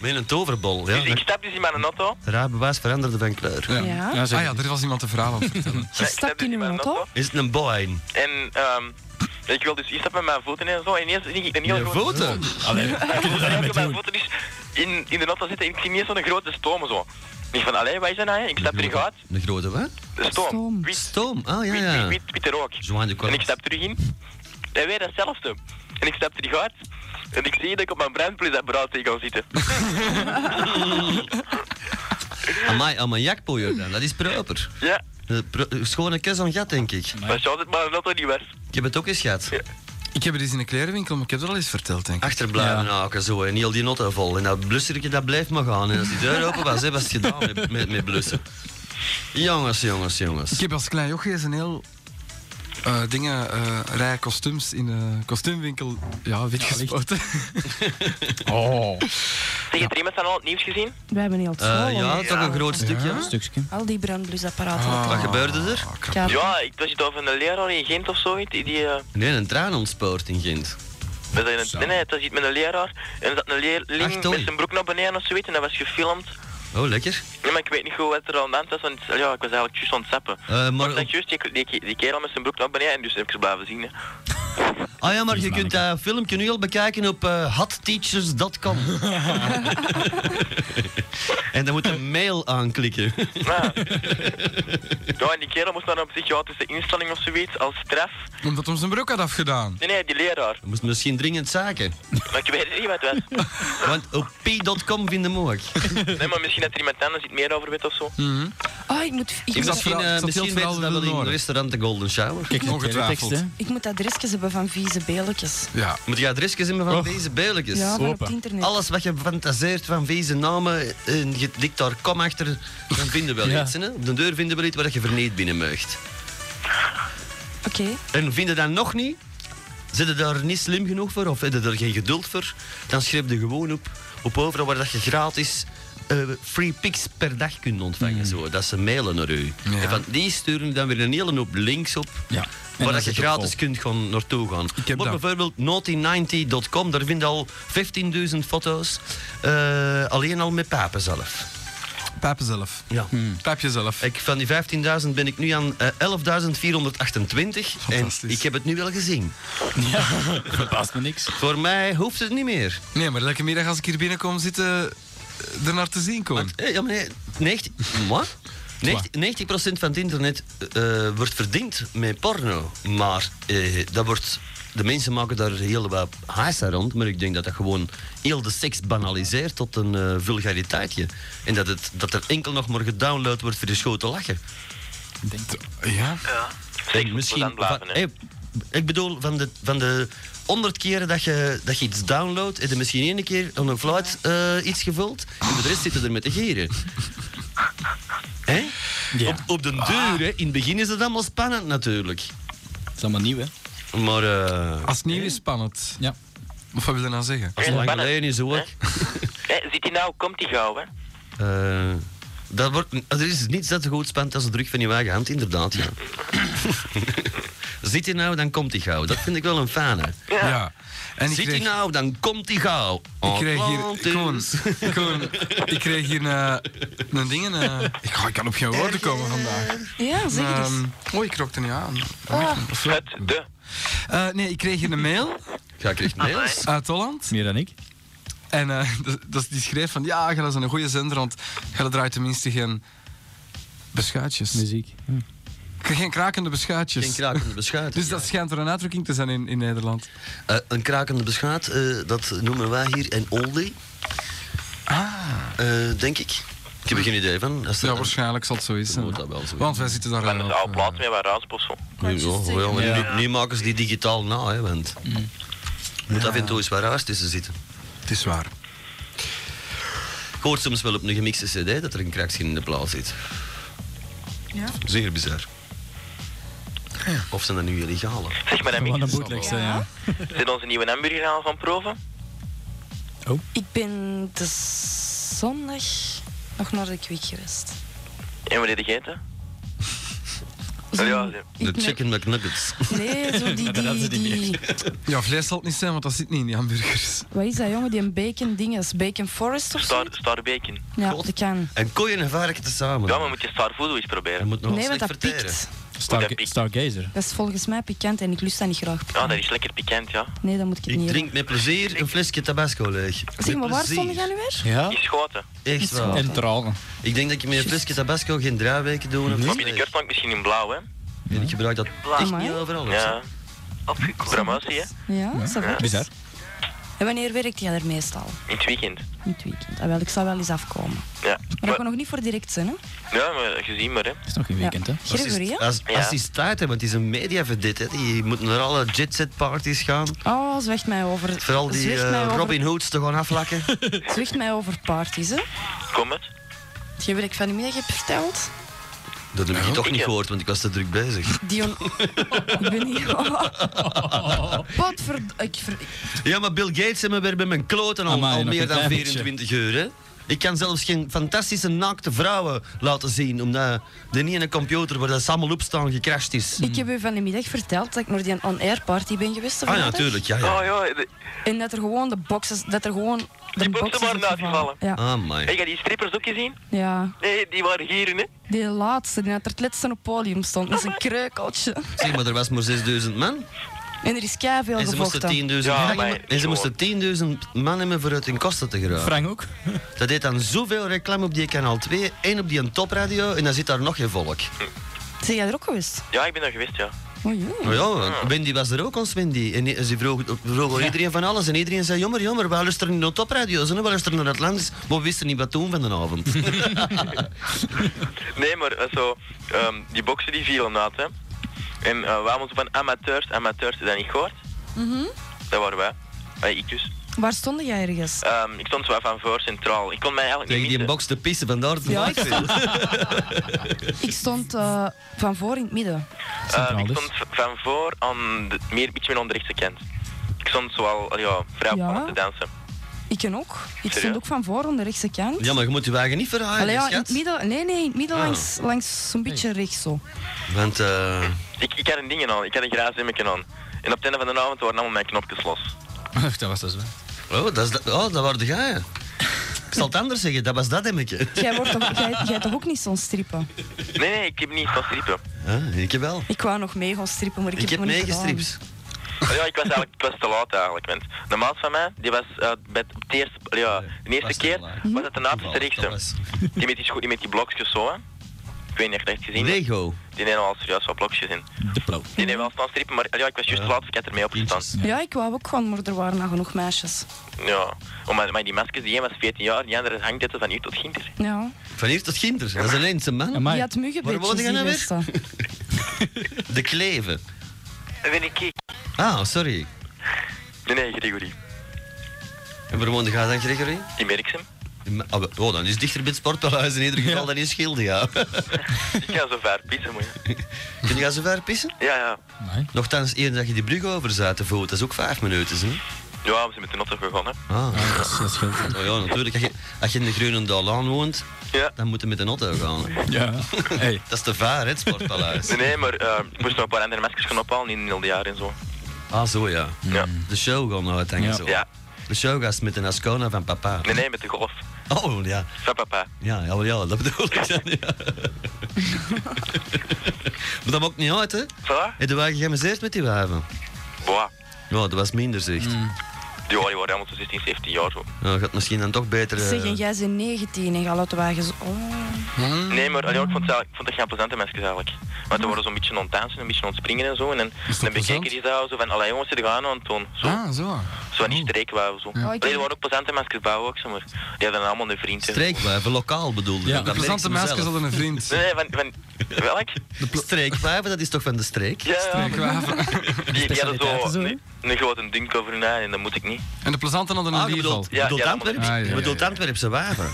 Met een toverbol. Ja. Dus ik stap dus in mijn auto. Het Rijbewijs veranderde van kleur. Ja. Ja. zeker. Ah ja, er was iemand een verhaal over vertellen. Nee, ik Stap stap dus in in uw mijn auto? auto. Is het een boeien? En ehm, ik wil dus eerst met mijn voeten en zo. En ineens zie ik een heel Je grote voeten? Allee, ik op mijn voeten dus in, in de auto zitten en ik zie ineens zo'n grote stoom zo. Ik van, allee, wat is dat nou? hè? Ik stap terug uit. De grote wat? De stoom. Stoom. Wit, Stoom. Ah ja, wit, ja. wit, wit, witte rook. Joan de En ik Colas. stap terug in. En weer datzelfde. En ik stap terug uit. En ik zie dat ik op mijn brandplusapparaat tegen kan zitten. Amai, ammoniakpoeier dan. Dat is proper. Ja, Eh, pro- eh, Schone kes aan gat, denk ik. maar zo het maar een auto niet was. Ik heb het ook eens gehad. Ik heb het eens in een klerenwinkel, maar ik heb het al eens verteld, denk ik. Achterblijven haken Nou, zo en heel die notten vol. En dat blussertje dat blijft maar gaan. En als die deur open was, hè, was het gedaan met, met, met blussen. Jongens, jongens, Ik jongens. heb als klein jochie eens een heel... eh, dingen, eh, rij kostuums in de kostuumwinkel, ja, wit gespoten. Oh, Tegen er iemand dan al het nieuws gezien? We hebben heel het Eh, vol, ja, hè. toch een groot stukje. Ah, een stukje. Al die brandblusapparaten. Wat gebeurde er? Ja. Ja, ik was het over een leraar in Gent of zoiets. Die, die, eh, Nee, een traan ontspoort in Gent. was dat in het, nee, nee, het was iets met een leraar. En er zat een leerling Ach, toi. met zijn broek naar beneden of zoiets. En dat was gefilmd. Oh, lekker. Nee, maar ik weet niet goed wat er aan de hand was, want ja, ik was eigenlijk juist aan het zappen. Eh, maar, Maar dan juist die, die, die kerel met zijn broek naar beneden en dus heb ik ze blijven zien. Hè. ah ja, maar je kunt dat filmpje nu al bekijken op eh, hotteachers.com. en dan moet je mail aanklikken. Maar, ja, en die kerel moest naar een psychiatrische instelling of zoiets als straf. Omdat hem zijn broek had afgedaan. Nee, nee, die leraar. Je moest misschien dringend zaken. Maar ik weet niet wat het was. Want op p.com vinden we ook. Nee, maar misschien dat er iemand anders iets meer over weet of zo. Oh, ik moet, ik, Ik moet, misschien verhaal- Mhm. ik eh zat heel misschien het verhaal weten ze dat willen wel in het horen. restaurant de Golden Shower. Kijk, de Ongetwijfeld. tekst, hè. ik moet adresjes hebben van vieze beelletjes. Ja. Moet je adresjes hebben van Och. deze beuletjes? Ja, van op open. het internet. Alles wat je fantaseert van vieze namen, en je dikt daar kom achter, dan vinden we wel Ja. iets. Hè? Op de deur vinden we iets waar je verniet binnen meugt. Oké. En vinden dat nog niet, zit je daar niet slim genoeg voor of heb je daar geen geduld voor, dan schrijf je gewoon op, op overal waar dat je gratis eh, free pics per dag kunt ontvangen. Zo, dat ze mailen naar u. Ja. En van die sturen dan weer een hele hoop links op. Ja. Waar dat je gratis kunt gaan naartoe gaan. Ik heb maar dat. bijvoorbeeld naughty90.com, daar vind je al 15.000 foto's. eh, alleen al met papen zelf. Pijpen zelf. Hmm. Ja. Pijp jezelf. Ik, van die 15.000 ben ik nu aan eh, 11.428. En Fantastisch. ik heb het nu wel gezien. Ja, verbaast me niks. Voor mij hoeft het niet meer. Nee, maar elke middag als ik hier binnenkom zitten, eh, er naar te zien komen. Want, eh, ja, maar nee, 90, wat? 90, 90% van het internet eh, wordt verdiend met porno. Maar eh, dat wordt, de mensen maken daar heel wat haast rond. Maar ik denk dat dat gewoon heel de seks banaliseert tot een eh, vulgariteitje. En dat, het, dat er enkel nog maar gedownload wordt voor de schoten lachen. Ja? Ja. En misschien. blijven, van- hè. eh, ik bedoel, van de, van de 100 keren dat je, dat je iets downloadt, heb je misschien één keer aan een fluit eh, iets gevuld. En de rest zitten er met de gieren. Hè? Ja. Op, op de deur, hè. in het begin is het allemaal spannend natuurlijk. Dat is allemaal nieuw, hè? Maar eh Als het nieuw is, spannend. Ja. Of wat wil je nou zeggen? als het lang Spannend, geleden is ook. Hé, ziet die nou, komt die gauw, hè? eh, dat wordt, er is niets dat zo goed spant als de druk van je eigen hand, inderdaad. Ja. Zit hij nou, dan komt hij gauw. Dat vind ik wel een fane. Ja. Ja. En ik Zit hij kreeg, nou, dan komt hij gauw. ik kreeg hier... Atlantis. Gewoon, gewoon, ik kreeg hier eh, een ding... eh, ik, ga- ik kan op geen woorden komen vandaag. Ja, zeg eens. Ah. Ehm, oh, ik rook er niet aan. Of wel? Het, de. Eh, nee, ik kreeg hier een mail Ah, Ja, ik kreeg mails. uit Holland. Meer dan ik. En eh, dat, dat die schreef van... Ja, dat is een goede zender, want je draait tenminste geen... Beschuitjes. Muziek. Hm. Geen krakende beschuitjes. Geen krakende beschuit. Dus dat schijnt er een uitdrukking te zijn in, in Nederland. Eh, een krakende beschuit, eh, dat noemen wij hier een oldie. Ah. denk ik. Ik heb er geen idee van. Als Ja, dat- waarschijnlijk zal het zo zijn. moet dat wel zo zijn. Want wij zitten daar Van wel een op, oude eh, plaat met wat raasp of zo. Ja, ja, ja, maar Nu, nu maken ze die digitaal na, hè, want... Moet af en toe eens wat raars tussen zitten. Mm, Het is waar. Ik hoor soms wel op een gemixte cd dat er een krakskin in de plaat zit. Ja. Zeer bizar. Of zijn dat nu illegale? Zeg maar, Wat een Mick, bootleg, hè, ja. zit onze nieuwe hamburger aan van proven? Ik ben de zondag nog naar de kwik geweest. En wat heb je gegeten? Zo, Ja, ze- De ik me- chicken McNuggets. Nee, zo die, dat die, ze niet die... Ja, vlees zal het niet zijn, want dat zit niet in die hamburgers. Wat is dat, jongen? Die een bacon dinges. Bacon forest of zo? Star, Star Bacon. Ja, God. dat kan. Hm. En kooien en varken tezamen. Ja, maar moet je Star Voodoo eens Hij proberen. moet nog Nee, want slecht dat verteren. pikt. Star, dat pikt. Stargazer. Dat is volgens mij pikant en ik lust dat niet graag. Ja, dat is lekker pikant, ja. Nee, dat moet ik het Ik niet drink met plezier een flesje tabasco leeg. hebben. Zeg maar, Met waar plezier. stond jij nu weer? Ja. Die schoten. Echt waar. En- En tralen. Ik denk dat je met een flesje tabasco geen draaiweken doet. Maar of binnenkort maak ik misschien in blauw, hè. En ik gebruik dat echt Amai. niet overal. hoor. Ja. Opgekomen. Promotie, hè. Ja, ça va. Bizar. En wanneer werkt jij er meestal? In het weekend. In het weekend. Ah, wel, ik zal wel eens afkomen. Ja. Maar dat Maar, kan nog niet voor direct zijn, hè? ja, maar gezien maar, hè. Het is nog geen Ja. weekend, hè? Als die- Gregory, hè? Als, als die staat, hè, want die is een mediaverdit. hè. Die moet naar alle jetset parties gaan. Oh, zwicht mij over. Vooral die zwicht eh, mij over, Robin Hoods te gaan aflakken. Zwicht mij over parties, hè? Kom het. Hetgeen wat ik van de middag heb verteld. Dat heb ik je toch Ik niet heb- gehoord, want ik was te druk bezig. Dion. ik ben niet. Potverd. Ik ver... Ja, maar Bill Gates heeft me weer bij mijn kloten al, Amai, al nog meer een dan klein beetje. 24 uur. Hè? Ik kan zelfs geen fantastische naakte vrouwen laten zien, omdat de niet in een computer waar dat ze allemaal op staan gecrashed is. Ik heb u van de middag verteld dat ik naar die on-air party ben geweest. Ah ja, vanmiddag. natuurlijk, ja, ja. Oh ja, de- En dat er gewoon de boxes. Dat er gewoon. De Die boxen boxes waren uitgevallen. Ja, Ah, my. heb je die strippers ook gezien? ja, Nee, die waren hier, hè. die laatste, die had er het laatste op podium stond. Dat is een kreukeltje. Zeg maar, er was maar 6000 man. En er is keihard veel En ze moesten 10.000 gevochten. Ja, man maar- hebben- en ze moesten 10.000 man hebben voor uit hun kosten te geraken. Frank ook. Dat deed dan zoveel reclame op die kanaal 2 en op die topradio en dan zit daar nog geen volk. Zijn jij er ook geweest? Hm. Ja, ik ben daar geweest, ja. Oh, jee. Nou ja, want Wendy was er ook, ons Wendy. En i- ze vroeg, vroeg aan iedereen van alles. En iedereen zei, jammer, jammer, we luisteren niet naar topradio's. En we luisteren naar Atlantis. Maar we wisten niet wat doen van de avond. Nee, maar eh, zo, ehm, die boksen die vielen uit, hè. En eh, wij moeten van amateurs, amateurs, dat niet gehoord. Dat waren wij. Eh, ik dus. Mhm. Waar stond jij ergens? Ehm, ik stond zwaar van voor centraal. Ik kon mij eigenlijk Tegen niet die missen. box te pissen, vandaar het Ja, ja, ik Ik stond eh, van voor in het midden. Ehm, Centraal ik dus. stond v- van voor aan de, meer, iets meer aan de rechterkant. Ik stond zoal al, ja, vrij op Ja? aan te dansen. Ik en ook. Ik stond Serieus? ook van voor aan de rechtse kant. Ja, maar je moet je wagen niet dus, verhaaien, Allee, ja, in schat. het midden, nee, nee, in het midden Ah. langs, langs zo'n beetje rechts zo. Want, eh, Ik, ik had een ding aan, ik had een graas hemmetje aan. En op het einde van de avond waren allemaal mijn knopjes los. Ach, dat was dus wel. oh, dat, is dat, oh, dat waren de gaaien. Ik zal het anders zeggen, dat was dat hemmetje. Jij, wordt toch, jij, jij toch ook niet zo'n strippen? Nee, nee, ik heb niet van strippen. Ah, ik heb wel. Ik wou nog mee gaan strippen, maar ik, Ik heb het nog niet meegestript. Maar Ah, Ja, ik was eigenlijk ik was te laat eigenlijk, want de maat van mij, die was eh, bij het- op de eerste, ja, de was eerste te keer, laat. was het de Toeval, laatste dat rechtse. was- Die met die, scho- die, met die blokjes zo, hè. Ik weet niet of je het echt gezien hebt. Lego. Die nemen al serieus wat blokjes in. Diplo. Die nemen wel snel strippen, maar ja, ik was juist te laat, ik had ermee opgestaan. gedaan. Ja, ik wou ook gewoon, maar er waren nog genoeg meisjes. Ja, Oh, maar, maar die maskers, die een was 14 jaar, die andere hangt het van hier tot ginder. Ja. Van hier tot ginder. Dat is een eindse man. Die Amai. had muggenbeetjes. Waar woonde jij nou die weer? beste. De kleven. Dat ben ik. ik. Ah, sorry. Nee, nee, Gregory. En waar woonde jij dan, Gregory? Die merk hem. In Ma- ah, Oh, dan is dichter bij het sportpaleis in ieder geval dan in Schilde, ja. Ik ga zo ver pissen, moet je. Kun je zo ver pissen? Ja, ja. Nee. Nochtans, eer dat je die brug over zat te voet, dat is ook vijf minuten, hè? Ja, we zijn met de auto gegaan, hè. Ah. Dat is- dat scheelt. Oh ja, natuurlijk. Als je, als je in de Groenendaal aan woont, Ja. dan moet je met een auto gaan. hè. Ja. Hey. Dat is te vaar, hè, het sportpaleis. Nee, nee, maar eh, ik moest nog een paar andere maskers gaan ophalen in een jaar en zo. Ah, zo ja. Ja. De show gaan uithangen, Ja. zo. Ja. De show gaat met een ascona van papa. Nee, nee, met de golf. Oh, ja. Van papa. Ja, ja, wel, ja, dat bedoel ik dan, ja. maar dat maakt niet uit, hè. Voilà. Heb je wagen geamuseerd met die waven? Boah. Ja, dat was minder, zegt. Mm. Ja, die waren allemaal tussen 16 17 jaar zo. Ja, gaat misschien dan toch beter... eh, Zeg, en jij bent 19 en gaat uit de wagen zo... Oh. Hm? Nee, maar allee, ik vond het, eigenlijk- ik vond het geen plezante maskers eigenlijk. Want die waren zo'n beetje aan het dansen, een beetje aan het springen en zo. En dan, dat dan bekeken plezant? die zo zo van, allee jongens, ze gaan aan het doen. Zo, Ah, zo. zo niet streekwouwen zo. Ja. Allee, er waren ook plezante maskers bij ook, zeg maar. Die hadden allemaal een vriend. hè. Streekwijven, lokaal bedoelde Ja. ik, dat Plezante merk ik meisjes mezelf. hadden een vriend. Nee, nee, van, van welk? Streekwijven, dat is toch van de streek? Ja, ja, Ik wou even- die, die hadden Specialiteiten zo zo, een, een grote dunk over hun ei en dat moet ik niet. En de plezante hadden een Ah, je bierval. bedoelt, je Ja, bedoelt ja, dat Antwerp? moet- Ah, ja, Je ja, bedoelt ja. Antwerpse waven.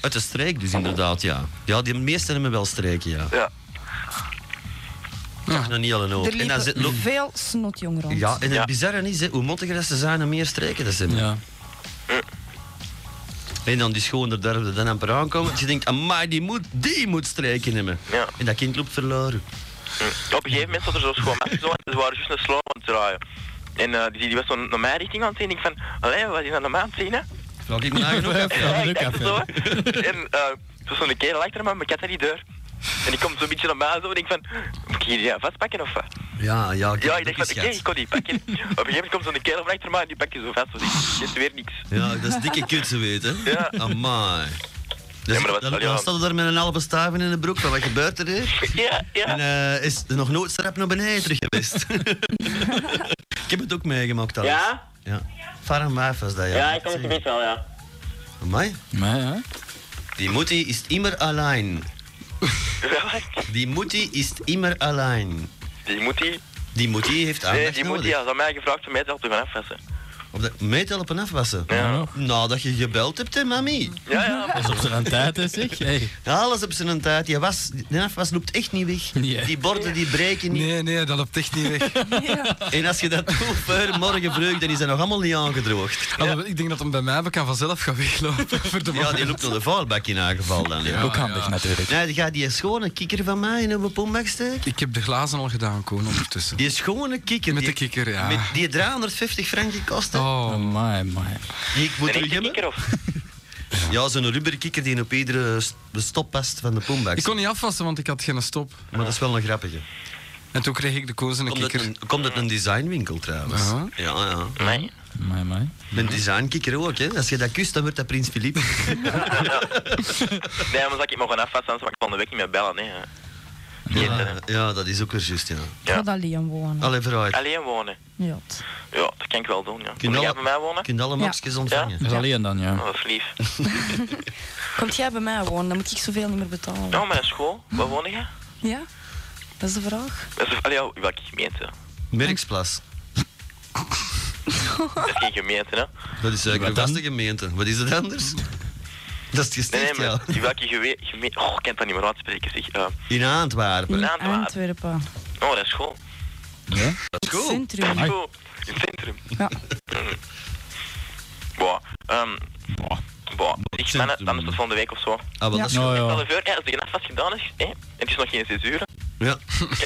Uit de streek dus inderdaad, ja. Ja, die meesten hebben wel streken, ja. Ja. Nog niet al een hoop. Er En dan zit, liepen loop- veel snotjong rond. ja, en het Ja. bizarre is, hè, hoe mottiger dat ze zijn, hoe meer streken dat ze hebben. Hm. Ja. En dan die schoner derfde dan amper aankomen. Dus je denkt, amai, die moet, die moet streken hebben. Ja. En dat kind loopt verloren. Op een gegeven moment zat er zo'n schoon meisje zo en ze waren juist een slalom aan het draaien. En eh, die, die was zo naar mijn richting aan het zien. Ik van, allee, wat is die aan de maan zien, hè? Vlak ik mijn eigen ook af, ja. Ja, ik dacht het zo. hè. En eh, het was zo'n kerel achter me, maar ik had dat niet deur. En die komt zo'n beetje naar mij zo en ik van, moet ik hier ja, vastpakken of wat? Ja, ja. Ja, ik dacht dat van, is oké, ik gek. kon die pakken. Op een gegeven moment komt zo'n kerel van achter mij en die pak je zo vast. Dus ik dit is weer niks. Ja, dat is dikke kut, ze weten. Ja. Amai. Dus, Ja, maar dat was dan, wel, dan ja. staat er daar met een halve staven in de broek van wat gebeurt er hier? Ja, ja. En eh, is er nog nooit strap naar beneden terug geweest. ik heb het ook meegemaakt thuis. Ja? Ja. Farm Wife was dat, ja. Ja, ik kom het gebied wel, ja. Amai. Maar ja. Die Mutti is immer allein. Welk? Die Mutti is immer allein. Die moet die... Die Mutti heeft aandacht Nee, die moet nodig. die, als aan mij gevraagd om mij te helpen afwassen. Op de meetelpen afwassen. Ja. Nou, dat je gebeld hebt, hè, mami. Ja, ja. Dat is op zijn tijd, hè, zeg. Hey. Alles op zijn tijd. Die, was, die afwas loopt echt niet weg. Nee. Die borden die breken niet. Nee, nee, dat loopt echt niet weg. En als je dat doet voor morgen vroeg, dan is dat nog allemaal niet aangedroogd. Ah, maar ik denk dat hem bij mij kan vanzelf gaan weglopen. voor de Ja, die loopt naar de vuilbak in haar geval dan. Ja. ook handig, natuurlijk. Nee, die gaat die schone kikker van mij in een poembak steken. Ik heb de glazen al gedaan, Koen, ondertussen. Die schone kikker. Met die- de kikker, ja. Met die 350 frank gekost. hè. Oh, Amai, amai. Die ik moet Ben ik terug de hebben. kikker of? Ja, zo'n rubberkikker die op iedere st- stop past van de poembak. ik kon niet afwassen, want ik had geen stop. Maar dat is wel een grappige. En toen kreeg ik de koos en de Komt uit kikker. een, komt uit een designwinkel trouwens. Ja. Ja, ja. Nee. Amai, amai. Ik ben designkikker ook, hè. Als je dat kust, dan wordt dat Prins Filip. Nee, maar zal ik me gewoon afwassen, anders mag ik van de week niet meer bellen, hè. Ja, ja, dat is ook weer juist, ja. Ik ga dat Liam wonen. Allee, vooruit. Alleen wonen. Ja. Ja, dat kan ik wel doen, ja. Kun Moet je jij alle- bij mij wonen? Je kunt alle Ja. mopjes ontvangen. Dat is alleen dan, Oh, ja. dat is lief. Komt jij bij mij wonen, dan moet ik zoveel niet meer betalen. Ja, mijn school. Waar woon je? Ja? Dat is de vraag. Dat is, allee, ja, welke gemeente? Merksplas. Dat is geen gemeente, hè? Dat is eigenlijk Wat een dan? vaste gemeente. Wat is het anders? Dat is het Nee, nee, gesticht, ja. maar in welke gemeente... Oh, ik kan dat niet meer uitspreken, zeg. Eh, In Antwerpen. In Antwerpen. Antwerpen. oh, dat is school. Ja? Dat is Het cool. centrum. Dat is school. In het centrum. Ja. Boah. Ehm boah. Ik ben het, dan is het van de week of zo. Ah, wel, Ja. dat is goed. Nou Stel ja. je voor, hè, als de nacht vast gedaan is, hè, en het is nog geen 6 uur, Ja. ik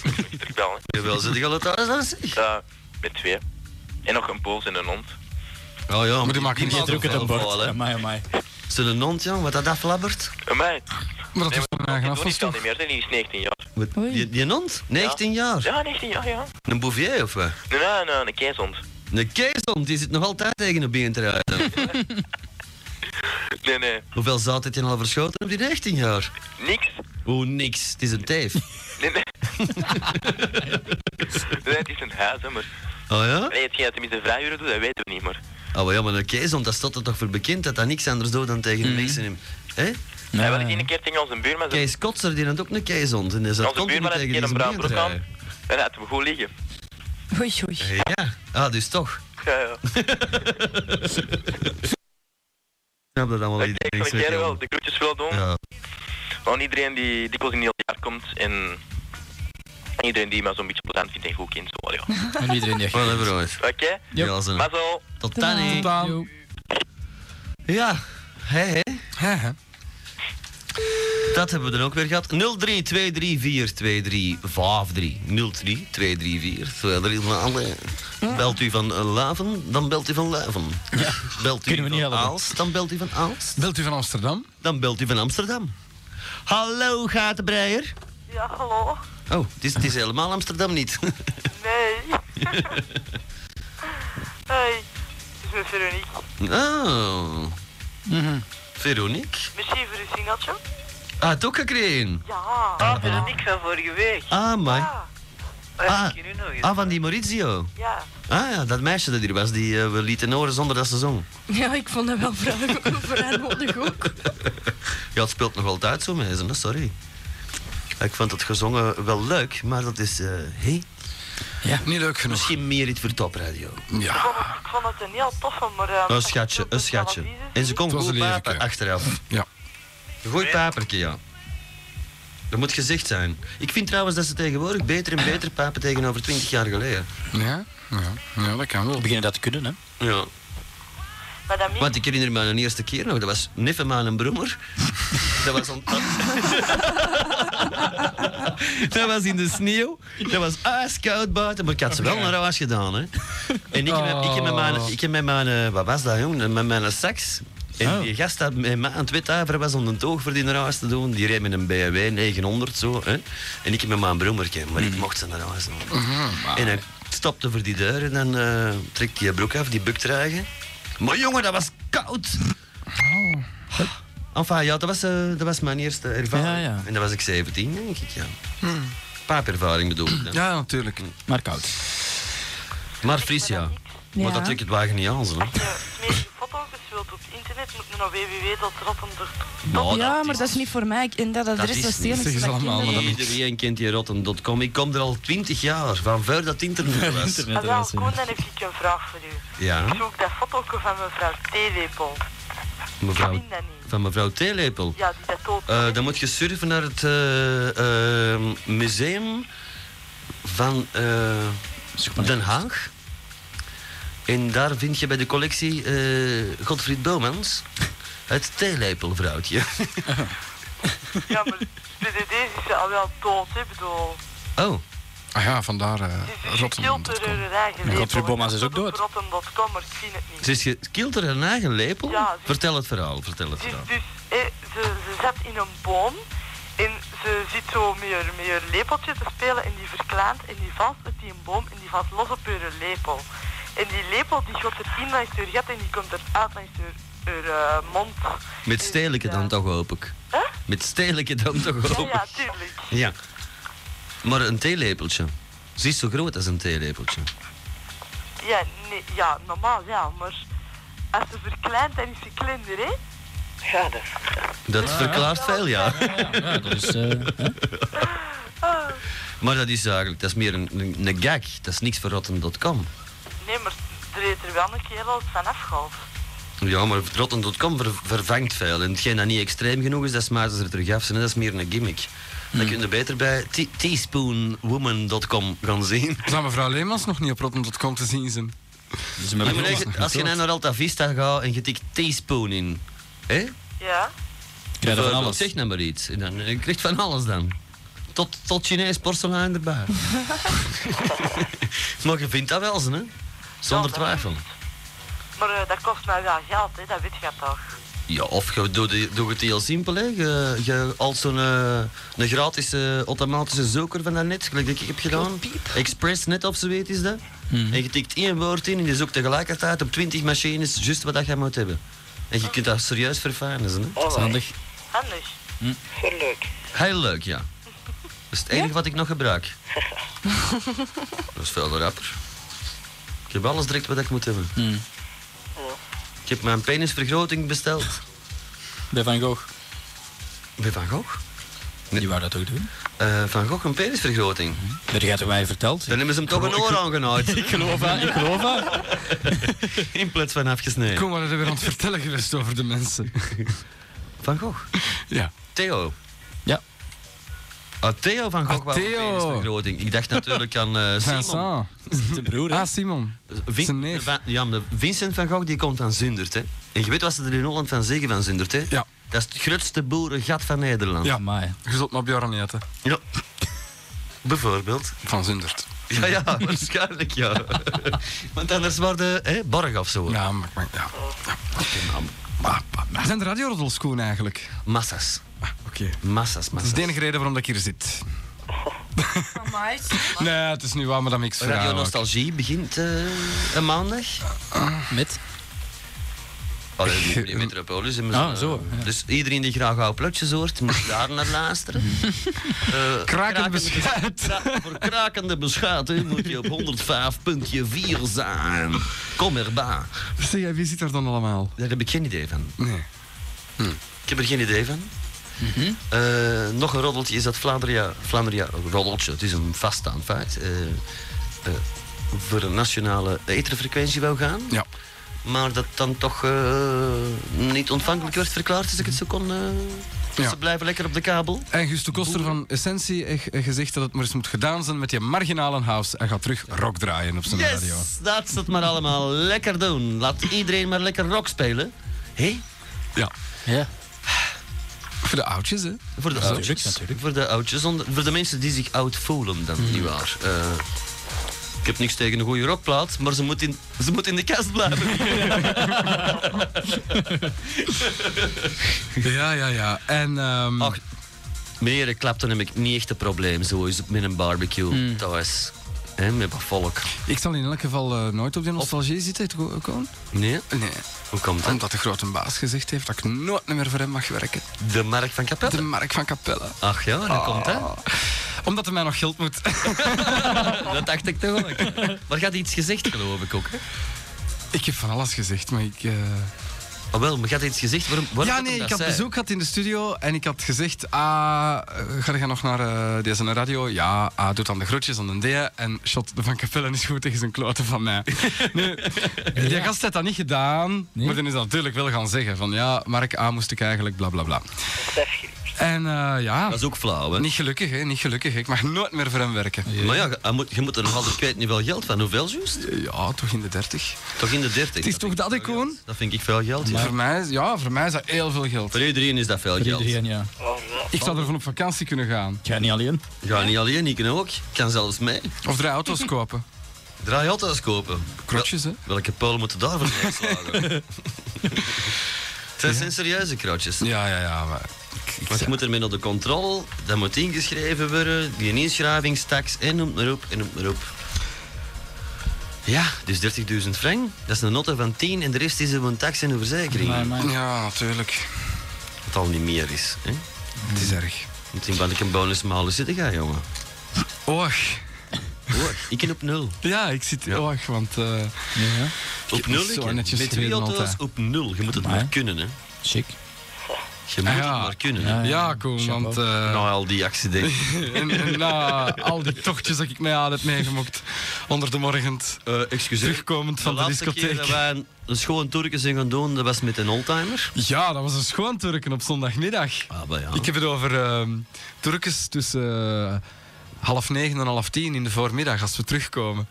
kan ik terugbellen. hè. Jawel, zit ik al thuis dan, zeg. Eh, met twee. En nog een poos en een hond. Oh ja, maar die maken Je niet drukken drukt het een een bord. Amai, amai. Zijn hond, ja, wat dat aflabbert. En mij. Maar dat Nee, maar die was mijn eigen doen afwas, het al toch? niet meer, hè, die is 19 jaar. Wat- Oei. Die, die hond? 19 jaar. Ja, 19 jaar, ja. Een bouvier of wat? Nee, nee, nee, een keeshond. Een keeshond, die zit nog altijd tegen een been te rijden. Nee, nee, Hoeveel zout heb je al verschoten op die 19 jaar? niks. Oh, niks. Het is een teef. Nee, nee. nee, het is een huis, hè, maar... Oh ja? Nee, hetgeen dat tenminste vrijuren doet, dat weten we niet, maar... Oh ja, maar een keeshond, dat staat er toch voor bekend dat dat niks anders doet dan tegen de Mhm. mensen in... Hé? Hij was één keer tegen onze buurman... zo- Kees Kotser, die had ook een keeshond. En die zat Onze continu buurman had een tegen keer die een zijn bruin been te broek aan. rijden. En hij had hem goed liggen. Oei, oei. Ja, ah, dus toch. Ja, ja. Ik snap dat allemaal Ik niet. denk van, ik jij wel de groetjes wil doen. Ja. Aan iedereen die dikwijls in heel het jaar komt en... Iedereen die mij zo'n beetje plezant vindt en goed kent, zo, ja. En iedereen die Wel even ooit. Oké? Yep. Ja, zo. Mazzel! Tot dan, hè. Yo. Ja, hé, hé. Hè, hè? Dat hebben we dan ook weer gehad. 03-234-2353. Belt u van eh, Laven, dan belt u van Laven. Belt u Kunnen we niet van helpen. Aalst, dan belt u van Aalst. Belt u van Amsterdam? Dan belt u van Amsterdam. Hallo, Gatenbreier. Ja, hallo. Oh, het is, het is helemaal Amsterdam niet. Nee. hey, het is met Veronique. Oh. Veronique. Misschien voor uw singeltje? Ah, het ook gekregen. Ja. Ah, Veronique van vorige week. Ah, my. Ah. Oh, ja, Ah. ik ken u nog eens. eh. Ah, van die Maurizio. Ja. Ah ja, dat meisje dat hier was, die eh, we lieten horen zonder dat ze zong. Ja, ik vond dat wel vrij- vrij nodig ook. Ja, het speelt nog altijd zo mee, hè, sorry. Ik vond het gezongen wel leuk, maar dat is eh, hey, Niet leuk genoeg. misschien meer iets voor topradio. Ik Ja. vond, het, ik vond het een heel toffe, maar... eh, Een schatje, een schatje. En ze kon Het was goed een lelijke. papen achteraf. Ja. Een goed papertje, ja. Dat moet gezegd zijn. Ik vind trouwens dat ze tegenwoordig beter en beter papen tegenover 20 jaar geleden. Ja? Ja, ja dat kan wel. We beginnen dat te kunnen, hè. Ja. Maar dat Want ik herinner me mijn eerste keer nog, dat was neffen maar een brommer. Dat was, ont- dat was in de sneeuw, dat was ijskoud buiten, maar ik had ze wel naar huis gedaan. Hè. En ik, heb- ik, heb met mijn, ik heb met mijn, eh, wat was dat jong, met mijn sax. En die gast dat met mij aan het wetaveren was om een toog voor die naar huis te doen, die reed met een BMW 900 zo. Hè. En ik heb met mijn brommerke, maar ik mocht ze naar huis doen. Mhm, En hij stopte voor die deur en dan eh trekt die broek af, die bukdragen. Maar jongen, dat was koud. Oh. Enfin, ja, dat was, eh, dat was mijn eerste ervaring. Ja, ja. En dat was ik 17, denk ik, ja. Paapervaring bedoel ik dan. Hm. Ja, natuurlijk. Maar koud. Maar Fries, ja. Maar Ja. dat trekt het wagen niet aan, zo. hè. Als je smerige foto's wilt op internet, moet je naar www.rottendorp. Nou, ja, maar dat is niet voor mij. Ik- En dat adres is was niet. heel Zeg eens allemaal, maar dat- Iedereen kent die rotten.com. Ik kom er al 20 jaar, van voor dat internet was. Internet, Ah, wel, dat is, eh, Koen, dan heb ik een vraag voor u. Ja, Ik zoek dat fotootje van mevrouw Theelepel. Ik mevrouw, vind dat niet. van mevrouw Theelepel. Ja, die dat dood. Eh, dan moet je surfen naar het eh, eh, museum van eh, Zoek maar. Den Haag. En daar vind je bij de collectie eh, Godfried Bomans het theelepelvrouwtje. Ja, maar BDD is al wel dood, hè, bedoel. Oh, Ah ja, vandaar eh Het is een Rotterdam. schildererij geleden. Godfrey Bomans is ook dood. Rotten.com, maar ik vind het niet. ze is gekild door haar eigen lepel? Ja, ze- Vertel het verhaal, vertel het Ze, is verhaal. dus, eh, ze, ze zat in een boom en ze zit zo met haar, met haar lepeltje te spelen en die verklaant en die valt uit die boom en die valt los op haar lepel. En die lepel die gaat erin langs haar gat en die komt eruit langs haar, haar eh, mond. Met Dus, stedelijke dan eh, toch, hoop ik. Hè? Met stedelijke dan toch, Ja, hoop ja, ik. tuurlijk. Ja. Maar een theelepeltje. Ze is zo groot als een theelepeltje. Ja, nee, ja, normaal ja, maar als ze verkleint dan is ze kleiner, hè? Ja, dat Dat verklaart veel, ja. Ah. Ja, dat is... eh, hè? Maar dat is eigenlijk, dat is meer een, een, een gag. Dat is niks voor rotten.com. Nee, maar er heeft er wel een kerel het van afgehaald. Ja, maar rotten.com ver- vervangt veel. En hetgeen dat niet extreem genoeg is, dat smaken ze er terug af. En dat is meer een gimmick. Hmm. Dan kun je beter bij te- teaspoonwoman.com gaan zien. Zou mevrouw Leemans nog niet op rotterdam.com te zien zijn? Dus we Ja, hebben maar als ook- je- als je naar Alta Vista gaat en je tikt teaspoon in... Hè? Ja. Krijg je van Bijvoorbeeld, alles. Zeg nou maar iets. En dan eh, krijg je van alles dan. Tot, tot Chinees porselein erbij. maar je vindt dat wel eens, hè? Zonder Ja, dat is- twijfel. Maar eh, dat kost mij wel geld, hè? dat weet je toch. Ja, of je doet die- doe het heel simpel. Hè. Je, je als zo'n eh, een gratis eh, automatische zoeker van daarnet, gelijk dat ik heb gedaan. Express net of zo weet is dat. Mhm. En je tikt één woord in en je zoekt tegelijkertijd op 20 machines juist wat dat je moet hebben. En je kunt dat serieus verfijnen. Hè. Dat is handig. Handig. Heel leuk. Hm? Heel leuk, ja. Dat is het enige wat ik nog gebruik. dat is veel rapper. Ik heb alles direct wat ik moet hebben. Hmm. Ik heb mijn penisvergroting besteld. Bij Van Gogh. Bij Van Gogh? Die wou dat ook doen. Eh, Van Gogh een penisvergroting. Dat gaat er mij verteld. Dan hebben ze hem toch een oor aangenaaid. Ik geloof aan, ik geloof aan. In plaats van afgesneden. Kom maar, dat weer aan het vertellen geweest over de mensen. Van Gogh. Ja. Theo. Ja. Ah, Theo van Gogh was een Theo. penisvergroting. Ik dacht natuurlijk aan eh Simon. Vincent. De broer, hè? Ah, Simon. Vin- Zijn neef. Van- ja, maar Vincent van Gogh die komt van Zundert. Hè. En je weet wat ze er in Holland van zeggen van Zundert. Hè? Ja. Dat is het grootste boerengat van Nederland. Ja. Amai. Je zult maar Björn eten. Ja. Bijvoorbeeld. Van Zundert. Ja, ja, waarschijnlijk ja. Want anders worden hè, borg of zo. Ja, maar... maar ja. Ah, Maar, maar, maar. Zijn de radioroddels Koen, eigenlijk? Ah, Massas. Oké. Massa's, Dat is massa's. de enige reden waarom dat ik hier zit. Nee, het is niet waar, maar dat niks Radio verhaal ook. Nostalgie begint eh, een maandag. Met? Allee, in Metropolis. in Ah, eh, zo, ja. Dus iedereen die graag oude plotjes hoort, moet daar naar luisteren. Eh, Krakend beschuit. kra- voor krakende beschuit hè, moet je op 105.4 zijn. Kom erbij. Zeg, jij, wie zit er dan allemaal? Daar heb ik geen idee van. Nee. Ik heb er geen idee van. Eh, nog een roddeltje is dat Vlaanderen, Vlaanderen roddeltje, het is een vaststaand feit, eh, eh, voor een nationale etherfrequentie wil gaan. Ja. Maar dat dan toch eh, niet ontvankelijk werd verklaard, als ik het zo kon eh, Dus Ja. ze blijven lekker op de kabel. En Guus de Koster van Essentie heeft eh, gezegd dat het maar eens moet gedaan zijn met die marginale house. Hij gaat terug rock draaien op zijn Yes, radio. laat ze het maar allemaal lekker doen. Laat iedereen maar lekker rock spelen. Hé, Ja. Ja. Voor de oudjes, hè? voor de Natuurlijk, oudjes. natuurlijk. Hmm. Voor de oudjes, want- voor de mensen die zich oud voelen, dan, niet nietwaar. Eh, ik heb niks tegen een goede rockplaat, maar ze moet in, ze moet in de kast blijven. Ja, ja, ja. En ehm, Ach, meren klapten heb ik niet echt een probleem, zo is het met een barbecue Hmm. thuis. Hè, met wat volk. ik zal in elk geval eh, nooit op die nostalgie zitten, Ko- Koen. Nee? Nee, Hoe komt dat? omdat de grote baas gezegd heeft dat ik nooit meer voor hem mag werken. De Mark van De Capelle. Mark van Capelle. Ach ja, dat komt hè. Ah. Omdat hij mij nog geld moet. Dat dacht ik toch ook. Maar gaat iets gezegd, geloof ik ook. Hè? ik heb van alles gezegd, maar ik... eh, Ah, wel, maar gaat iets gezegd? Waarom, waarom Ja, dat nee, hem ik dat had zei? bezoek gehad in de studio en ik had gezegd, ah, eh, ga je nog naar eh, deze radio? Ja, ah, doet dan de groetjes aan de D en shot de Van Capellen is goed tegen zijn kloten van mij. nu, die gast had dat niet gedaan, Nee. maar dan is dat natuurlijk wel gaan zeggen van, ja, Mark, A moest ik eigenlijk, bla, bla, bla. En eh, ja, Dat is ook flauw, hè? niet gelukkig, hè, niet gelukkig. Ik mag nooit meer voor hem werken. Maar ja, je moet, je moet er nog altijd, ik weet niet wel geld van. Hoeveel juist? Ja, toch in de dertig. Toch in de 30. Het is toch dat, ik gewoon? Dat vind ik veel geld. Ja. Voor mij, is- ja, voor mij is dat heel veel geld. Voor iedereen is dat veel Voor geld. iedereen, ja. Ik zou ervan op vakantie kunnen gaan. Ik ga niet alleen. Ja, niet alleen, ik kan ook. Ik kan zelfs mee. Of drie auto's kopen. Draai auto's kopen. Krotjes, hè? Wel- welke polen moeten daarvoor slagen? Het zijn serieuze krotjes. Ja, ja, ja. Maar ik- ik- Want je moet ermee naar de controle, dat moet ingeschreven worden, die inschrijvingstaks en noem het maar op en noem het maar op. Ja, dus 30.000 frank, dat is een notte van 10 en de rest is een tax en een verzekering. Maar, maar, Ja, natuurlijk. Wat al niet meer is. Hè? Het is erg. Misschien ben ik een bonusmalen zitten ga, jongen. Och. Hoor, ik ben op nul. Ja, ik zit... Ja. Och, want... eh, ja, ja. Op nul, zo ik, hè. netjes Met twee gereden auto's altijd. op nul. Je moet het Amai. maar kunnen, hè. Chic. Je moet Ah, het ja. maar kunnen. hè. Ja, ja. ja, Koen, chapeau. want... eh, Na al die accidenten. en, en na al die tochtjes dat ik mij aan heb meegemokt onder de morgen, Eh excuseer. terugkomend De van de laatste keer dat discotheek. wij een, een schoon Turken zijn gaan doen, dat was met een oldtimer. Ja, dat was een schoon Turken op zondagmiddag. Ah, bah, ja. Ik heb het over ehm Turkes tussen eh, half negen en half tien in de voormiddag, als we terugkomen.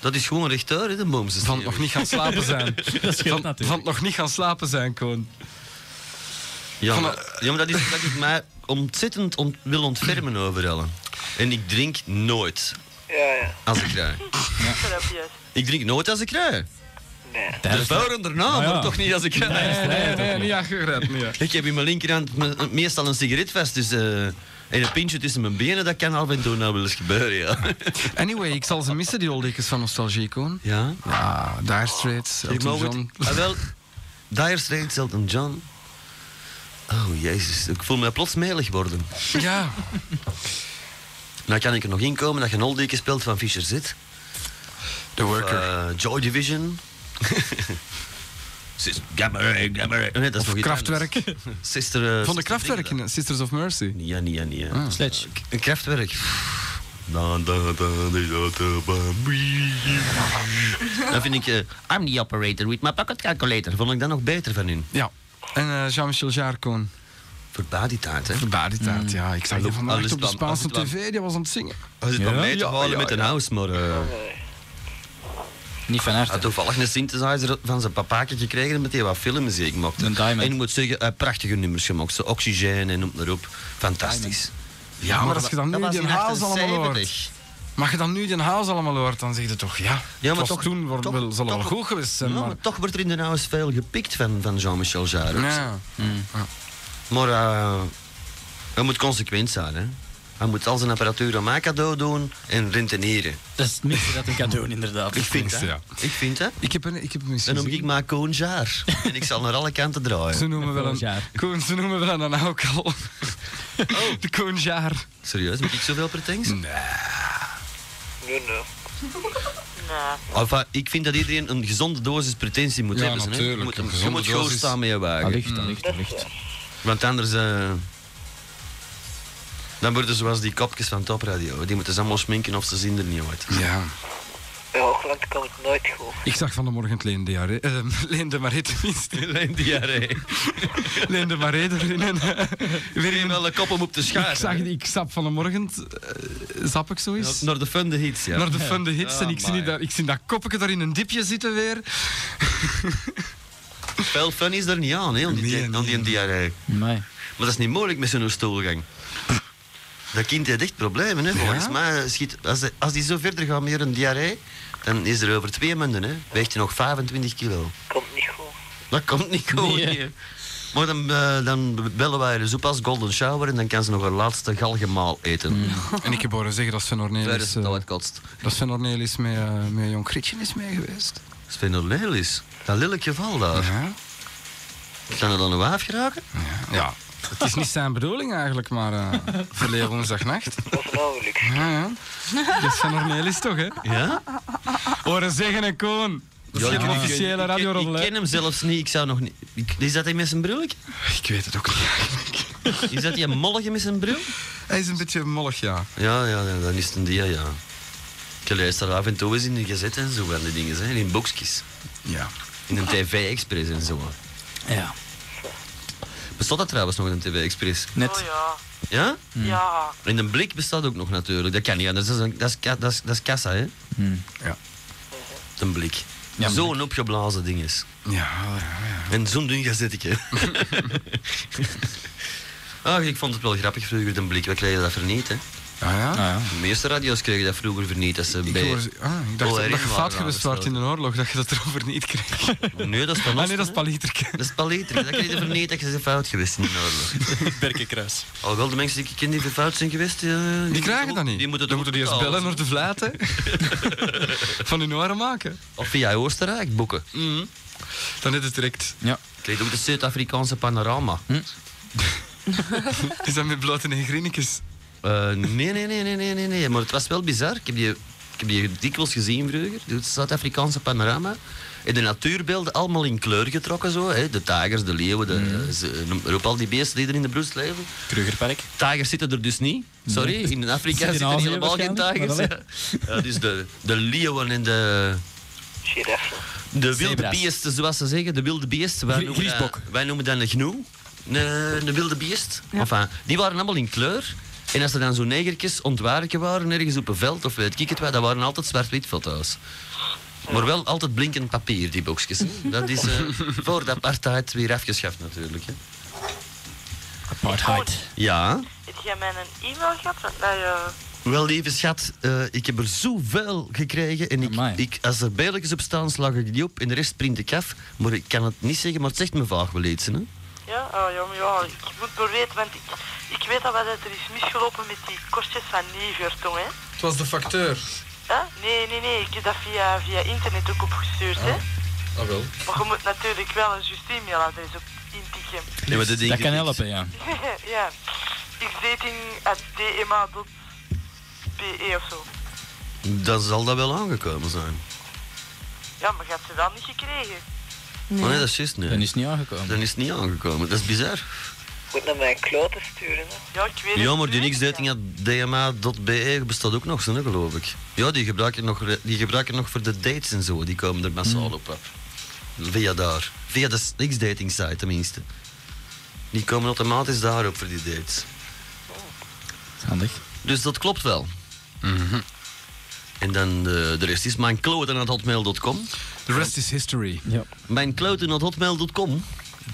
Dat is gewoon rechteur, hè, de boomse Van nog niet gaan slapen zijn. scheelt van, natuurlijk. van nog niet gaan slapen zijn, Koen. Ja, Van maar, ja, maar dat is dat ik mij ontzettend ont- wil ontfermen over Ellen. En ik drink nooit Ja, ja. als ik rij. Therapieus. Ik drink nooit als ik rij. Nee. De vrouwen erna, Ah, ja. maar toch niet als ik rij. Nee, nee, niet aangered, nee. Ik heb in mijn linkerhand me- meestal een sigaret vast, dus... eh, en een pintje tussen mijn benen, dat kan af en toe nou wel eens gebeuren, ja. Anyway, ik zal ze missen, die oldekens van Nostalgie, Koen. Ja? Ja, Dire Straits, Ik Elton mag het... John. Ah, wel, Dire Straits, Elton John. Oh, jezus. Ik voel me plots melig worden. Ja, Nou kan ik er nog inkomen dat je een oldie speelt van Fischer Zit. The Worker. Eh, Joy Division. Sis- Gamma, gamma. Nee, dat is of nog iets Kraftwerk. anders. Sister... eh, Van de Ah. sister Kraftwerk dingen in Sisters of Mercy. dan. Ja, nee, ja, nee. ja. Sledge. K- Een kraftwerk. Da, da, da, da, da, da, ba, bie. Dan vind ik... eh, I'm the operator with my pocket calculator. Vond ik dat nog beter van hun. Ja. En eh, Jean-Michel Jarcoon. Voor badytaart, hè. Mm. Voor Baditaart, ja. Ik zag Hallo, die vandaag alles op de dan, Spaanse alles dan. tv, die was aan het zingen. Hij zit Ja? nog mee te Ja, halen ja, met een ja. house, maar... eh, Niet van Hij had harte. toevallig een synthesizer van zijn papaakje gekregen met die wat filmmuziek maakte. Een Diamond. En ik moet zeggen, eh, prachtige nummers gemaakt. Zo Oxygen en noem maar op. Fantastisch. Ja, maar als je dan dat nu was die in haals allemaal 78. hoort. Maar je dan nu die haals allemaal hoort, dan zeg je toch, ja. Ja, maar het was toch- toen wordt toch- wel, zal wel toch- goed geweest zijn, Ja, maar... maar toch wordt er in de nou veel gepikt van, van Jean-Michel Jarre. Ja. Maar eh, hij moet consequent zijn. Hè. Hij moet al zijn apparatuur aan mij cadeau doen en rentenieren. Dat is het minste dat ik kan doen, inderdaad. Ik vind dat. minste, ja. Ik vind dat. Ik heb een, ik heb een Dan noem ik maar Koen Jaar. en ik zal naar alle kanten Ze draaien. noemen wel Volgend een... jaar. Koen, ze noemen wel een alcohol. De Koenjaar. Oh. Serieus, moet ik zoveel pretenties? Nee, nee. Nee. Enfin, ik vind dat iedereen een gezonde dosis pretentie moet Ja, hebben. hè. natuurlijk, Je moet, een je gezonde moet gewoon dosis. Ah, staan met je wagen. Allicht, allicht, allicht. Want anders... eh, dan worden ze zoals die kopjes van Top Radio. Die moeten ze allemaal sminken of ze zien er niet uit. Ja. Bij Hoogland kan het nooit goed. Ik zag van de morgen het Leen, diarree, eh, Leen de Marais tenminste. Alleen diarree. Leen de Marais erin. En, eh, weer Iedereen in wel een kop om op te schaar. ik zag die, ik sap van de morgen, eh, zap ik zo eens. Naar de fun de hits, ja. Ah, Naar de fun de hits en ik zie, Amai. die daar, ik zie dat koppetje daar in een dipje zitten weer. Veel fun is er niet aan, hè, aan die, Nee, aan die nee. diarree. Nee. Maar dat is niet mogelijk met zo'n stoelgang. Dat kind heeft echt problemen, hè. Volgens mij schiet... Als, hij- als die zo verder gaat met een diarree, dan is er over twee maanden, hè. Weegt hij nog 25 kilo. Komt niet goed. Dat komt niet goed, Nee, hè. hè. Maar dan, eh, dan bellen wij de soep als golden shower en dan kan ze nog haar laatste galgemaal eten. En ik heb horen zeggen dat Sven Tijdens Ornelis, het Mm. eh, al het kotst. dat Sven Ornelis met, eh, met Jong Grietje is mee geweest. Sven Ornelis, dat lelijk geval daar. Ja. Kan er dan een waaf geraken? ja. Het is niet zijn bedoeling eigenlijk, maar eh verleden woensdagnacht. Dat is een ongeluk. Ja, ja. Dat is Sven Ornelis toch, hè? Ja? Horen zeggen en koon. Dat is geen officiële ik, radio ik, ken hem zelfs niet, ik zou nog niet... ik- is dat hij met zijn bril? Ik weet het ook niet eigenlijk. Is dat die mollige met zijn bril? Hij is een beetje mollig, ja. Ah, Ja, ja, ja, dan is het een dia, ja. Ik lees daar af en toe eens in de gezet en zo van die dingen, hè, in boekjes. Ja. In een TV-express en zo. Ja. Bestaat dat trouwens nog in een TV-express? Oh Net. ja. Ja? Hmm. Ja. In een blik bestaat ook nog natuurlijk, dat kan niet anders. Dat is, een- dat is, ka- dat is, dat is kassa, hè? Ja. Een blik. Ja, zo'n opgeblazen ding is. Ja, ja, ja. En zo'n dun gazetje. Ach, Ah, ik vond het wel grappig vroeger, een blik. We kregen dat verniet, hè. Ah, ja? Ah, ja. De meeste radio's kregen dat vroeger verniet. Dat ze Ik, bij... hoor, ah, ik dacht Oh, dat je herinneren fout waren geweest was in de oorlog, dat je dat erover niet kreeg. Nee, dat is van Ah ons, nee, dat is hè. palieterke. Dat is palieter. Dat kreeg je verniet dat je ze fout geweest in de oorlog. Berkenkruis. Al wel de mensen die Dus ik ken die verfout zijn geweest, eh, die, Die moeten krijgen ook- dat niet. Die moeten Dan het moeten ook die eens bellen betalen. naar de vlaten. Van hun oren maken. Of via Oostenrijk boeken. Mhm. Dan is het direct. Ja. Hm. Krijg je ook de Zuid-Afrikaanse panorama. Hm? Is dat met blote negrinekes? Eh, nee, nee, nee, nee, nee, nee, nee. Maar het was wel bizar. Ik heb die, ik heb die dikwijls gezien vroeger, het Zuid-Afrikaanse panorama. En de natuurbeelden allemaal in kleur getrokken zo. Hè. De tijgers, de leeuwen, de, eh, ze- noem maar op, al die beesten die er in de broest leven. Hm. Krugerpark. Tijgers zitten er dus niet. Sorry, in Afrika Zitten in zitten Azië helemaal geen waarschijnlijk, tijgers. Ja. Ja, dus de, de leeuwen en de, Giraffen. De wilde Zebra's. beesten, zoals ze zeggen, de wilde beesten. Wij, Grie- noemen dat- griesbok. wij noemen dat een gnoe, een, een wilde beest. Enfin, die waren allemaal in kleur. En als er dan zo'n negertjes ontwaken waren, ergens op een veld of weet ik het wat, dat waren altijd zwart-wit foto's. Maar wel altijd blinkend papier, die boxjes. hè. Dat is eh, voor de apartheid weer afgeschaft natuurlijk. Hè. Apartheid. Ja, Heb jij mij een e-mail gehad? Want eh, dat je... wel lieve schat, eh, ik heb er zoveel gekregen. En Amai. ik, ik, als er beeldjes op staan, slag ik die op en de rest print ik af. Maar ik kan het niet zeggen, maar het zegt me vaag wel iets. Hè. Ja, oh ja, maar ja, ik moet maar weten, want ik, ik weet al wat er is misgelopen met die korstjes van Nievertong, hè. Het was de facteur. Ja? Nee, nee, nee, ik heb dat via, via internet ook opgestuurd, hè. Ah wel. Maar je moet natuurlijk wel een juist e-mailadres op intikken. Nee, maar dat denk Dat ik kan niet. helpen, ja. ja, ik zit in at dma.be of zo. Dan zal dat wel aangekomen zijn. Ja, maar je hebt ze wel niet gekregen. Maar Oh nee, dat is juist niet. Dan is het niet aangekomen. Dan is het niet aangekomen. Dat is bizar. Moet naar mijn kloten sturen. hè. Ja, ik weet het Ja, maar die niet, niksdating ja. at dma.be bestaat ook nog, zo, hè, geloof ik. Ja, die gebruiken, nog, die gebruiken nog voor de dates en zo. Die komen er massaal op af. Via daar. Via de niksdating site, tenminste. Die komen automatisch daarop voor die dates. Handig. Dus dat klopt wel. En dan eh, de rest is mijn kloten at hotmail.com. The rest is history. Ja. Mijn kloten at hotmail.com.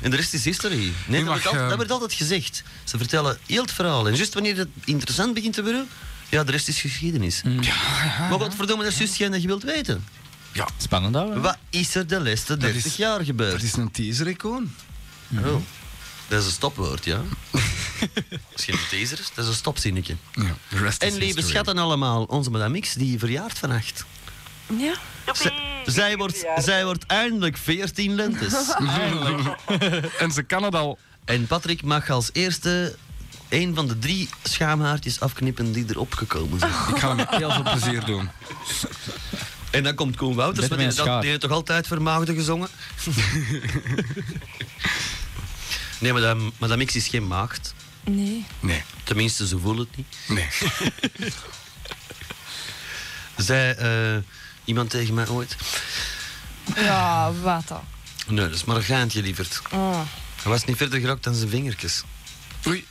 En de rest is history. Nee, dat, mag, wordt altijd, eh, dat wordt altijd gezegd. Ze vertellen heel het verhaal. En juist wanneer het interessant begint te worden, ja, de rest is geschiedenis. Mm. Maar wat verdomme, dat is juist hetgeen dat je wilt weten. Spannend houden. Wat is er de laatste 30 is- jaar gebeurd? Dat is een Mhm. teaser-icoon. Oh. Dat is een stopwoord, ja. Misschien een teaser, dat is een stopzinnetje. Ja, the rest is En lieve history. schatten allemaal, onze madame X, die verjaart vannacht. Ja. Z- zij, wordt, zij wordt eindelijk 14 lentes. En ze kan het al. En Patrick mag als eerste een van de drie schaamhaartjes afknippen die erop gekomen zijn. Ik ga hem met heel veel plezier doen. En dan komt Koen Met Wouters, want die, mijn dat, schaar. die heeft toch altijd vermaagde gezongen? nee, madame, madame X is geen maagd. Nee. Nee, Tenminste, ze voelen het niet. nee. Zij, eh, iemand tegen mij ooit. Ja, wat dan? Nee, dat is maar een geintje, lieverd. Oh. Hij was niet verder gerokt dan zijn vingertjes. Oei.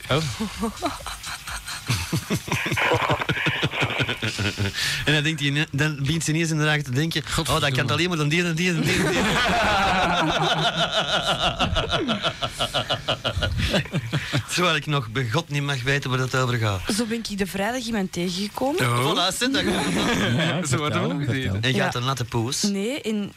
en dan, denkt hij, ine- dan begint ze ineens inderdaad te denken... Oh, dat kan alleen maar dan die en die en die en die. Terwijl ik nog bij God niet mag weten waar dat over gaat. Zo ben ik de vrijdag iemand tegengekomen. Oh. Voilà, zit dat gewoon. Ja, Zo vertel, wordt er ook nog vertel. gereden. En je had Ja. een natte poes. Je Nee, en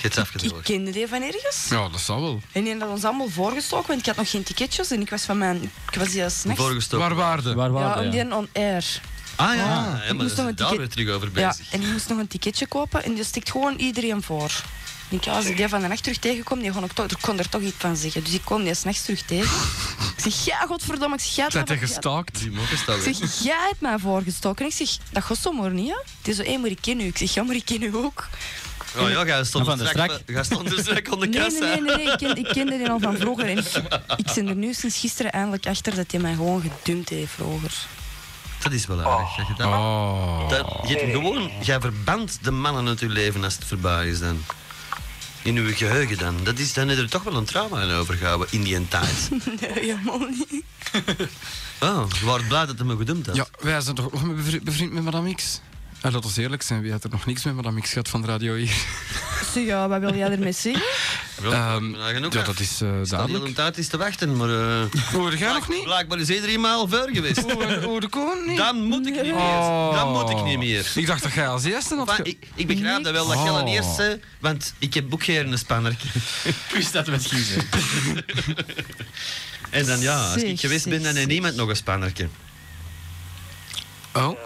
hebt ze ik afgedroogd. kende die van ergens. Ja, dat zal wel. En die had ons allemaal voorgestoken, want ik had nog geen ticketjes. En ik was van mijn... Ik was hier s'nachts. Voorgestoken. Waar waarde? Waar Ja, waren om die? die on-air. Ah ja, ja maar Ik daar moest nog is een daar weer ticket- terug over Ja, bezig. en ik moest nog een ticketje kopen en die stikt gewoon iedereen voor. Ik denk, ja, als ik die van de nacht terug tegenkom, die kon, ik toch, ik kon er toch iets van zeggen. Dus ik kom die s'nachts terug tegen. ik zeg, ja, godverdomme, ik zeg, jij hebt Zijn mij je voor- gestalkt? Die mogen staan. jij- Ik zeg, jij hebt mij voorgestoken. Ik zeg, dat gaat zo maar niet, hè. Het is zo, hé, maar ik ken u. Ik zeg, ja, maar ik ken u ook. Oh ja, ga stond Van er de strak, strak. ga stond er strak onder de Nee, nee, kassa. nee, nee, nee, Ik, ken, ik kende die al van vroeger. En ik, ik ben er nu sinds gisteren eindelijk achter dat hij mij gewoon gedumpt heeft vroeger. Dat is wel aardig. dat je dat- Oh. dat- je hebt gewoon, jij verbandt de mannen uit je leven als het voorbij is dan. In uw geheugen dan. Dat is dan is er toch wel een trauma aan overgehouden in die tijd. Nee, helemaal niet. Oh, je wordt blij dat hij me gedumpt had. Ja, wij zijn toch ook nog bevri- bevriend met Madame X? En laat ons eerlijk zijn, wie had er nog niks met Madame X gehad van de radio hier? Zeg, ja, wat wil jij ermee zeggen? Wel, Ehm, nou, genoeg ja, af. dat is eh, Staat heel duidelijk. een tijd is te wachten, maar... eh, Hoor jij nog niet? Blijkbaar is iedereen maar al ver geweest. Hoor de koning niet? Dan moet ik niet meer. Dan moet ik niet meer. Oh. Ik dacht dat jij als eerste had... Enfin, ge- Oh. ik, ik begrijp dat wel, dat jij dan eerst... eh, want ik heb ook geen spanner. Plus dat met giezen. En dan ja, als ik Zeg, geweest zeg, ben, dan heeft zeg. niemand nog een spannerke. Oh.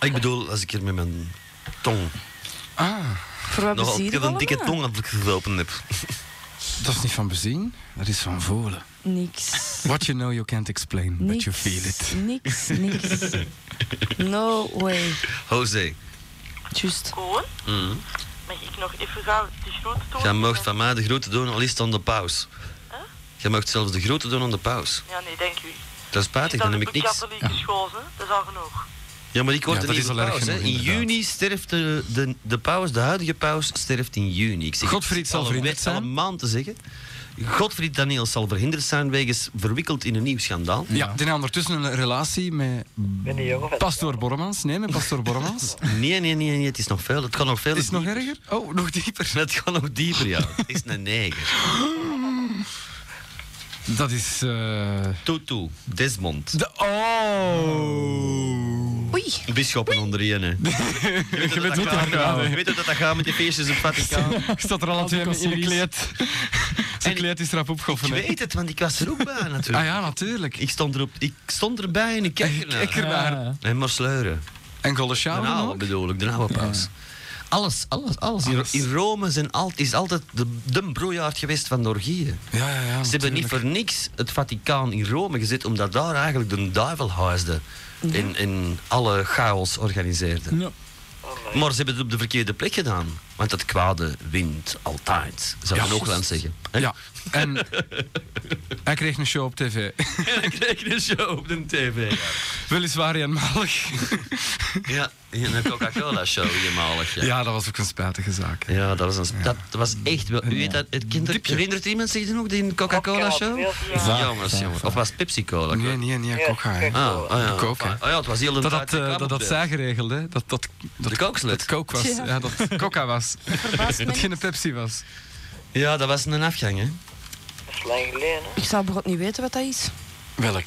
Ik bedoel, als ik hier met mijn tong Ah, Voor wat nog plezier altijd een dikke allemaal? tong aan het gelopen heb. dat is niet van bezien, dat is van voelen. Niks. What you know you can't explain, but Niks, you feel it. Niks, niks. No way. José, Juist. Koen, mm, mag ik nog even gauw die groeten doen? jij mag van mij de groeten doen, al is het aan de paus. Jij mag zelfs de groeten doen aan de paus. Ja, nee, denk u. Dat is spijtig, dan heb ik niks. katholieke school, hè? dat is al genoeg. Ja, maar ik word Ja, er dat niet is al van erg paus, hè. genoeg, In inderdaad. juni sterft de, de, de paus, de huidige paus, sterft in juni. Ik zeg, Godfried zal al een verhinderd wet- al zijn. een maand te zeggen. Godfried Daniels zal verhinderd zijn wegens verwikkeld in een nieuw schandaal. Ja, die had ondertussen een relatie met ben een jongen van... pastoor Bormans. Nee, met pastoor Bormans. Nee, nee, nee, nee, het is nog veel. Het kan nog veel. Is het nog erger? Oh, nog dieper. Het gaat nog dieper, ja. Het is een neger. Dat is... eh, Tutu, Desmond. De, oh! Oei. Bisschoppen onder één, hè. Je weet hoe dat, gaat, hè. Je weet hoe dat dat gaat met die feestjes in het Vaticaan. Ik zat er al twee in de kleed. Zijn En- kleed is erop Ik opgeofferd. weet het, want ik was er ook bij, natuurlijk. Ah ja, natuurlijk. ik, stond erop, ik stond erbij en ik keek ernaar. Ik ernaar. En maar sleuren. En Golden De Shower oude ook. bedoel ik, de oude paus. Alles, alles, alles. In, Alles. in Rome zijn al, is altijd de, de broeiaard geweest van de orgieën. Ja, ja, ja. Ze hebben niet voor niks het Vaticaan in Rome gezet, omdat daar eigenlijk de duivel huisde. En, en alle chaos organiseerde. Ja. Maar ze hebben het op de verkeerde plek gedaan. Want het kwade wint altijd, zou Ja, je ook wel juist. zeggen. Hè? Ja, en hij kreeg een show op tv. En dan krijg je een show op de tv. Ja, Weliswaar eenmalig. ja en een Coca-Cola-show eenmalig. Ja. Ja. Ja, dat was ook een spijtige zaak. dat was, een, dat was echt wel. U weet dat, het kinder, herinnert iemand zich nog die Coca-Cola-show? Ja, Ja, jongens, jongens. Of was het Pepsi-Cola? Nee, nee, nee, Ja, coca. hè. kijk. Ah, oh ja. Coke, hè. Ah, ja, het was heel een Dat tijd had, de eh, reclame dat op had de- zij geregeld, hè? Dat dat, dat, De kookslet. dat coke was. Ja. Ja, dat coca was. Verbaast me Dat geen niet. Pepsi was. Ja, dat was een afgang, hè? Dat is lang geleden, hè. Ik zou bijvoorbeeld niet weten wat dat is. Welk?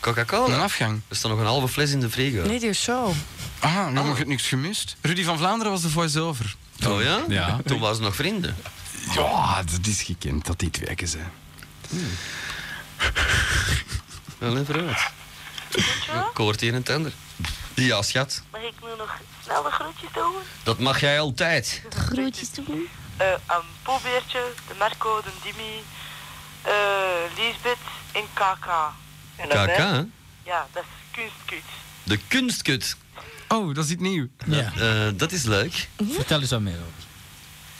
Coca-Cola. Een afgang. Er staat nog een halve fles in de frigo. Nee, die show. Ah, nu mag ik niks Ah. gemist. Rudy van Vlaanderen was de voice-over. Oh ja? Ja. Toen waren ze nog vrienden. Ja, dat is gekend dat die twee zijn. Wel even uit. Goed, Koort hier en tender. Ja, schat. Mag ik nu nog snel de groetjes doen? Dat mag jij altijd. Groetjes doen? aan Poebeertje, Eh, de Marco, de Dimi, eh Lisbeth en KK. En dan KK, mij. hè? Ja, dat is kunstkuut. de kunstkut. Oh, dat is iets nieuw. Ja. Eh, dat is leuk. Vertel eens wat meer over.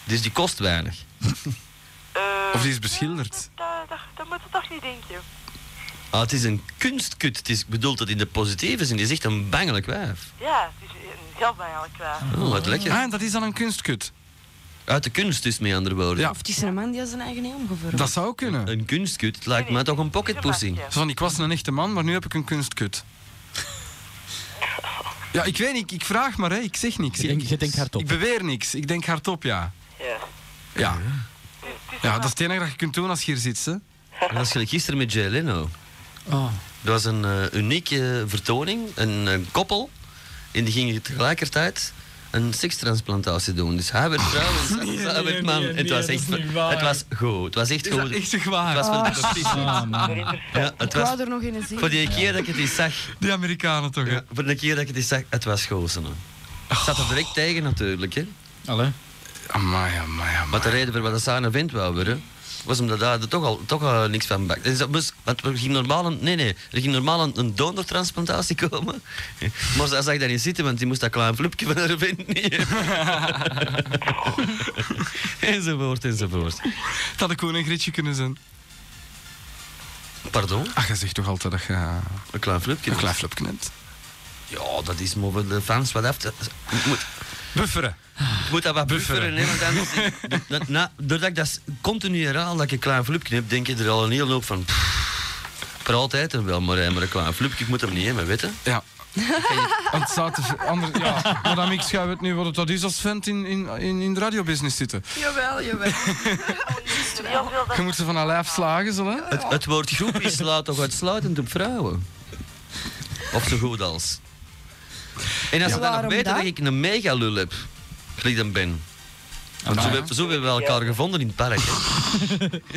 Dus die kost weinig. Eh, Of die is beschilderd. Dat, dat, dat moet je toch niet denken. Ah, het is een kunstkut. Het is bedoeld dat in de positieve zin. Het is echt een bangelijk wijf. Ja, het is een Ja, ben eigenlijk wel. Oh, wat lekker. Ah, dat is dan een kunstkut. Uit de kunst dus, met andere woorden. Ja. Of het is een man die zijn eigen helm gevormd. Dat zou kunnen. Zo Een kunstkut, het lijkt mij toch een pocketpussy. Een van, ik was een echte man, maar nu heb ik een kunstkut. Ja, ik weet niet, ik vraag maar, hè. ik zeg niks. Je denkt- Ik- je denkt hardop. Ik beweer niks, ik denk hardop, ja. Ja. Ja, Het is- het is ja een- dat is het enige dat je kunt doen als je hier zit, hè. Dat was gelijk gisteren met Jay Leno. Oh. Dat was een eh, unieke vertoning, een, een koppel. En die gingen tegelijkertijd een sekstransplantatie doen. Dus hij werd vrouw en zij- zij Oh. nee, werd man. nee, En het nee, was dat echt is niet waar. het was goed. Het was echt Is dat goed. echt Het was waar? wel precies. Ah, man. Ja, het Ik was wou er nog in zien. voor die keer dat ik het eens zag. Die Amerikanen toch, hè? Oh. Ja, voor de keer dat ik het eens zag, het was gozen. hè. Het zat er direct tegen natuurlijk. Hè. Allee. Amai, amai, amai. Maar de reden voor wat dat zijn event wou worden, was omdat daar toch al, toch al niks van bakt. Dus dat moest, want er ging normaal een, nee, nee, er ging normaal een, een donortransplantatie komen. Maar zij zag dat niet zitten, want die moest dat klein vloepje van haar event niet hebben. enzovoort, enzovoort. Het had ik gewoon een Grietje kunnen zijn. Pardon? Ach, Ah, je zegt toch altijd dat je eh, Een klein vloepje? een klein flapje hebt. Ja, dat is maar voor de fans wat af te... Ik moet, Bufferen. ik moet dat wat bufferen, Bufferen. hè, want anders... dat- na- doordat ik dat continu herhaal, dat ik een klein vloepje heb, denk je er al een hele hoop van... pff, voor altijd en wel, maar, hè, maar een klein vloepje, ik moet hem niet hebben, weten. Ja. Want het zou te ver- anders, ja. Maar dan ik schuif het nu wat het dat is als vent in, in, in, in de radiobusiness zitten. Jawel, jawel. heel veel dat- Je moet ze van haar lijf slagen, zo, hè? Het, het woord groepie slaat toch uitsluitend op vrouwen? Of zo goed als. En als ze dan nog Waarom weten dat dan? ik een mega lul heb, gelijk dan ben. Want zo, Nou ja. hebben- zo hebben we elkaar gevonden in het park. hè.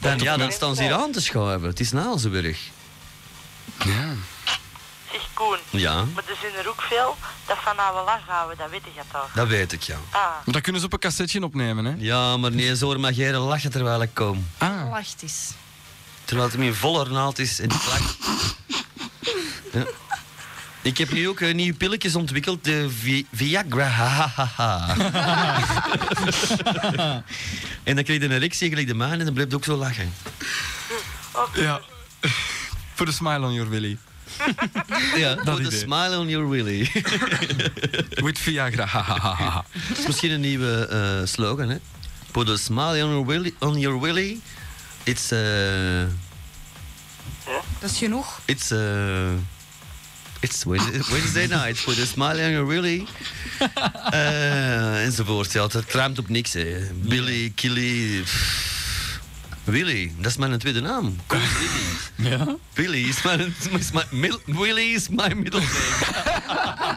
Dan, ja, dan staan ze hier aan te schuiven. Het is nou zo erg. Ja. Zeg Koen, Ja, maar er zijn er ook veel dat van oude lach houden, dat weet je toch? dat weet ik, ja. Ah, Maar dat kunnen ze op een cassetje opnemen, hè? Ja, maar nee, zo mag jij lachen terwijl ik kom. Ah. Lacht is. Terwijl het in volle naald is en ik lach. Ja. Ik heb nu ook eh, nieuwe pilletjes ontwikkeld, de Vi- Viagra. en dan kreeg je een erectie gelijk de maan en dan bleef je ook zo lachen. Ja. Voor de smile on your willy. Ja, dat idee. smile on your willy. dat With Viagra. hahaha. is misschien een nieuwe eh, slogan, hè? Put a smile on your willy. On your willy. It's, eh. Dat is genoeg. it's, eh. it's Wednesday, Wednesday night. Put a smile on your willy. Eh, enzovoort. Ja, het ruimt op niks. Hè. Billy, Killy. pff. Willy, dat is mijn tweede naam. Cool Willy. Ja? Billy is mijn, is mijn mil- Willy is mijn middle name.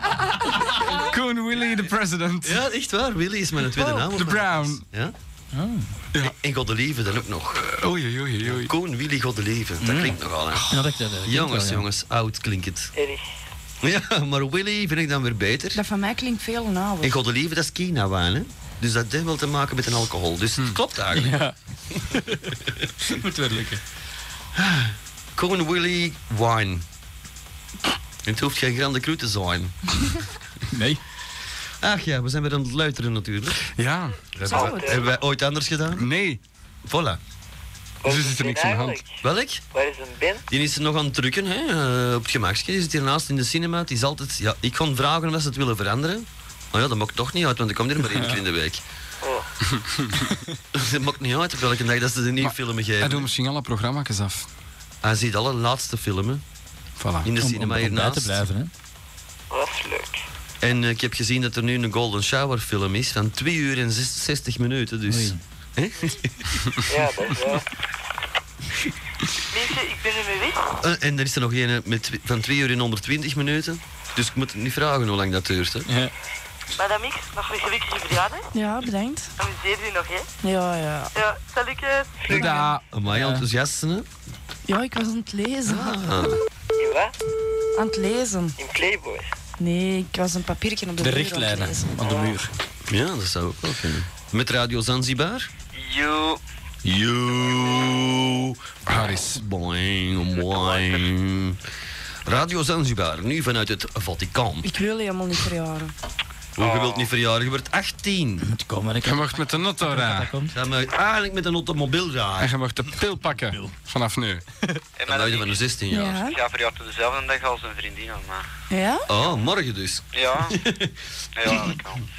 Koen Willy, de president. Oh, Ja, echt waar. Willy is mijn tweede naam. De Brown. Ja? Oh. En, en Goddelieve dan ook nog. Oei, oei, Mm. oei. Koen Willy Goddelieve. Dat klinkt nogal. Hè. Ja, dat, dat, eh, dat Jongens, wel, ja. jongens, oud klinkt het. Erg. Ja, maar Willy vind ik dan weer beter. Dat van mij klinkt veel En nauwer. Goddelieve, dat is Kina-wijn, hè? Dus dat heeft wel te maken met een alcohol. Dus het klopt eigenlijk. Ja. Moet wel lukken. Koen Willy Wine. En Het hoeft geen grande cru te zijn. Nee. Ach ja, we zijn weer aan het luisteren natuurlijk. Ja. Hebben wij- hebben wij ooit anders gedaan? Nee. Voilà. Waar Dus is is er een niks bin aan de hand. eigenlijk? Welk? Waar is een bin? Die is er nog aan het drukken, hè? eh, op het gemakje. Die zit hiernaast in de cinema. Die is altijd... Ja, ik kon vragen of ze het willen veranderen. Maar ja, dat maakt toch niet uit, want ik kom er maar één keer in de week. Oh. dat maakt niet uit op welke dag dat ze de nieuwe Maar filmen Hij geven. doet misschien alle programma's af. Hij ziet alle laatste filmen Voilà. in de Om, om, cinema om bij te hiernaast. blijven, hè. Dat is leuk. En eh, ik heb gezien dat er nu een Golden Shower film is van 2 uur en 6 60 minuten. Dus. Oei. Hè? Ja, dat is wel. mensen, ik ben er mee weg. Eh, en er is er nog een met, tw- van 2 uur en 120 minuten. Dus ik moet niet vragen hoe lang dat duurt. Hè? Ja. Madame X, nog een gelukkige verjaardag. Ja, bedankt. Amuseer u nog, hè? Ja, ja. Ja, zal ik eh, het? Da. Ah, Amai, Ja. enthousiasten. hè? Ja, ik was aan het lezen. Ah. In wat? Aan het lezen. In Playboy. Nee, ik was een papiertje op de, De muur aan het richtlijnen lezen. aan de muur. Ja, dat zou ik wel kunnen. Met Radio Zanzibar? You. Yo! Harris. Boing, boing. Radio Zanzibar, nu vanuit het Vaticaan. Ik wil helemaal niet verjaren. Hoe je wilt niet verjaardag, je wordt 18. Moet komen, ik Je mag met de notto dat rijden. komt. Dan mag je eigenlijk met een automobiel En rijden. je mag de pil pakken. Vanaf nu. En Dan maar ben je ik- van de 16 jaar. Ja. Ik ga verjaard op dezelfde dag als een vriendin al, maar... Ja? Oh, morgen dus. Ja. ja, dat kan.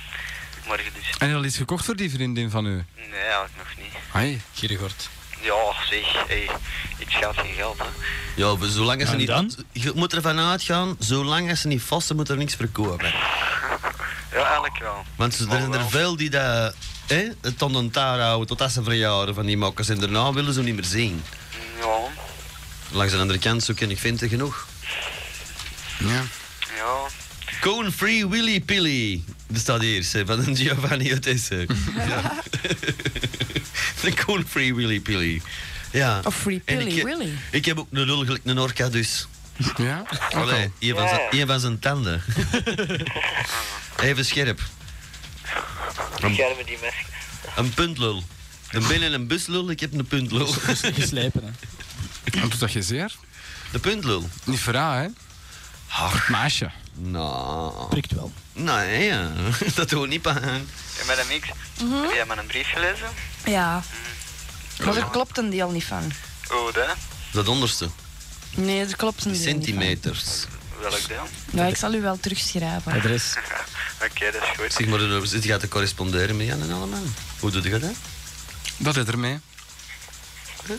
Morgen dus. En je al iets gekocht voor die vriendin van u? Nee, eigenlijk nog niet. Hoi. Gierigord. Ja, zeg, hey, iets gaat geen geld, hè. Ja, maar zolang als ze En niet... dan? Je moet ervan uitgaan, zolang als ze niet vasten, moet er niks verkopen. Ja, eigenlijk wel. Want ze- er zijn er veel die dat... Hè, het tot een taar houden, tot als ze verjaren van die makkers. En daarna willen ze hem niet meer zien. Ja, Langs de andere kant, zo ken ik vinten genoeg. Ja. ja. Cone Free Willy Pilly. Dat staat hier, ze, van een Giovanni Ottese. ja. De Cone Free Willy Pilly. Ja. Of Free En Pilly ik, Willy. Ik heb ook een lul gelijk een orka dus. Ja? Allee, een van zijn- een van zijn tanden. Even scherp. Schermen die mensen. Een puntlul. Een binnen- en een buslul, ik heb een puntlul. Geslepen, hè. En doet dat je zeer? De puntlul. Niet voor haar, hè? Hard meisje. Nou, Prikt wel. nee, ja. dat doet niet pijn. En met een mix. Heb jij mijn brief gelezen? Ja. Maar er klopt een deel niet van. Oh, dat? Dat onderste, Nee, er klopt een die deel centimeters. Welk deel? niet van. Nou, ik zal u wel terugschrijven. Adres. Oké, dat is goed. Zeg maar, het gaat te corresponderen met Jan en allemaal. Hoe doe je dat? Dat is ermee. Dat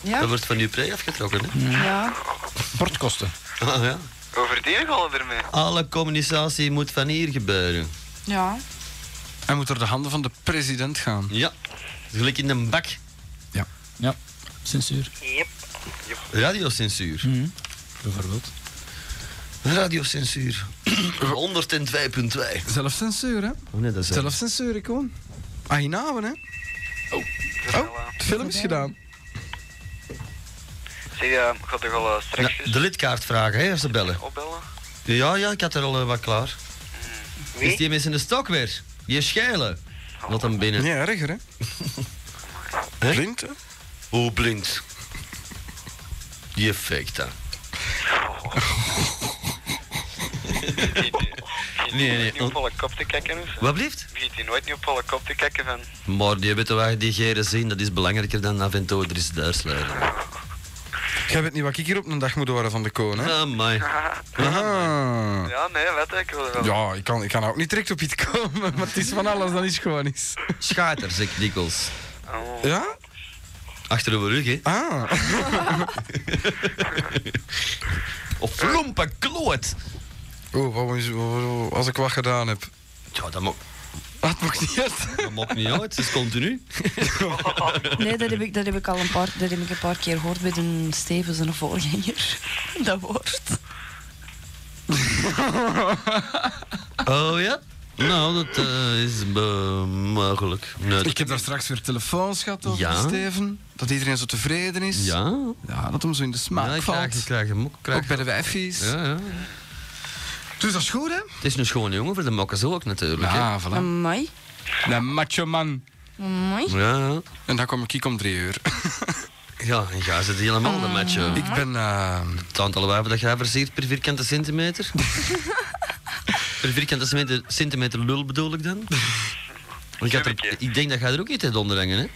Ja? wordt van uw pre afgetrokken, hè? Ja. Portkosten. Ah, ja. Hoe verdienen we al ermee? Alle communicatie moet van hier gebeuren. Ja. Hij moet door de handen van de president gaan. Ja. Gelijk in een bak. Ja. Censuur. Yep. Radiocensuur. Mhm. Bijvoorbeeld. Radiocensuur. 102.2. Zelfcensuur, hè? Oh nee, dat is... Zelfcensuur, ik gewoon. Ah, hiernaven, hè? Oh, het film is gedaan. Zeg, eh, ik ga toch al eh, straks Ja, de lidkaart vragen, hè, als ze bellen. opbellen? Ja, ja, ik had er al eh, wat klaar. Wie? Is die mensen in de stok weer? Je schelen. Wat dan binnen. Ja, erger, hè? Hè? Blind, hè? Hoe blind. Je fake dat. Nee, nee, nee, nee. Niet op alle kop te kijken of zo? Wat blieft? Begint hij nooit niet op alle kop te kijken van... Maar die weten waar die geren zien, dat is belangrijker dan af en toe er is duitsluiden. Jij weet niet wat ik hier op een dag moet horen van de koon, hè? Ah, my. Aha. Ja, nee, weet ik, ik wil er wel. Ja, ik kan, ik kan ook niet direct op iets komen, maar het is van alles dat is gewoon is. Schater, zeg ik dikwijls. Oh. Ja? Achter de rug, hè. Ah. Of lompe kloot. Oh, wat moet je- wat- wat- als ik wat gedaan heb. Ja, dat maakt Dat mag niet uit. dat maakt niet uit, het is continu. Nee, dat heb ik, dat heb ik al een paar, dat heb ik een paar keer gehoord bij de Stevens, een voorganger. Dat woord. Oh ja? Nou, dat eh, is eh, mogelijk. Nee, Ik heb daar straks weer telefoons gehad over dus Ja. Steven. Dat iedereen zo tevreden is. Ja? Ja, dat hem zo in de smaak ja, ik valt. krijg, ik krijg hem ook. Krijg. Ook bij de wijfies. Ja, ja. Dus dat is goed, hè? Het is een schone jongen voor de makkers ook natuurlijk. hè. Ja, Ah, voilà. Amai. Een macho man. Amai. Ja, ja. En dan kom ik hier om drie uur. Ja, en jij zit helemaal de match. eh. Ik ben... eh, Het aantal wijven dat jij versiert per vierkante centimeter. per vierkante centimeter, centimeter lul bedoel ik dan. Ik, had er, ik denk dat jij er ook iets uit onderhangen, hè?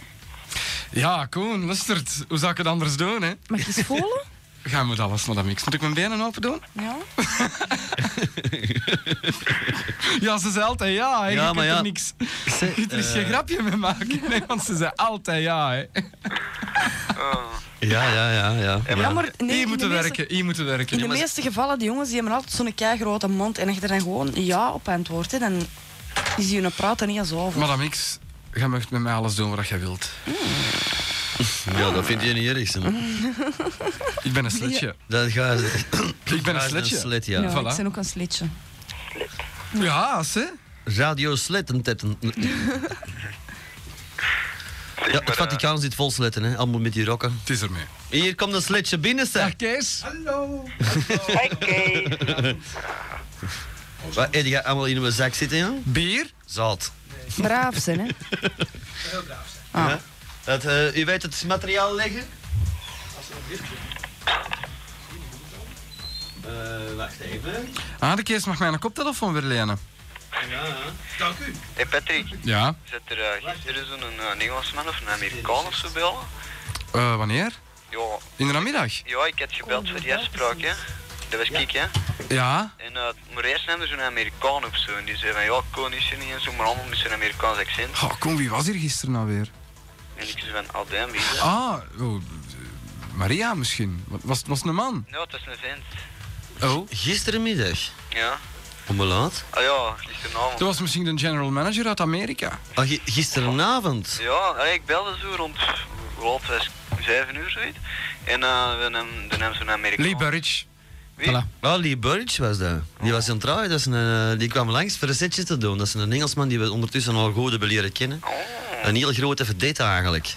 ja, Koen, lustert. Hoe zou ik het anders doen, hè? Mag je eens voelen? Ga met alles, madame X. Moet ik mijn benen open doen? Ja. Ja, ze zei altijd ja, Ja, hè. je maar kunt ja. er niks... Zeg, eh, Je kunt er eens geen grapje mee maken. Nee, want ze zei altijd ja, hè. Ja, ja, ja, ja. Ja, maar nee, hier in moeten de meeste- werken, hier moeten werken. In de meeste gevallen, die jongens die hebben altijd zo'n kei grote mond. En als je er dan gewoon ja op antwoordt, hè, dan is hun praat er niet eens over. Madame X, jij mag met mij alles doen wat jij wilt. Ja, dat vind je niet erg, hè. Ik ben een sletje. Dat ga je... Ah, Ik ben een Dat is sletje. Een slet, ja. ja, voilà. Oh, ik ben ook een slitje. Ja, ze. Radio sletten tetten. Ja, het Vaticaan zit vol sletten, hè. Allemaal met die rokken. Het is ermee. Hier komt een sletje binnen, zeg. Dag Kees. Oké. Wat eet jij allemaal in mijn zak zitten, ja? Bier? Zout. Braaf zijn, hè? Dat, eh, u weet het materiaal leggen? Als wacht even. Ah, de Kees mag mijn koptelefoon weer lenen. Hey Patrick, Ja. zit er eh, gisteren zo'n eh, een Engelsman of een Amerikaan of zo bellen? Eh, wanneer? Ja, In de namiddag? ja, ik had gebeld voor die afspraak, hè. Dat was ik, hè. Ja. En, eh, maar eerst nam er zo'n Amerikaan op zo. En die zei van, ja, kon is er niet en zo, maar allemaal met zo'n Amerikaans accent. Oh, kom, wie was hier gisteren nou weer? En ik zei van, oh damn, wie is dat? Ah, oh, Maria misschien. Wat- Was, was het een man? Ja, het is een vent. Oh. Gisterenmiddag. Ja. Om hoe laat? Ah ja, gisteravond. Dat was misschien de general manager uit Amerika. Ah, gi- gisterenavond. Ja, hey, ik belde zo rond, hoe laat was het? Vijf uur, zoiets. En eh, we nam, dan nam zo'n Amerikaan. Lee Burridge. Ah, Lee Burridge was dat. Die was in het trouwen. Dat is een, eh, die kwam langs voor een setje te doen. Dat is een Engelsman die we ondertussen al goed hebben leren kennen. Een heel grote vedette eigenlijk.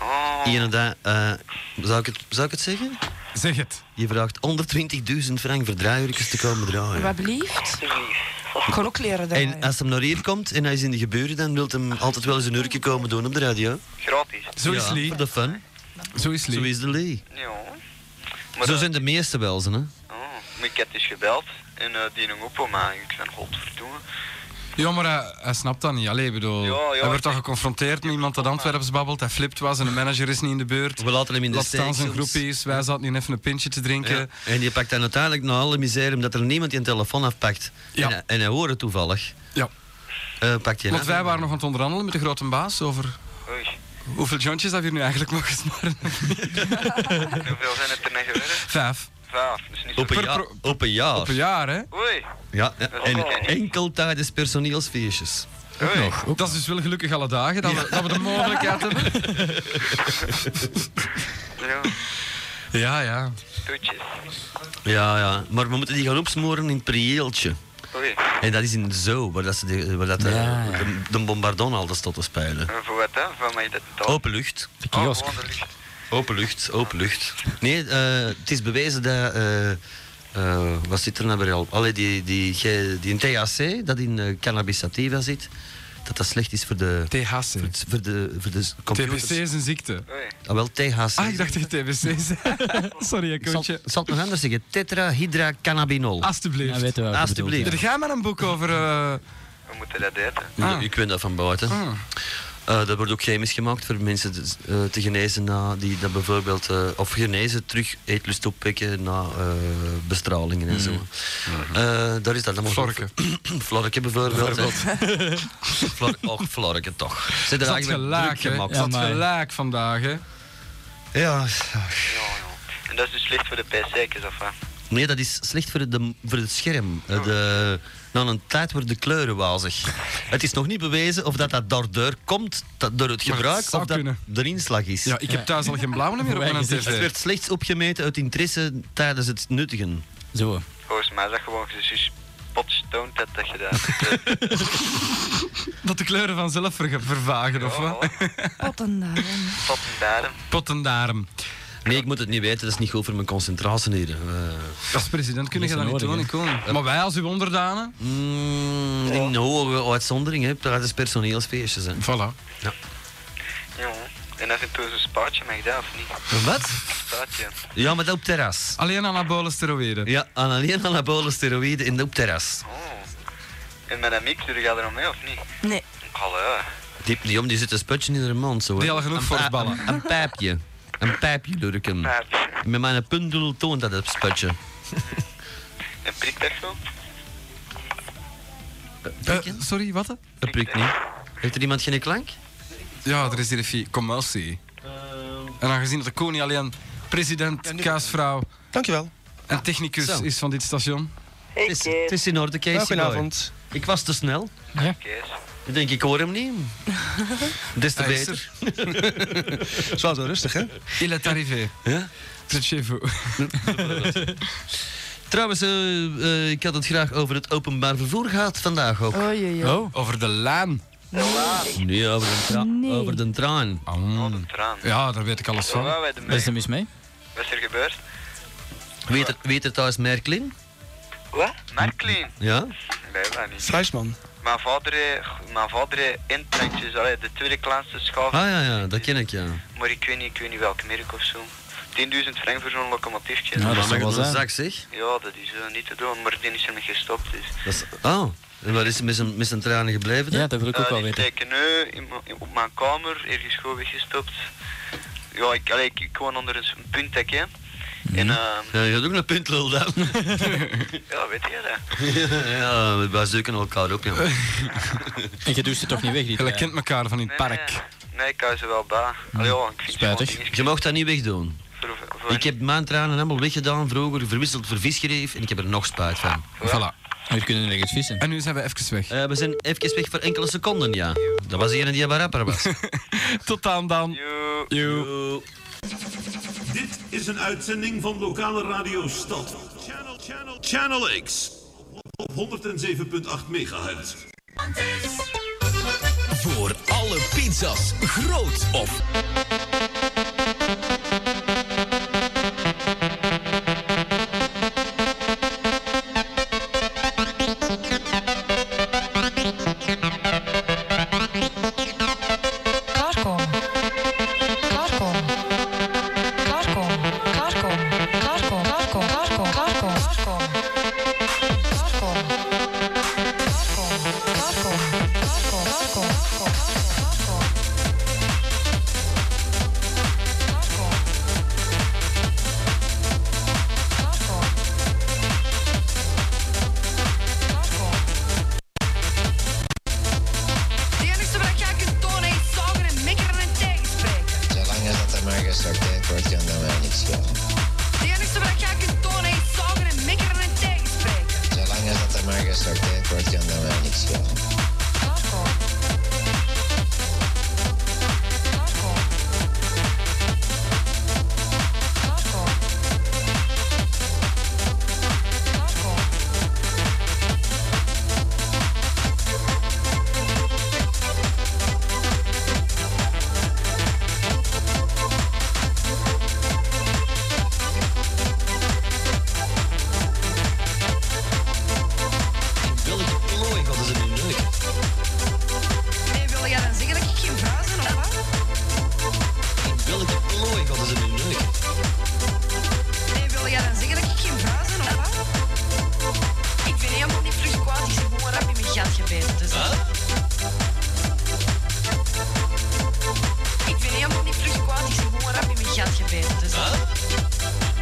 Oh, Iemand dat, eh, zou, ik het, zou ik het zeggen? Zeg het. Je vraagt 120.000 frank voor draaiurkens te komen draaien. Wat blieft? lief. Ik ga ook leren draaien. En als hem naar hier komt en hij is in de geburen, dan wil hem altijd wel eens een uurtje komen doen op de radio. Gratis. Zo is Ja, Lee. Voor de fun. Zo is Zo Lee. is de Lee. Ja. Zo eh, zijn de meeste wel, ze, hè? Oh, maar ik heb dus gebeld en eh, die hing op, maar ik ben godverdomme. Ja, maar hij, hij snapt dat niet. Allee, ik bedoel, Ja, ja, hij werd ik- al geconfronteerd met iemand dat Antwerps babbelt. Hij flipt was en de manager is niet in de buurt. We laten hem in de Laat steek. staan zijn soms. groepjes. Wij zaten hier even een pintje te drinken. Ja. En je pakt dan uiteindelijk na alle misère, omdat er niemand die een telefoon afpakt. Ja. En, hij- en hij hoort het toevallig. Ja. Eh, pakt je Want wij waren nog aan het onderhandelen met de grote baas over Oei, hoeveel jointjes dat we hier nu eigenlijk mogen smaren. en hoeveel zijn het er net geworden? Vijf. Vijf, dus niet zo... op een, per jaar, pro- op een jaar. Per jaar, hè? Oei, Ja, ja. Dat is en ook wel. enkel tijdens personeelsfeestjes. oei. Dat is dus wel gelukkig alle dagen dat we, dat we de mogelijkheid hebben. Ja, Ja, ja. toetjes. Ja, ja. Maar we moeten die gaan opsmoren in het prieeltje. Oei, En dat is in Zo, waar dat ze de, waar dat de, Ja, ja. de, de bombardon altijd stond te spelen. en eh, voor wat hè? Van mij dat taal? Open lucht. De Oh, kiosk. gewoon de lucht. Open lucht, open lucht. Nee, eh, het is bewezen dat. eh, eh, wat zit er nou weer al? Allee, die, die, die, die THC, dat in eh, cannabis sativa zit, dat dat slecht is voor de. THC. Voor, het- voor de, voor de computers. TBC is een ziekte. Oei, Ah, wel, THC. Ah, ik dacht dat je TBC zei. Sorry, hè, Ik zal, coachje. ik zal het nog anders zeggen. Tetrahydracannabinol. Ja, Alsjeblieft. Nou, weten we Alsjeblieft. Er gaat maar een boek over... eh, we moeten dat eten. Ik- Ah. Ik weet dat van buiten. Ah. Eh, dat wordt ook chemisch gemaakt voor mensen te, eh, te genezen na die dat bijvoorbeeld, eh, of genezen terug eetlust opwekken na eh, bestralingen en zo. Eh, daar is dat allemaal voor. Mhm. Florken. Florken bijvoorbeeld. hè. Flor, och, Florken toch. Ze hebben er Zat eigenlijk gelijk, druk hè? gemaakt. Ja, Zat maar- gelijk vandaag, hè? Ja. Ja, ja. En dat is dus slecht voor de pc'tjes of wat? Nee, dat is slecht voor, de, voor het scherm. Eh, de, na een tijd worden de kleuren wazig. Het is nog niet bewezen of dat, dat daardoor komt, dat, door het Maar het gebruik, zou of dat kunnen. de inslag is. Ja, ik heb thuis al geen blauwe meer op Wij mijn gezicht. Het tv. werd slechts opgemeten uit interesse tijdens het nuttigen. Zo. Volgens mij is dat gewoon gezien potstoned dat dat gedaan. Dat de kleuren vanzelf ver- vervagen, of wat? Pottendagen. Tot een datum. Pottendarm. Nee, ik moet het niet weten, dat is niet goed voor mijn concentratie hier. Eh, Als president kunnen je dat Niet niet nodig, doen, ik kon. Maar wij als uw onderdanen? Oh. mm, In hoge uitzondering, hè, tijdens personeelsfeestjes. Hè. Voilà. Ja, en af en toe zo'n spaatje mag dat of niet? Wat? Spaatje. Ja, maar dat op terras. Alleen anabole steroïden. Ja, aan alleen anabole steroïden in de op terras. Oh. En met een mixer gaat er nog mee of niet? Nee. Hallo. Die, die om die zit een sputje in haar mond. Zo, hè. Die al genoeg Een voor pa- het ballen. Een, een pijpje. Een pijpje, Lurken. Paard. Met mijn pundel toont dat het sputje. En prik dat zo? Eh, sorry, wat? Dat prikt niet. Heeft er iemand geen klank? Ja, er is hier een fie- commotie. En aangezien dat de koning alleen president, kaasvrouw Dankjewel. en technicus Zo. is van dit station. Het is, het is in orde, Casey. Nou, boy. goedenavond. Ik was te snel. Kees. Ik denk, ik hoor hem niet. Des te Hij is beter. Het was wel rustig, hè? Il est arrivé. Ja? Tot chez vous. Trouwens, eh, eh, ik had het graag over het openbaar vervoer gehad vandaag ook. Oei, oei, oei. Oh. Over de laan. Nee, over de, tra- Nee. over de traan. Oh, de traan. Mm. Ja, daar weet ik alles Zo, van. wat, de Wat is er mee? mis mee? Wat is er gebeurd? Weet er, weet er thuis Merklin? Wat? Merklin? Ja? Nee, dat niet. Fleischman. Mijn vader, eh, mijn vader eh, in tankjes, allee, de tweede klaarste schaaf. Ah ja, ja, dat ken ik, ja. Maar ik weet niet, ik weet niet welk merk of zo. 10.000 frank voor zo'n locomotiefje. Ja, dat Ja. Maar zal mag wel ik een zijn. zak, zeg? dat is eh, niet te doen, maar die is ermee gestopt. Dus. Dat is, oh, En waar is ze met zijn, met zijn tranen gebleven? dan? Ja, dat wil ik ook Eh, wel die weten. steken nu in mijn- op mijn kamer, ergens gewoon weggestopt. Ja, ik, allee, ik, ik woon onder een s- een puntdek, hè. Mhm. En, eh, Ja, je gaat ook naar puntlul dan. ja, weet je dat? ja, wij zoeken elkaar ook, ja. En je duwt ze toch niet weg, die Jullie trein? kent elkaar van in het Nee, park. Nee, nee, ik hou ze wel bij. Allee, ja, ik vind Spijtig. gewoon Je dingetjes mag dat niet wegdoen. voor- voor- Ik heb mijn tranen helemaal weggedaan vroeger, verwisseld voor visgreef en ik heb er nog spijt van. Voilà. Hier kunnen we ergens vissen. En nu zijn we even weg. Eh, we zijn even weg voor enkele seconden, ja. Dat was iemand die wat rapper was. Tot dan dan. Joe. Yo. Dit is een uitzending van lokale radio Stad. Channel, channel, channel X. Op 107.8 megahertz. Voor alle pizza's, groot of Klaarkomen. Klaarkomen. Klaarkomen. Klaarkomen. Klaarkomen. Klaarkomen. Klaarkomen. Klaarkomen. Klaarkomen. Klaarkomen. Klaarkomen. Klaarkomen. Klaarkomen. Klaarkomen. Klaarkomen. Klaarkomen. Klaarkomen. Klaarkomen. De enige wat jij kunt tonen is zagen en mikkeren en tegenspreken. Zolang als dat er maar wordt, kan dat mij niks schelen. De enige wat jij kunt tonen is zagen en mikkeren en tegenspreken. Zolang als dat er maar gesorteerd wordt, kan dat mij niks schelen. Welke plooi hadden ze nu nodig? Nee, wil jij dan zeggen dat ik geen vrouw ben of wat? Welke plooi hadden ze nu nodig? Nee, wil jij dan zeggen dat ik geen vrouw ben of wat? Ik ben helemaal niet vlug kwaad, ik zit gewoon rap in mijn gat gebeten. Dus dat- Ik ben helemaal niet vlug kwaad, ik zit gewoon rap in mijn gat gebeten. Dus dat-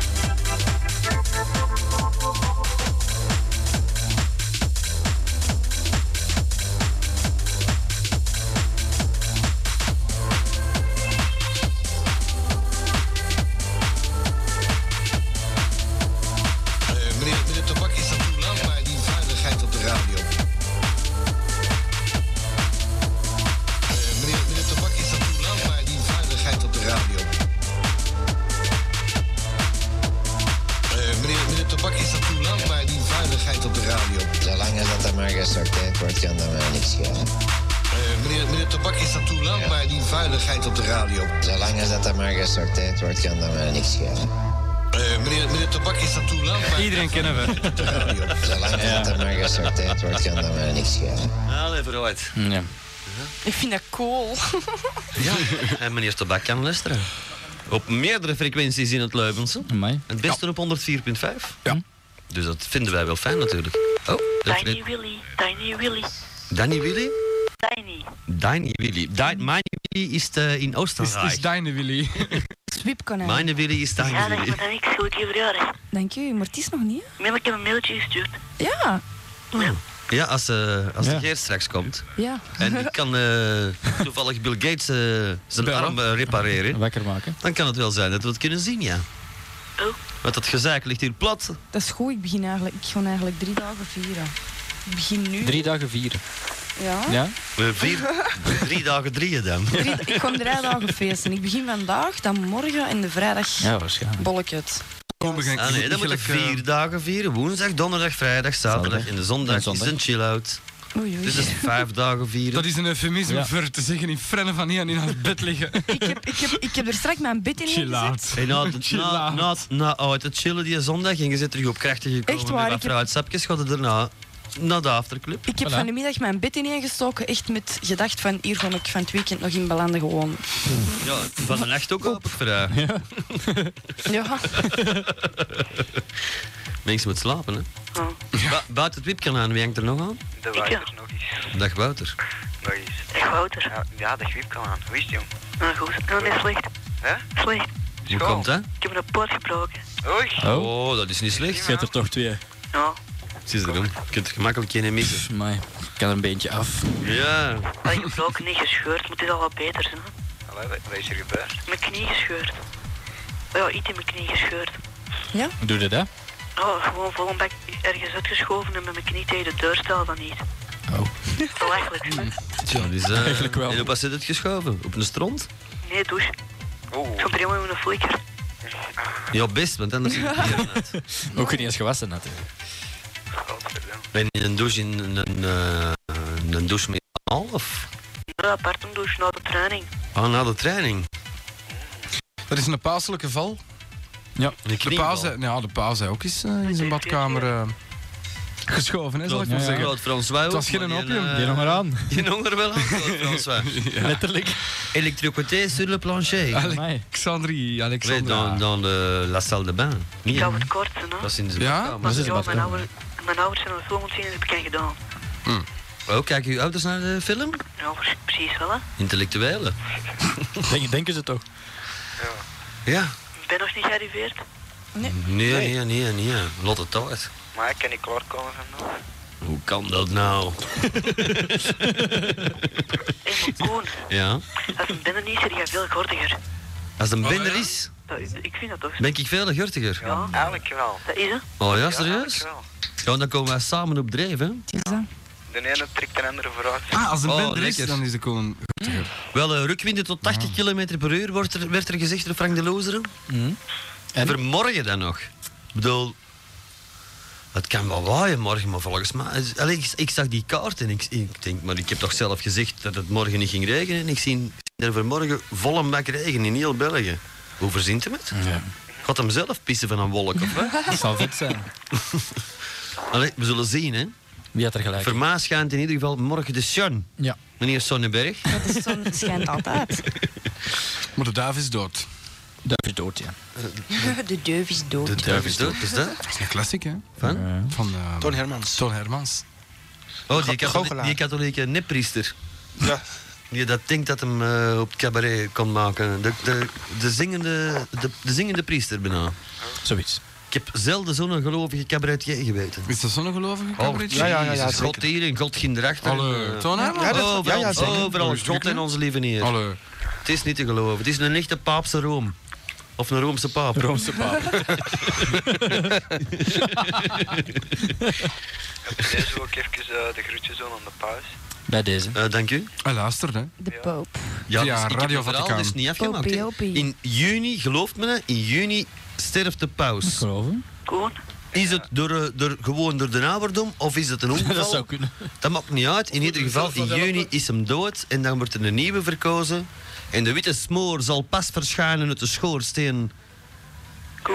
meneer, meneer Tabak, is dat uw naam, maar die veiligheid op de radio? Eh, meneer, meneer Tabak, is dat uw naam, maar die veiligheid op de radio? Eh, meneer, meneer Tabak, is dat uw naam, maar die veiligheid op de radio? Zolang dat er maar gesorteerd wordt, kan dat mij niks schelen. Eh, meneer, meneer Tabak, is dat uw naam, maar die veiligheid op de radio? Zolang dat er maar gesorteerd wordt, kan dat mij niks schelen. Eh, meneer, meneer Tabak, is dat uw naam, maar Iedereen kennen we. Zolang dat er maar gesorteerd wordt, kan dat mij niks schelen. Allee, Ah, vooruit. Ja. Ik vind dat cool. Ja, en meneer Tabak kan luisteren. Op meerdere frequenties in het Leubense. Amai. Het beste op 104.5. Ja. Dus dat vinden wij wel fijn natuurlijk. Oh, dat Tiny Willy, Tiny Willy, Danny Willy? Tiny. Danny Willy. Di- Mijn Willy is eh, in Het is, Oostenrijk. het is deine Willy. Zwipkonijn. Mijn Willy is Ja, Danny dat Willy. moet dan niks goed gebeuren. Dank je, maar het is nog niet. Mel, ik heb een mailtje gestuurd. Ja, Ja, als, eh, als Ja. de Geert straks komt. ja. En ik kan eh, toevallig Bill Gates eh, zijn Bellen. arm eh, repareren. Wakker maken. Dan kan het wel zijn dat we het kunnen zien, ja. Oh. Want dat gezeik ligt hier plat. Dat is goed, ik begin eigenlijk, ik ga eigenlijk drie dagen vieren. Ik begin nu. Drie dagen vieren. Ja. Ja? Eh, vier, drie dagen drieën dan. Oh. Drie- ik kom drie dagen feesten. Ik begin vandaag, dan morgen en de vrijdag Ja, waarschijnlijk. bol ik het. Kom, we gaan Ah nee, dan moet je eh, vier dagen vieren. Woensdag, donderdag, vrijdag, zaterdag. Zaterdag. En de zondag, En zondag. is een chill-out. Oei, oei. Dus dat is vijf dagen vieren. Dat is een eufemisme Ja. voor te zeggen in frennen van hier en in het bed liggen. ik, heb, ik, heb, ik heb er straks mijn bed in Chill gezet. out. En na, na, Chill-out. na, na uit het chillen die zondag ging je zit terug op krachten gekomen. Echt waar, Met ik wat heb- fruitsapjes gaat het daarna naar de afterclub. Ik heb Voilà. van de middag mijn bed ineengestoken, echt met gedacht van hier kom ik van het weekend nog in belanden gewoon. Ja, van de nacht ook open voor eh. haar. Ja, Mensen moeten slapen, hè. Oh. Wat? Bu- buiten het wipkanaal, wie hangt er nog aan? De Wouter nog eens. Dag Wouter. Nog eens. Dag Wouter. Ja, ja de griep kan aan. Hoe is het, jong? Maar Ah, goed, dat is slecht. Hè? Slecht. Hoe komt dat? Ik heb een poot gebroken. Oei. Oh. dat is niet slecht. Je hebt er toch twee. Ja. Zie je erom. Je kunt er gemakkelijk geen missen. Maar ik kan een beetje af. Ja. Allee, gebroken, niet gescheurd, maar het is al wat beter. Hè? Allee, wat, wat is er gebeurd? Mijn knie gescheurd. Ja, iets in mijn knie gescheurd. Ja? Doe je dat? Oh, gewoon vol een bek ergens uitgeschoven en met mijn knie tegen de deur stel van niet. Oh. Belachelijk. hè? Tja, dat is, Eigenlijk wel. En op wat zit het geschoven? Op een stront? Nee, douche. Oh. Ik heb er helemaal in een flikker. Ja, best, want anders zit het hier nat. Ook niet eens gewassen natuurlijk. En in een douche in een, een, eh, een douche met al of? Ja, apart een douche na de training. Ah, na de training. Dat is een pauselijke val. Ja. De pauze, ja, de pauze ook is eh, in zijn badkamer eh, geschoven, hè, zal ik maar zeggen. Claude François Het was ook, geen maar die, opium. eh, Je nog er wel aan, Claude François. Letterlijk. Electrocuté sur le plancher. Alexandrie, Nee, Alexandra. dans, dans de, la salle de bain. Niet Ik in- zou het kort zijn, hè. Dat is in de Ja? badkamer. Dat is in de Ja, mijn badkamer. ouders- Mijn ouders zijn al zo ontzien, dat heb ik aan gedaan. Oh, kijken uw ouders naar de film? Ja, precies wel, hè. Intellectuelen. Denk, denken ze toch? Ja. Ik ben nog niet gearriveerd. Nee, nee, nee, nee. Lot het uit. Maar ik kan niet klaarkomen nou. vandaag. Hoe kan dat nou? Koen, ja. als een binnen is, er jij veel gordiger. Als Oh, het een binder is, Dat, ik vind dat toch. ben ik veel gurtiger. Ja, eigenlijk wel. Dat is het. Oh ja, serieus? Ja, dan komen wij samen op drijf, hè? De ene trekt de andere vooruit. Ah, als een Oh, bender is, lekker. dan is de koen. Wel, eh, rukwinden tot 80 km per uur, wordt er, werd er gezegd door Frank de Lozeren. Mhm. En vermorgen dan nog. Ik bedoel, het kan wel waaien morgen, maar volgens mij... is- Allee, ik, ik zag die kaart en ik, ik denk, maar ik heb toch zelf gezegd dat het morgen niet ging regenen. En ik zie er vanmorgen vol een bak regen in heel België. Hoe verzint hem het? Gaat hem zelf pissen van een wolk, of wat? Dat zal vet zijn. Allee, we zullen zien, hè. Wie had er gelijk? Voor mij schijnt in ieder geval morgen de zon. Ja. Meneer Sonnenberg. Dat is zo'n schijnt altijd. Maar de duif is dood. Duif is dood, ja. De deuf is dood. is dat? Dat is een klassiek, hè? Van? Van eh, Toon Hermans. Toon Hermans. Oh, Go- die, katholieke, goochelaar. die katholieke neppriester. Ja. Die dat denkt dat hem eh, op het cabaret kon maken. De, de, de, zingende, de, de zingende priester bijna. Zoiets. Ik heb zelden zo'n gelovige cabaretier geweten. Is dat zonnegelovige Oh, cabaretier? ja, ja, ja, God hier en God ging erachter. Alle, Eh, Toon Hermans? Ja, dat- overal, ja, ja, zeker. overal Dat is God goed, en hè? onze lieve neer. Alle. Het is niet te geloven. Het is een echte paapse Room. Of een Roomse paap. Roomse paap. Deze ook even eh, de groetjes doen aan de paus. Bij deze. Eh, dank u. Hij luistert, hè? De poop. Ja, Via dus ik heb Radio het verhaal Vaticaan. dus niet afgemaakt. Popie, hè. opie. In juni, geloof me, hè, in juni sterft de paus. Geloven? Koen, Is het door, eh, door, gewoon door de naberdom of is het een ongeval? Dat zou kunnen. Dat maakt niet uit. In ieder geval, in juni is hem dood en dan wordt er een nieuwe verkozen. En de witte smoor zal pas verschijnen uit de schoorsteen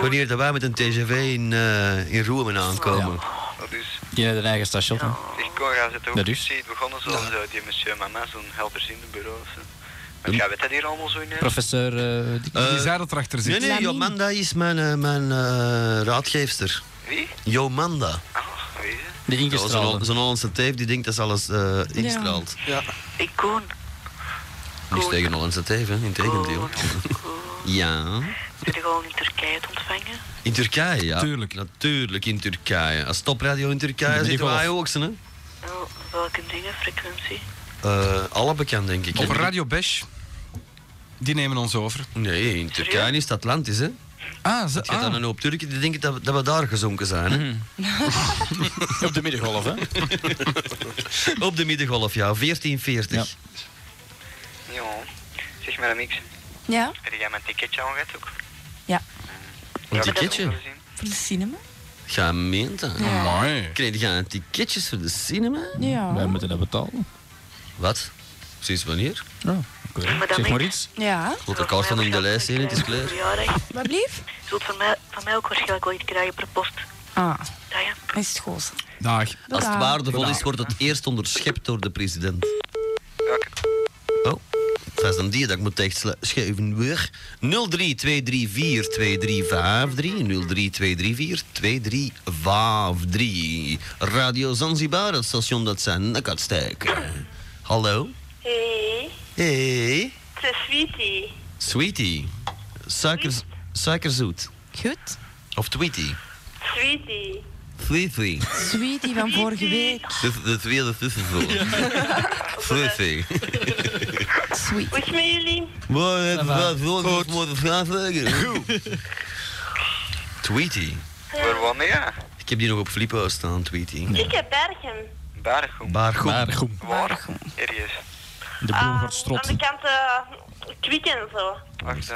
wanneer dat wij met een TGV in, eh in Roemen aankomen. Dat is. Die heeft een eigen station. hè? Ik kon gaan zitten Dat ook is. precies begonnen zoals eh, die monsieur Mama, zo'n helderziende bureau. of Zo. Maar jij weet dat hier allemaal zo in. hè? Professor... eh, die- die zei dat erachter zit. Nee, nee, Jomanda is mijn, eh, mijn eh, raadgeefster. Wie? Jomanda. Ah, wie is het? De Ja, Zo'n Hol- ingestraalde. zo'n Hollandse teef die denkt dat ze alles eh, instraalt. Ja. ik Koen. Niks tegen Hollandse teef, hè? Integendeel. Ja. Zullen we gewoon in Turkije het ontvangen? In Turkije, ja. Tuurlijk. Natuurlijk in Turkije. Als topradio in Turkije Ben ik zitten wel. wij ook, hè? Nou, welke dingen, frequentie? Eh, alle bekend, denk ik. Op hè. Radio Bash. Die nemen ons over. Nee, in Turkije is het Atlantis, hè? Ah, ze, Het gaat ah. dan een hoop Turken die denken dat we, dat we daar gezonken zijn. Hè? Mhm. Op de middengolf, hè? Op de middengolf, ja, 1440. Ja. Zeg maar niks. Ja, Heb jij mijn ticketje al gehad ook? Ja. Een Ja, ticketje? dat heb ik ook gezien. voor de cinema. Ga meent dat? Amai. Kreeg je ticketjes voor de cinema? Wij Ja. moeten dat betalen. Wat? Sinds wanneer? Ja, Oh. ik weet het Maar niet. dan Zeg ben maar ik- iets. Ja. Moet de kaart van hem de lijst zien, het is klaar. Wat blief? Je zult van mij, van mij ook waarschijnlijk wel iets krijgen per post. Ah, Dag, hè. is het goed. Dag. Als het Dag. waardevol is, wordt het eerst onderschept door de president. Welke? Oh, vast aan die dat ik moet echt schuiven weer. 03234 2353 03234 Radio Zanzibar, het station dat zijn nek uitsteekt. Hallo? Hey, Hey, het is Sweetie. sweetie. Suiker, suikerzoet. Goed. Of tweetie. Sweetie. Sweetie. Sweetie van vorige week. De, de tweede tussenvorm. Sweetie. Sweet. Hoe is het met jullie? Maar het was wel een mooie vraag. Tweety. Voor wanneer? Ik heb die nog op Filippo staan, Tweety. Ik heb Bergen. Bergum. Baargoed. Waar? Ergens. De Ah, Aan de kant eh Kwik en zo.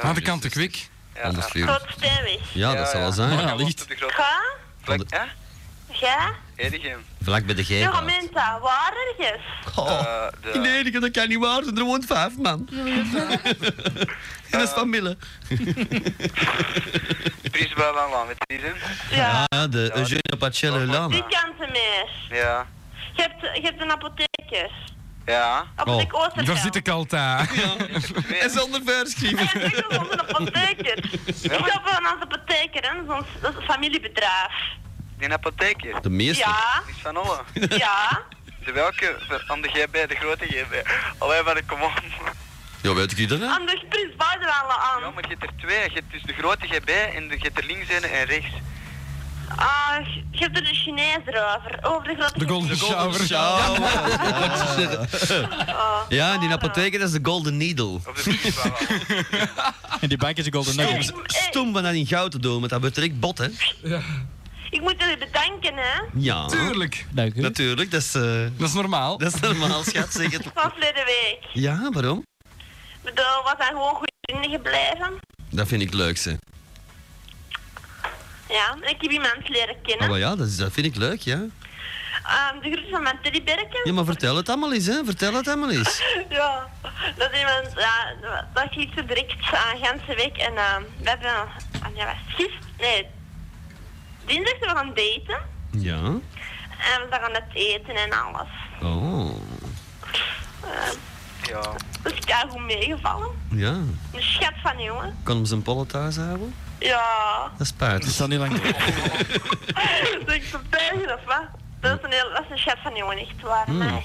Aan de kant de kwik. Anders Groot Steenweg. Ja, dat zal wel zijn. Ja, licht. Ga? Vlak- ja? Ga? Ergens. Vlak bij de Ja, gevel. Menta, waar ergens? Eh, Oh, Nee, ik- dat kan niet waar zijn. Er woont vijf man. Eh, En dat Eh, is van Mille. Prisbel en Laan, weet je die zin? Ja, Ah, de Eugene Pacello Die Lama. kant meer. Ja. Je hebt, je hebt een apotheker. Ja. Oh. Apotheek Oosterveld. Daar zit ik altijd. En zonder verschil. apotheker. Ik heb een apotheker, hè. Dat is ons- dat is een familiebedrijf. Die apotheker. De meester. Ja. Is van alle. Ja. De welke? Van- Aan de GB, de grote GB. Allee, maar kom op. Ah. Ja, weet ik niet dat, hè? Anders Prins Baudelaar aan. Ja, maar je hebt er twee. Je hebt dus de grote GB en de, je hebt er links een en rechts. Ah, je hebt er de Chinees over. Over de grote... De golden shower. Ja, Ja, die apotheker, dat is de Golden Needle. En die bank is een golden nugget. Stom van dat in goud te doen, want dat wordt direct bot, hè? Ik moet jullie bedanken, hè. Ja. Tuurlijk. Dank u. Natuurlijk, dat is, eh, Dat is normaal. dat is normaal, schat. Zeg het. Van verleden week. Ik Ja, waarom? bedoel, we zijn gewoon goede vrienden gebleven. Dat vind ik het leukste. Ja, en ik heb iemand leren kennen. Oh, maar ja, dat, is, dat vind ik leuk, ja. Ehm, de groeten van mijn teddyberken. Ja, maar vertel het allemaal eens, hè. Vertel het allemaal eens. Ja, dat iemand, ja, dat ging zo direct aan ganse week en ehm, we hebben, ah, ja, was het gisteren, nee, dinsdag zijn we gaan daten Ja. en we zijn gaan het eten en alles. Oh. Ja. Dus ik heb goed meegevallen. Ja. Een schat van jongen. Kan hem zijn pollen thuis houden? Ja, Dat is spijtig. is dan niet lang. dat is een pijn of wat? Dat is een, heel, dat is een schat van jongen, echt waar, mij. Hmm.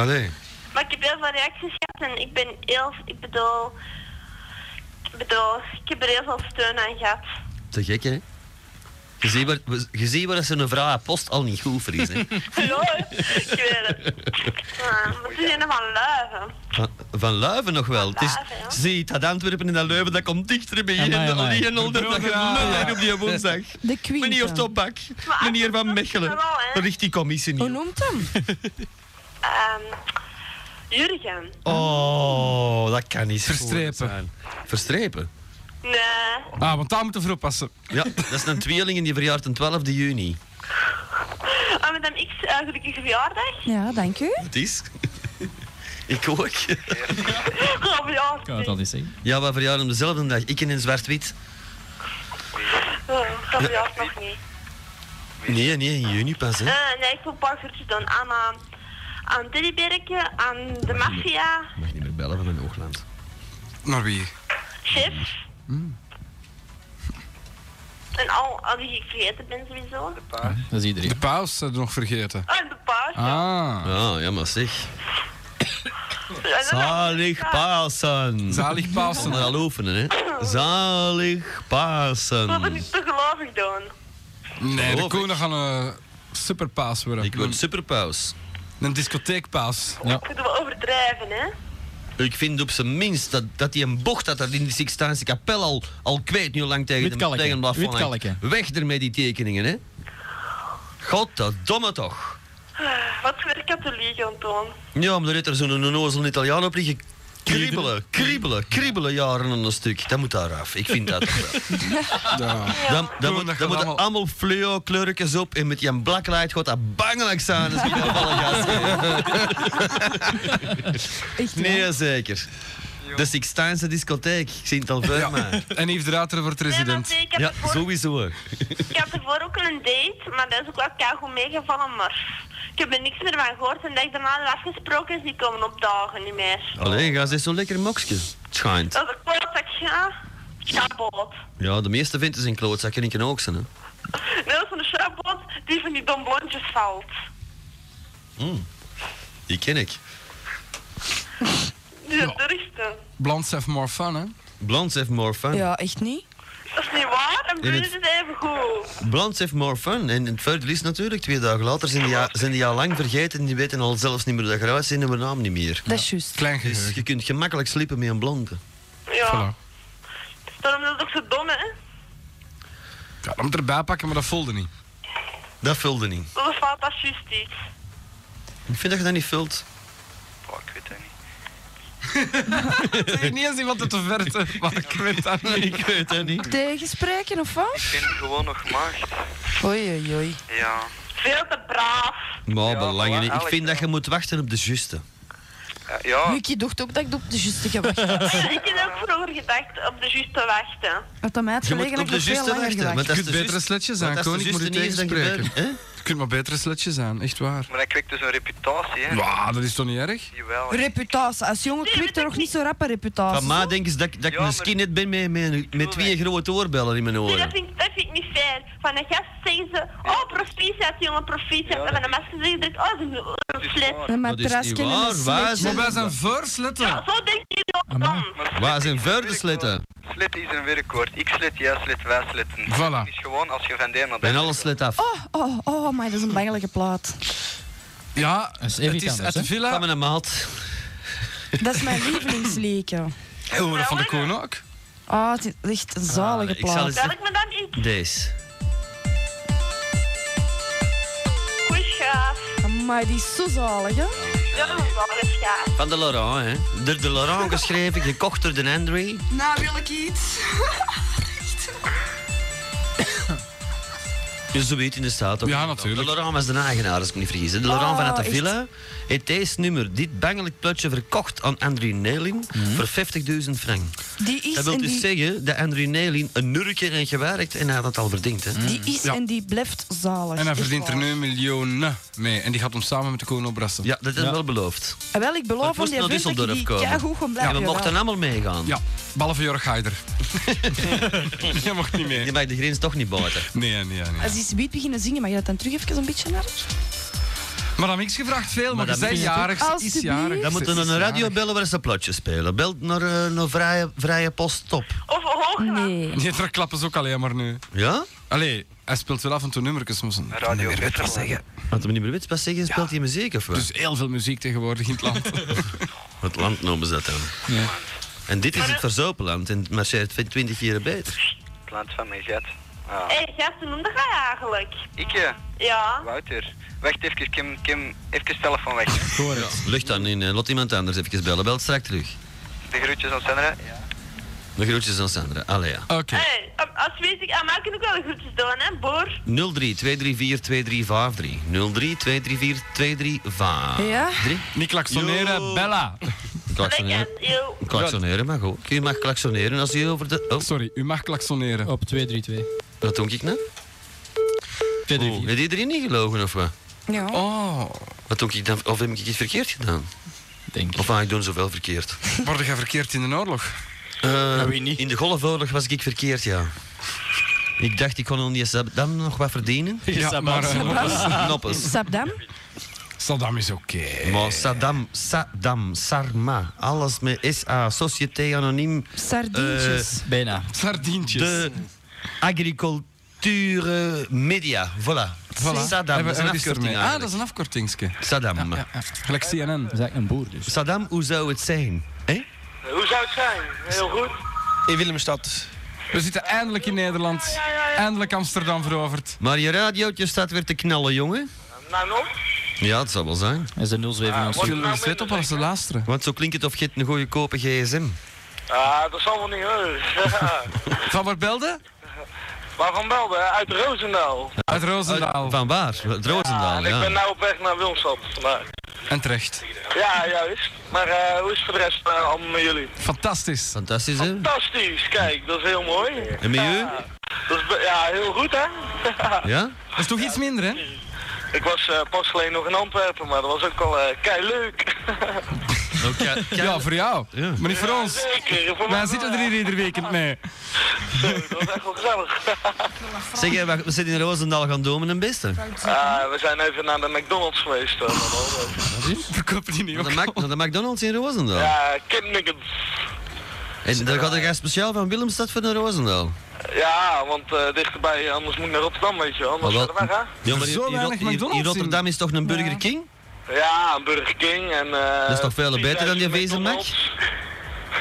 Allee. Maar ik heb heel veel reacties gehad en ik ben heel, ik bedoel, ik bedoel, ik heb er heel veel steun aan gehad. Te gek, hè. Je ziet waar, je ziet waar ze een vrouw haar post al niet goed voor is, hè. Ja, ik weet het. Ja, maar het is een van luiven. Van, van Luiven nog wel. Het is, Leuven, ja. zie, dat Antwerpen en dat Leuven, dat komt dichter bij je. Amai, En amai. die en al dat je lullen op die woensdag. De Queen. Meneer Topak, meneer Van Mechelen. Jawel, hè. Dat ligt die commissie Hoe niet. noemt hem? Ehm, Jurgen. Oh, dat kan niet. goed Verstrepen. zijn. Verstrepen? Nee. Ah, want daar moeten we voor oppassen. Ja, dat is een tweeling en die verjaart de 12 juni. Ah, met hem X, eh, gelukkige verjaardag. Ja, dank u. Het is. Ik ook. Oh, ja. Kan het al niet zeggen. Ja, wij verjaren hem dezelfde dag. Ik in een zwart-wit. Oh, Dat verjaardag nog niet. Nee, nee, in juni pas, hè. Ah. Eh, nee, ik wil pas uurtjes doen aan, eh, aan Teddyberken, aan de maffia, Mag niet meer bellen van mijn oogland. Naar wie? chef. En al, al die ik vergeten ben sowieso. Ah, Dat is De iedereen. paus hadden we nog vergeten. Oh, en de paard. Ah. Ah, ja, maar zeg. Zalig Pasen. Zalig Pasen. We Pasen. al oefenen, hè. Zalig Dat Pasen. wil ik te gelovig doen. Nee, de Geloof ik. koning gaan een superpaus worden. Ik word superpaus. Een discotheekpaus. Kunnen we overdrijven, hè? Ik vind op zijn minst dat, dat die een bocht had dat in die Sixtijnse kapel al, al kwijt nu al lang tegen Wit de kalken, tegen het wit plafond hangt. kalken. Weg ermee die tekeningen, hè. Godverdomme toch. Wat voor katholiek, Anton. Ja, maar er heeft er zo'n onnozel Italiaan op liggen kriebelen, kriebelen, kriebelen jaren aan een stuk. Dat moet daar af. Ik vind dat toch wel. Ja. Dan, dan, moet, dat dan moeten allemaal- allemaal fleo kleurtjes op en met die blacklight gaat dat bangelijk zijn. Dat is niet gevallen, gast. Echt Nee, zeker. De Sixtijnse discotheek. Ik zie het al voor mij. En Yves de Ruiter wordt Nee, want resident. ik heb, Ja, ervoor, sowieso. ik heb ervoor ook een date, maar dat is ook wel keigoed meegevallen, maar... Ik heb er niks meer van gehoord. En dat ik daarna had afgesproken is, die komen opdagen niet meer. Allee, ga eens zo'n lekker mokske. Het schijnt. Dat is een klootzak, ja. Schabot. Ja, de meeste vindt is een klootzak en ik ook zijn, hè. Nee, dat is een schabot die van die domblondjes valt. Mm. Die ken ik. Die zijn toeristen. Blondes have more fun, hè? Blondes have more fun. Ja, echt niet? Dat is niet waar. En In Bruce het- is even goed. Blondes have more fun. En het verder is natuurlijk, twee dagen later zijn die, al- zijn die al lang vergeten en die weten al zelfs niet meer hoe dat eruit zien en hun naam niet meer. Dat is juist. Klein dus je kunt gemakkelijk sliepen met een blonde. Ja. Daarom is het ook zo dom, hè. Ja, dan moet ik erbij pakken, maar dat voelde niet. Dat vulde niet. Dat is fout als juist iets. Ik vind dat je dat niet vult. Ik weet niet eens iemand uit de verte, maar ik weet dat niet. Ik weet dat niet. Tegenspreken of wat? Ik vind het gewoon nog maagd. Oei, oei, oei. Ja. Veel te braaf. Maar belangrijk. voilà, niet. Ik Alex, vind dat je moet wachten op de juiste. Ja. Lucie dacht ook dat ik op de juiste gewacht had. ik heb ook vroeger gedacht op de juiste wachten. Had dat mij het Je moet gelegen op had ik de nog veel juiste langer wachten, gewacht. want Je kunt betere sletjes aan, want als de Koning, ik moet u juiste niet is, dan tegenspreken. gebeurt- Je kunt maar betere sletjes aan, echt waar. Maar dat krijgt dus een reputatie, hè? Ja, dat is toch niet erg? Jawel. Reputatie. Als jongen kwikt er nog niet zo rap een reputatie. Van ma denken ze dat, ik- dat ik misschien net ben met, met, met twee grote oorbellen in mijn Nee, Dus dat oren. vind, ik- dat vind ik niet fair. Van een gast zeggen ze, oh proficiat jongen, proficiat. en van een masker zeggen ze, oh ze is een slet. Een matrasje en een sletje. Maar wij zijn versletten. Zo denk je ook dan. Waar zijn verder sletten? Slit is een werkwoord. Ik slit, jij slit, wij slitten. Voilà. Het is gewoon als je van de een naar de Ben alles slet af. Oh, oh, oh, maar dat is een bangelijke plaat. Ja, is even iets anders, hè? Van mijn maat. Dat is mijn lievelingsliedje. Oh, dat vond ik gewoon ook. Ah, het is echt een zalige Ah, ik zal plaat. eens- Zal ik me dan in? Deze. Maar die is zo zalig, hè? Ja, dat is wel een schaar. Van de Laurent, hè. Door de Laurent geschreven, gekocht door de Andre. Nou wil ik iets. Dus zo weet in de staat ook. Ja, natuurlijk. De Laurent was de eigenaar, als ik me niet vergis. hè. De Laurent Ah, van echt? Attavilla heeft deze nummer, dit bangelijk plutje, verkocht aan André Nelin voor 50.000 frank. Die is dat wil en dus die- zeggen dat André Nelin een nurker heeft gewerkt en hij had het al verdiend. Hè. Die is en die blijft zalig. En hij echt verdient er waar. nu miljoenen mee. En die gaat hem samen met de koning opbrassen. Ja, dat is wel beloofd. Ah, wel, ik beloof aan moest die naar vent dat Düsseldorf ik die komen. keigoed gaan En blijven. we mochten ja. allemaal meegaan. Ja, behalve Jorg Heider. Je mag niet mee. Je mag de grens toch niet buiten. Nee, nee, nee. Als die zoiets beginnen zingen, mag je dat dan terug even een beetje naar? Madame X gevraagd veel, maar, Maar dat ze zijn moet je jarig. toch- Ze is jarig. Dan moeten Ze we is een jarig. radio bellen waar ze plotjes spelen. Bel naar, eh, naar vrije, vrije Post Top. Of hoogland. Nee. Nee, daar klappen ze ook alleen maar nu. Ja? Allee, hij speelt wel af en toe nummertjes, maar ze radio niet meer weten zeggen. Want de meneer Wits pas zeggen, speelt hij muziek of wat? Dus heel veel muziek tegenwoordig in het land. Het land noemen ze dat dan. En dit is het verzopen land en het marcheert 20 jaar beter. Het land van mijn gat. Ah. Hé, gasten, noem dat ga eigenlijk. Ik, ja. Ja. Wouter. Wacht even, Kim, Kim, even telefoon weg. Ja, lucht dan in, eh, laat iemand anders even bellen. Bel straks terug. De groetjes aan Sandra. Ja. De groetjes aan Sandra. Allee ja. Oké. Hey, als weet ik, ah, maar ik kan ook wel de groetjes doen, hè, boer. 03 234 2353. 03 234 2353. Ja? Niet klaksoneren, Bella. Klaksoneren. Klaksoneren mag ook. U mag klaksoneren als u over de... Oh. Sorry, u mag klaksoneren. Op 232. Wat doe ik nou? 234. Oh, heb je erin niet gelogen of wat? Ja. Oh. Wat doe ik dan? Of heb ik iets verkeerd gedaan? Denk Of ah, ik doe zoveel verkeerd. Word jij verkeerd in de oorlog? Eh, In de golfoorlog was ik verkeerd, ja. Ik dacht, ik kon al die Saddam nog wat verdienen. Ja, Saddam. maar, eh, Saddam. Noppes. Saddam? Saddam is oké. Maar Saddam, Saddam, Sarma, alles met SA, Société Anoniem. Sardientjes. eh, Bijna. Sardientjes. De agriculture media, voilà. Saddam, dat is een afkorting Ah, dat is eigenlijk. een afkortingske. Saddam. Gelijk CNN. Dat is eigenlijk een boer dus. Saddam, hoe zou het zijn? Hé? Hoe zou het zijn? Heel goed. In Willemstad. We zitten eindelijk in Nederland. Eindelijk Amsterdam veroverd. Maar je radiootje staat weer te knallen, jongen. Nou nog? Ja, het zal wel zijn. Ah, Is de 027 ons Zullen we eens op als de laatste? nou Want zo klinkt het of je hebt een goede kopen gsm. Ah, dat zal wel niet hoor. Van waar belde? Waarvan belden? Uit Roosendaal. Uit Roosendaal. Van waar? Uit Roosendaal, En ik ja. ben nou op weg naar Wilmstad vandaag. En terecht. Ja, juist. Maar eh, hoe is het voor de rest eh, allemaal met jullie? Fantastisch. Fantastisch, hè? Fantastisch, kijk, dat is heel mooi. En met u? Ja, dat is be- ja heel goed hè? Ja? Dat is toch iets minder, hè? Ik was eh, pas geleden nog in Antwerpen, maar dat was ook al eh kei leuk. Nou, Ja, voor jou. Maar niet voor ons. Zeker, voor Wij zitten er hier iedere weekend mee. Dat was echt wel gezellig. Zeg, eh, wacht, we zitten in Roosendaal gaan domen en beste. Ah, we zijn even naar de McDonald's geweest. eh, met al dat. Verkopen die niet ook Naar de McDonald's in Roosendaal. ja, kip nuggets. En daar gaat er speciaal van Willemstad voor naar Roosendaal. Ja, want eh, dichterbij, anders moet ik naar Rotterdam, weet je wel. Anders Maar verder weg, hè? Ja, maar in, in, Rot- in- in Rotterdam is toch een Burger King? Ja, een Burger King en... eh, Dat is toch veel beter dan die Vezelmac?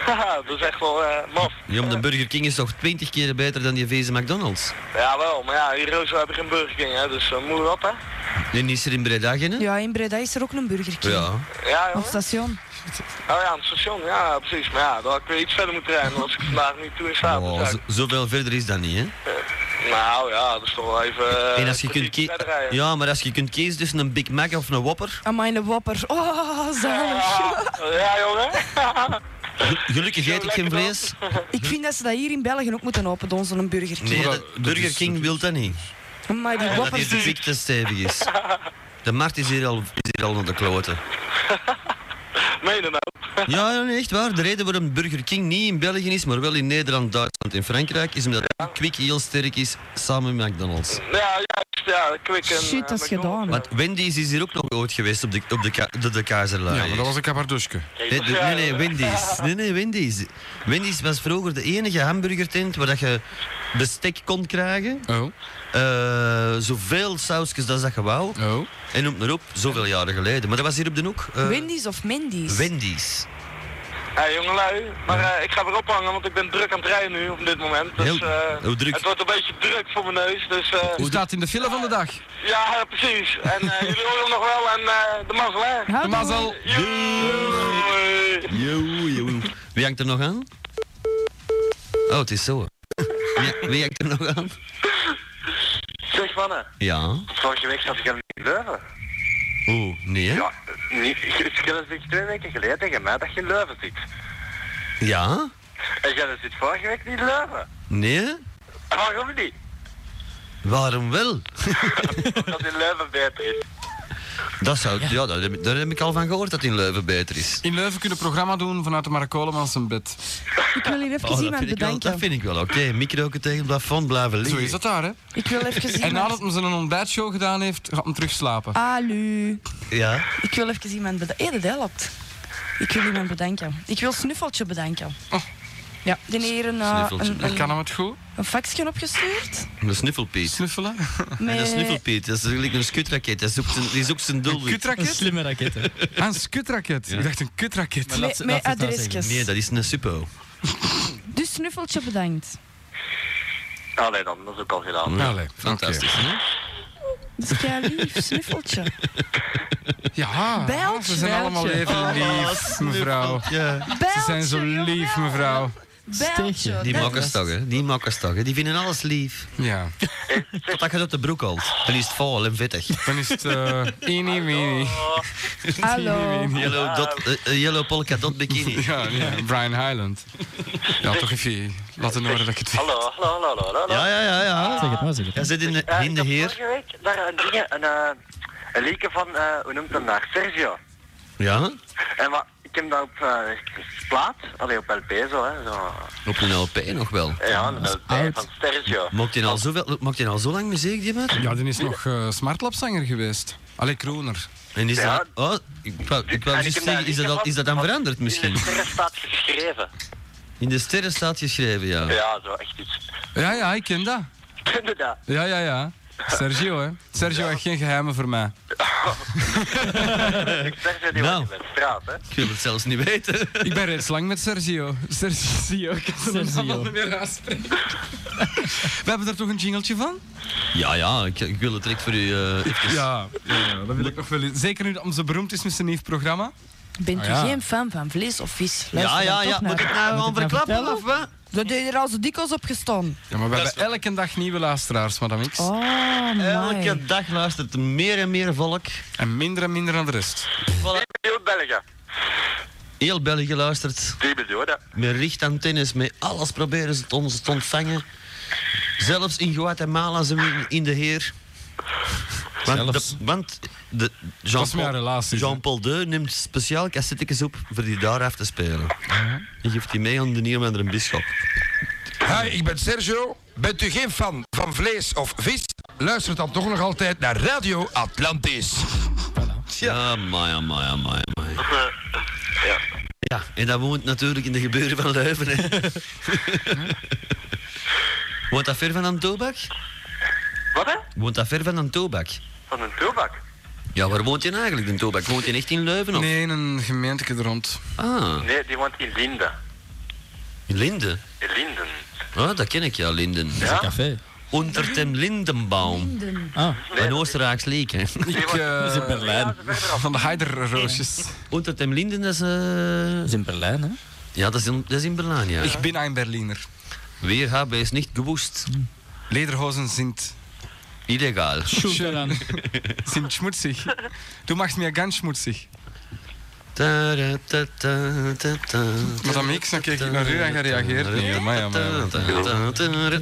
Haha, dat is echt wel eh maf. Ja, maar de Burger King is toch 20 keer beter dan die Vezen McDonald's? Jawel, maar ja, hier in Roosel heb ik geen Burger King, hè, dus eh, moet je op, hè? Nee, die is er in Breda geen? hè? Ja, in Breda is er ook een Burger King. Ja. Ja, Op station. Oh ja, aan het station, ja, precies. Maar ja, dan had ik weer iets verder moeten rijden, als ik vandaag niet toe in staat ben, Oh, zou zo- ik- zoveel verder is dat niet, hè? Nou ja, dat is toch wel even... eh, en als je kunt kwartiertje kie- verder rijden. ja, maar als je kunt kiezen tussen een Big Mac of een Whopper, Amai, de wapper. Oh, zalig. Ja, jongen. gel- gelukkig eet ik geen vlees. Ik vind dat ze dat hier in België ook moeten openen, zo'n Burger King. Nee, de Burger King wil dat niet. Amai, die Omdat wapper. hier de die- ziekte stevig is. De markt is hier al, is hier al naar de kloten. Meen je dat nou? Ja, ja, nee, echt waar. De reden waarom Burger King niet in België is, maar wel in Nederland, Duitsland en Frankrijk, is omdat Quick heel sterk is samen met McDonald's. Ja, juist, ja, kwik en... eh, Shit, dat is gedaan. Want Wendy's is hier ook nog ooit geweest op de, op de, ka- de, de Keizerlaai. Ja, maar dat was een kabarduske. Nee, de- nee, nee, Wendy's. Nee, nee, Wendy's. Wendy's was vroeger de enige hamburgertent waar dat je bestek kon krijgen. Oh. Eh, zoveel sausjes als dat je wou. Oh. En noem maar op, zoveel jaren geleden. Maar dat was hier op de hoek. eh, Wendy's of Mendy's? Wendy's. Hé jongelui, maar eh, ik ga weer ophangen, want ik ben druk aan het rijden nu op dit moment. Dus, Heel- eh, hoe druk? Het wordt een beetje druk voor mijn neus, dus... eh, U staat in de file van de dag. ja, ja, precies. En eh, jullie horen hem nog wel en eh, de mazzel, hè? De mazzel. Doei. Yo, yo. Wie hangt er nog aan? Oh, het is zo. Ja, wie hangt er nog aan? Zeg mannen, Ja. vorige week zat ik aan in Leuven. Oeh, nee hè? Ja, niet, ik heb het twee weken geleden tegen mij dat je in Leuven zit. Ja? En jij zit vorige week niet in Leuven. Nee? Waarom niet? Waarom wel? Omdat in Leuven beter is. Dat zou, ja. dat heb- daar heb ik al van gehoord dat het in Leuven beter is. In Leuven kunnen we een programma doen vanuit de Maracoleman zijn bed. Ik wil hier Oh, even dat, iemand vind ik wel, bedanken. dat vind ik wel oké. Micro ook tegen het plafond blijven Zo liggen. is dat daar, hè? Ik wil even Ah. iemand... En nadat hem zijn ontbijtshow gedaan heeft, gaat hem terug slapen. Alu. Ja. Ik wil even iemand bedanken. Hé, dat helpt. Ik wil iemand bedanken. Ik wil Snuffeltje bedanken. Oh. Ja, die heeft een, Ah, eh, Snuffeltje, een, dat een, kan hem het goed. een faxje opgestuurd. Een snuffelpiet. Snuffelen? Nee, Met- een snuffelpiet. Dat is eigenlijk een skutraket. Dat zoekt zijn, die zoekt zijn doelwit. kutraket? Een slimme raket, Ah, een skutraket. Ik dacht een kutraket. Maar laat ze- Met- laat ze het met nou zeggen. adresjes. Nee, dat is een suppo. Dus Snuffeltje bedankt. Allee dan, dat is ook al gedaan. Allee, fantastisch. Dat is Dus kei lief, Snuffeltje. Ja, Bijltje. ze Ah, zijn allemaal even Oh, lief, mevrouw. Ze zijn zo lief, mevrouw. Bijltje. Die dat- makkers toch, hè? Die makkers toch, hè? Die vinden alles lief. Ja. Totdat je het op de broek haalt. Dan is het vol en vettig. Dan is het... eh Ini, mini. Hallo. Yellow, dot, eh, eh, yellow polka dot bikini. Ja, ja, Brian Highland. Ja, toch even laten horen dat ik het vind. Hallo, hallo, hallo, hallo, hallo. Ja, ja, ja, ja. Zeg het maar, zeg het Hij zit in de, in de heer. Vorige week, daar een dingen, een, eh een liedje van, eh, hoe noemt hem daar, Sergio. Ja? En wat, ik heb dat op eh, plaat, allee op LP zo, hè, zo. Op een LP nog wel. Ja, een LP van Sergio. Maakt hij al, zoveel- eh, maakt hij al zo lang muziek, die man? Ja, die is nog eh smartlapzanger geweest. Allee, Kroner. En is Ja. dat... Oh, ik wou, ik wou En juist ik heb zeggen, is dat, al, is dat dan veranderd misschien? Er staat geschreven. In de sterren staat geschreven, ja. Ja, zo echt iets. Ja, ja, ik ken dat. Kende dat? Ja, ja, ja. Sergio, hè. Sergio heeft geen geheimen voor mij. Sergio die Nou. was in de straat, hè. Ik wil het zelfs niet weten. Ik ben reeds lang met Sergio. Sergio, ik kan zijn naam al niet meer uitspreken. We hebben daar toch een jingeltje van? Ja, ja, ik, ik wil het direct voor u... eh, even- Ja, ja, dat wil ik nog wel. Zeker nu dat ze beroemd is met zijn nieuw programma. Bent u Ah, ja. geen fan van vlees of vis? Ja, ja, ja. Moet ik nou gewoon verklappen, of wat? Dat deed er al zo dikwijls op gestaan. Ja, maar we hebben elke dag nieuwe luisteraars, madame X. Oh, my. Elke dag luistert meer en meer volk. En minder en minder aan de rest. Heel België. Heel België luistert. Die bedoel je, dat. Met richtantennes, met alles proberen ze het ons te ontvangen. Zelfs in Guatemala zijn we in- in de heer. Want, de, want de was mijn Jean-Paul relatie, Jean Deu neemt speciaal cassettekes op voor die daar af te spelen. Die geeft die mee aan de nieuwe en een bisschop. Hi, ik ben Sergio. Bent u geen fan van vlees of vis? Luister dan toch nog altijd naar Radio Atlantis. Ja, amai, amai, amai, amai. eh, Ja. Ja, en dat woont natuurlijk in de gebeuren van Leuven. Hè. woont dat ver van een tobak? Wat hè? Woont dat ver van een tobak? Van een tobak. Ja, waar woont je nou eigenlijk, de tobak? Woont je echt in Leuven? Of? Nee, in een gemeente er rond. Ah, Nee, die woont in Linde. in Linden. In Linden. Oh, dat ken ik, ja, Linden. Dat is een café. Unter dem Lindenbaum. Ah. Een Oostenrijks leek, hè. Ik, eh, is in Berlijn. Van de Heiderroosjes. Unter dem Linden, dat is... Dat is in Berlijn, hè? Ja, dat is in, dat is in Berlijn, ja. Ik ben een Berliner. Weer hebben is niet gewoest. Lederhosen sind... Illegaal. Schön. sind schmutzig. Du machst mir ganz schmutzig. Maar dan niks, dan kijk ik naar u en je reageert niet. Maar ja, maar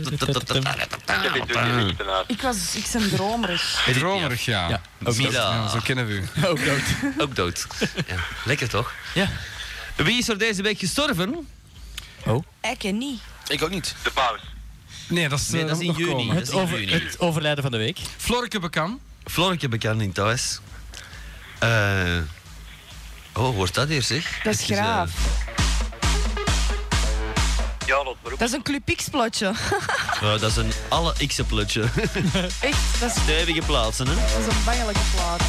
ja. Ik was, ik ben dromerig. Dromerig, ja. Ja, Dat is- Mila. ja, Zo kennen we u. Ook dood. Ook dood. Ja, lekker toch? Ja. Wie is er deze week gestorven? Ik en niet. Ik ook niet. De paus. Oh. Nee, dat is, Nee, eh, dat is in nog juni. komen. Dat is in juni. overlijden van de week. Florke Bekam. Florke bekend in thuis. Eh, oh, wordt dat hier zeg? Dat is Even, eh, graaf. Ja, dat beroep. Dat is een Club X-plotje. eh, dat is een alle x-plutje. Echt, dat is, Stevige plaatsen, hè? dat is een bangelijke plaat.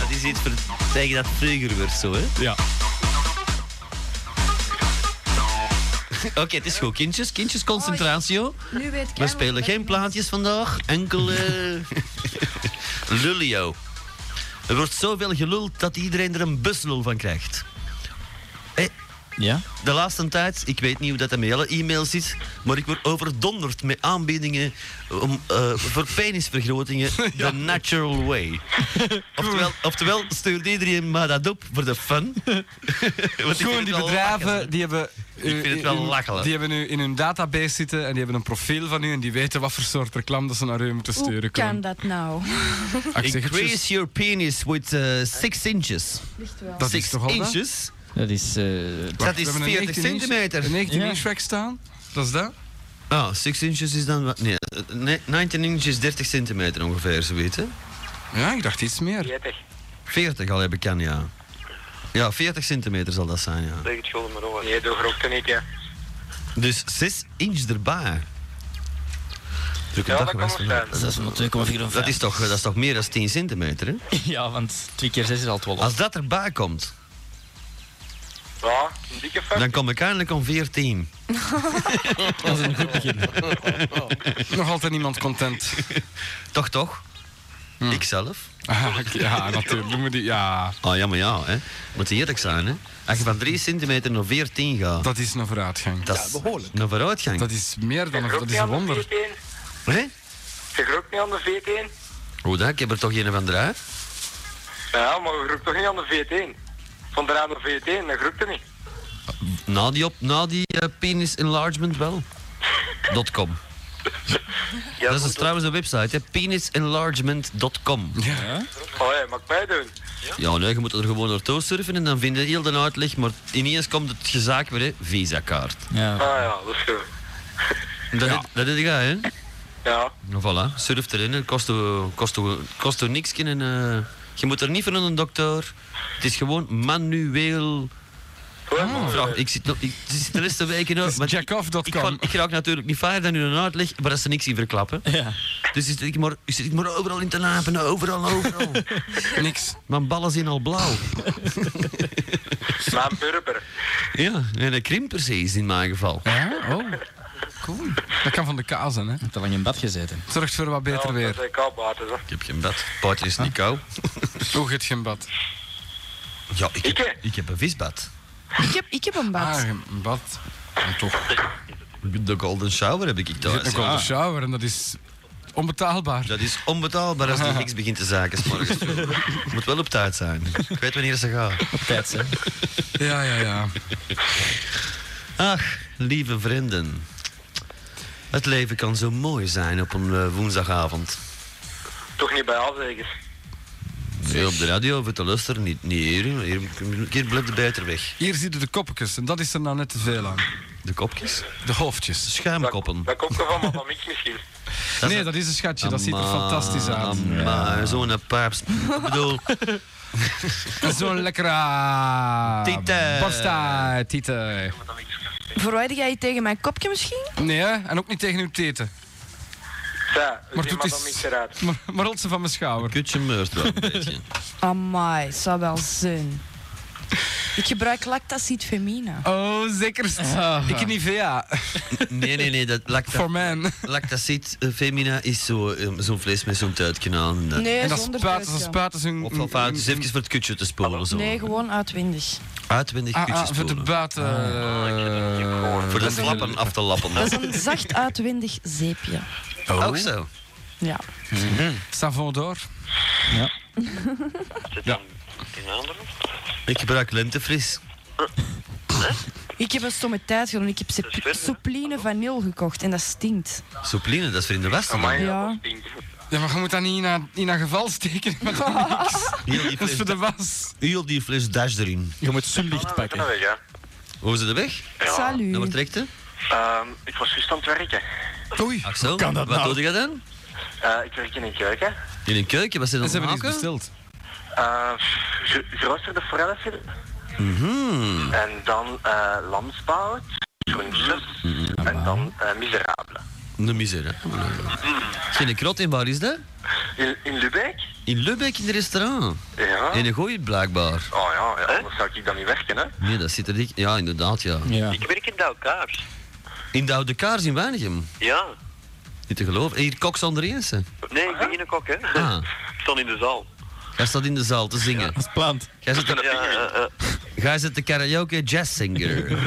Dat is iets voor, tegen dat vroeger werd zo, hè? Ja. Oké, het is goed. Kindjes, kindjes, concentratio. Nu weet ik We spelen geen plaatjes vandaag, enkel eh, Lulio. Er wordt zoveel geluld dat iedereen er een buslul van krijgt. Hé, ja? De laatste tijd, ik weet niet hoe dat in mijn hele e-mail zit, maar ik word overdonderd met aanbiedingen om, eh, voor penisvergrotingen the natural way. oftewel, oftewel stuurt iedereen maar dat op voor de fun. Want ik vind Gewoon het die wel lachen. bedrijven, Eh, die hebben... Ik vind het wel lachen. Die hebben nu in hun database zitten en die hebben een profiel van u en die weten wat voor soort reclame dat ze naar u moeten Hoe sturen. kan dat nou? Ah, ik zeg het juist. Increase your penis with eh, six inches. Dat is six toch al dat? inches? Dat is... eh, Dat is 40 centimeter. Een 19 inch rack staan. Dat is dat? Ah, 6 inches is dan wat. Nee, eh, nee, 19 inches is 30 centimeter ongeveer, ze weten. Ja, ik dacht iets meer. 40. 40 al heb ik kan, ja. Ja, 40 centimeter zal dat zijn, ja. Leg het gewoon maar over. Nee, doe grokte niet, hè. Dus 6 inch erbij. Druk Ja, dat kan wel zijn. Dat is Dat is toch, eh, dat is toch meer dan 10 centimeter, hè? Ja, want 2 keer 6 is al 12. Als dat erbij komt, Ja, een dikke fuck. dan kom ik eindelijk om 14. Dat is een goed begin. Nog altijd niemand content. Toch, toch? Ikzelf. Ah, ja, natuurlijk. Noem die, ja. Ah, ja, maar ja, hè. Moet eerlijk zijn, hè. Als je van 3 centimeter naar 14 gaat... Dat is een vooruitgang. Dat is een vooruitgang. Dat is meer dan... Grok Dat niet is aan een de wonder. 14. Hè? Je grokt niet aan de 14. Hoe dan? Ik heb er toch een van draai? Ja, maar je groekt toch niet aan de 14. Van de aan de 14, dat groekt er niet. Na die, op, na die eh, penis enlargement wel. Dot .com. dat is dus trouwens een website, hè? penisenlargement.com. Ja. Oh ja, mag mij doen. ja, nee, je moet er gewoon naartoe surfen en dan vind je heel de uitleg, maar ineens komt het gezaak weer, hè? Visa-kaart. Ah ja, dat is goed. Dat, is dat is ga, hè? Ja. Nou, voilà, surf erin, hè. kost u- kost u- kost u niks. En, eh, je moet er niet voor naar een dokter. Het is gewoon manueel. Ah. Vraag, ik zit, nog- ik ik zit de laatste weken nog. want ik- Ik, ga- ik raak natuurlijk niet verder dan u een uitleg, maar dat is er niks in verklappen. Dus zit ik, maar, zit ik maar overal in te napen, overal, overal. niks. Mijn ballen zijn al blauw. Maar burger. Ja, en een krimper is in mijn geval. Ja? Oh, cool. Dat kan van de kaas zijn, hè. Te lang in bad gezeten. Zorgt voor wat beter Dat weer. Ah. zijn kaalbaten, zo. Ik heb geen bad. Paardje is niet koud. Hoe gaat geen bad? Ja, ik heb, ik heb een visbad. Ik heb, ik heb een bad. Ah, een bad. En toch. De golden shower heb ik Je thuis. hebt een golden Ja. shower en dat is onbetaalbaar. ah. Dat is onbetaalbaar als er niks begint te zaken. 's morgens. Moet wel op tijd zijn. Ik weet wanneer ze gaan. Op tijd zijn. Ja, ja, ja. Ach, lieve vrienden. Het leven kan zo mooi zijn op een eh, woensdagavond. Toch niet bij al zeker. Nee, op de radio voor te luisteren, niet, niet hier. Hier, hier blijft de beter weg. Hier zie je de kopjes en dat is er nou net te veel aan. De kopjes? De hoofdjes. De schuimkoppen. Dat komt toch allemaal van Mick misschien? Nee, dat is een schatje. Dat ziet er fantastisch uit. Maar zo'n paps. Ik bedoel, Zo'n lekkere... Tieten. Pasta, tieten. Verwijder jij je tegen mijn kopje misschien? Nee, hè? en ook niet tegen uw teten. Ja, Maar doet eens... Maar, maar rolt ze van mijn schouder. Kutje meurt wel een beetje. Amai, zou wel zin. Ik gebruik lactacid femina. Oh, zeker. Ah. Ik heb niet VA. Nee, nee, nee. Dat lacta For men. Lactacid eh, femina is zo, eh, zo'n vlees met zo'n tuitkje aan. Nee, en dat zonder spuiten, tuitje. dat spuiten ze hun... Of, of uit, dus even voor het kutje te spoelen. Zo. Nee, gewoon uitwendig. Uitwendig Ah, kutjes ah, voor de buiten... Ah. voor de flappen af te lappen. Dat is een zacht uitwendig zeepje. Oh. Ook zo. Ja. Mhm. Hm. Savon door. Ja. ja. In andere? Ik gebruik lentefris. Ik heb een stomme tijd gedaan. Ik heb sep- soepline vanil gekocht en dat stinkt. Soepline, dat is voor in de westen. man. Ja. Ja, maar je moet dat niet naar, niet naar geval steken. Maar dat Heel die dat is fles, voor de was. heel die fles dash erin. Je moet Ah, zonlicht pakken. weg, ja. Hoe is het de weg? Salut. Nou, wat trekt hè? Ehm, ik was juist aan het werken. Oei. Axel, Kan dat wat nou? doe je dan? Eh, ik werk in een keuken. In een keuken, wat zit En dat ze aan hebben het iets maken? besteld. Eh, ge- geroosterde forellen Mhm. en dan eh lamsbout, groentjes en dan eh miserabele. De Mm. miserie. Geen krot in, waar is dat? In, in Lubeck? In Lubeck in het restaurant. Ja. In een gooi blijkbaar. Oh ja, ja, anders zou ik dan niet werken, hè? Nee, dat zit er dik. Ja, inderdaad, ja. Ja. Ik werk in de elkaars. In de Oude Kaars in Weinigem. Ja. Niet te geloven. Hier, Cox Andriessen. Nee, ik ben geen kok, hè. Ah, Ik stond in de zaal. hij staat in de zaal te zingen. Dat is plant. Jij zit de, Ja, eh, eh, jij zit de karaoke jazzzinger.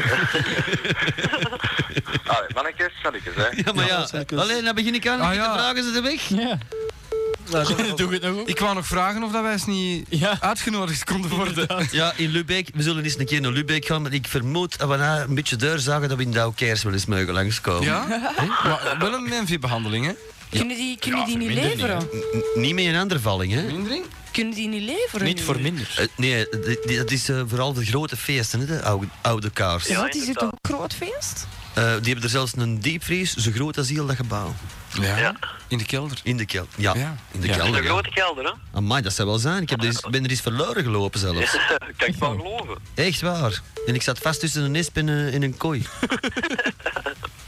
Allee, Ah, mannetjes, schatjes, hè? Ja, maar ja. Alleen, dan begin ik aan. Ah, en ja. Dan vragen ze de weg. Nou, Ja. Doe het nog op. Ik wou nog vragen of dat wij eens niet Ja. uitgenodigd konden worden. Ja, in Lubeek. We zullen eens een keer naar Lubeek gaan. Maar ik vermoed dat we na een beetje deur zagen dat we in Douw Keers wel eens mogen langskomen. Ja? Maar wel een menvierbehandeling, hè? Kunnen die, kunnen Ja, die niet vermindering, leveren? N- n- niet met een andere valling, hè? Mindering? Kunnen die niet leveren? Niet nu? voor minder. Eh, nee, d- d- dat is eh, vooral voor grote feesten, hè, de oude, oude kaars. Ja, Eh, Wat is het toch een groot feest? die hebben er zelfs een diepvries, zo groot als heel dat gebouw. Ja. Ja. In de kelder. In de kelder. Ja, Ja. in de Ja. in kelder. de Ja. grote kelder, hè. Amai, dat zou wel zijn. Ik heb er eens- ben er eens verloren gelopen zelfs. Kan ik wel geloven. Echt waar. En ik zat vast tussen een nisp en een, en een kooi.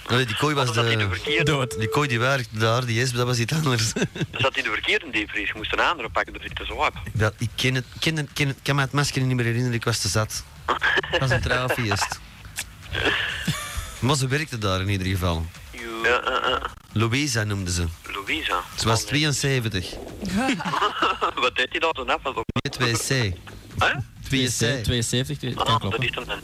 Allee, die kooi was Zat in de de... verkeerde, Dood. Die kooi die werkt daar, die is, dat was iets anders. zat in de verkeerde diepvries. Je moest een andere pakken, dat zit te zwaar. Dat, ik ken het, ken het, ken het- kan me het masker niet meer herinneren, ik was te zat. Dat was een trouwfeest. Maar ze werkte daar in ieder geval. Ja, eh, eh. Louisa noemde ze. Louisa. Ze was Oh, nee. 72. Wat deed hij dat dan af? Was op... 2C. Hè? 2C. 72, twee- kan Ah, dat kloppen. is dan een...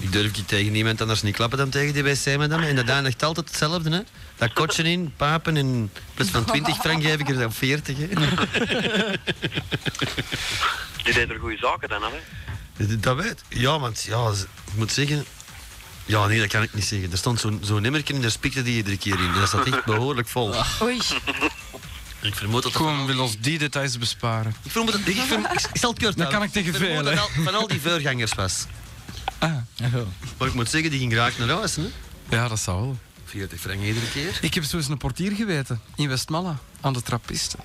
Ik durf je tegen niemand anders niet klappen dan tegen die wc madame. En dat eindigt altijd hetzelfde, hè. Dat kotje in, papen en plus van 20 frank geef ik er dan 40, hè. Die deed er goede zaken dan, hè. Dat weet Ja, want ja, z- ik moet zeggen... Ja, nee, dat kan ik niet zeggen. Er stond zo'n zo'n nummertje in, daar spiekte die iedere keer in. Dat zat echt behoorlijk vol. Ah. Oei. Ik vermoed dat... Gewoon wil ons die details besparen. Ik vermoed dat... Ik, verm- ik, ik zal het kort Dat houden. kan ik tegen vermoed veel, dat hè. al- van al die voorgangers was. Ja, wel. Maar ik moet zeggen, die ging graag naar huis, hè. Ja, dat zou wel. 40 frank iedere keer. Ik heb zo eens een portier geweten in Westmalle aan de trappisten.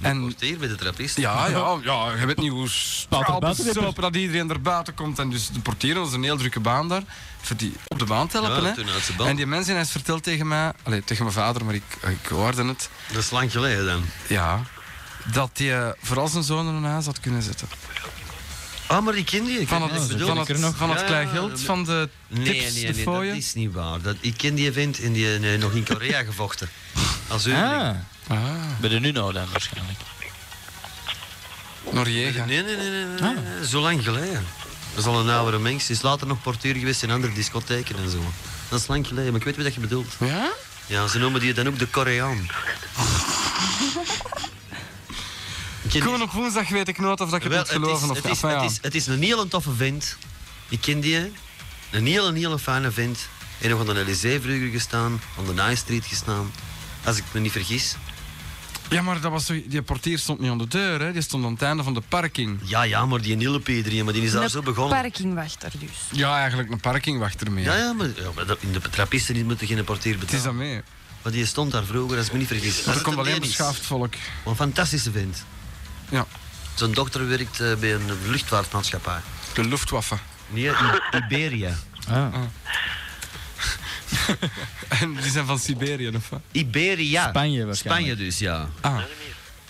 En Porteer bij de trappist. ja, ja, ja, je weet niet hoe Buiten- buiten- straal dat iedereen er buiten komt. En dus de portier, dat is een heel drukke baan daar, voor die op de baan te helpen. Ja, hè. toen uit zijn band. En die mensen, hij is verteld tegen mij, allee, tegen mijn vader, maar ik, ik hoorde het, Dat is lang geleden dan. ja, dat hij vooral zijn zoon in een huis had kunnen zetten. Ah, maar die ken die. Ik Van weet het, wat je bedoelt. van het, van het, Ja, klein ja, geld, ja. van de tips, Nee, nee, de nee, dat fooien. is niet waar. Dat, ik ken die vent en die heeft nog in Korea gevochten. Als u. Ah, Ah, bij de Nuno dan waarschijnlijk. Noriega. Nee, nee, nee, nee, Ah. nee, nee, nee, Zo lang geleden. Dat is al een oudere mens. Die is later nog portier geweest in andere discotheken en zo. Dat is lang geleden, maar ik weet wat je bedoelt. Ja? Ja, ze noemen die dan ook de Koreaan. Ik ken die- Gewoon op woensdag weet ik nooit of dat je Wel, het moet geloven het of is, niet. het, is, Enfin, ja. het, is, het is een hele toffe vent. Ik ken die. Een hele, hele fijne vent. En nog aan de Elysée vroeger gestaan, aan de Nine Street gestaan. Als ik me niet vergis. Ja, maar dat was, zo- die portier stond niet aan de deur, hè. die stond aan het einde van de parking. Ja, ja, maar die Nille P3, maar die is daar zo begonnen. Parkingwachter dus. Ja, eigenlijk een parkingwachter meer. Ja, ja, maar, ja, maar dat- in de trappisten die moeten geen portier betalen. Het is dat mee. Maar die stond daar vroeger, als ik me niet vergis. Er komt alleen schaaf. beschaafd volk. Een fantastische vent. Ja. Zijn dochter werkt eh, bij een luchtvaartmaatschappij. De Luftwaffe. Nee, I- Iberia. Ah. en die zijn van Siberië, of wat? Iberia. Spanje waarschijnlijk. Spanje dus, ja. Ah.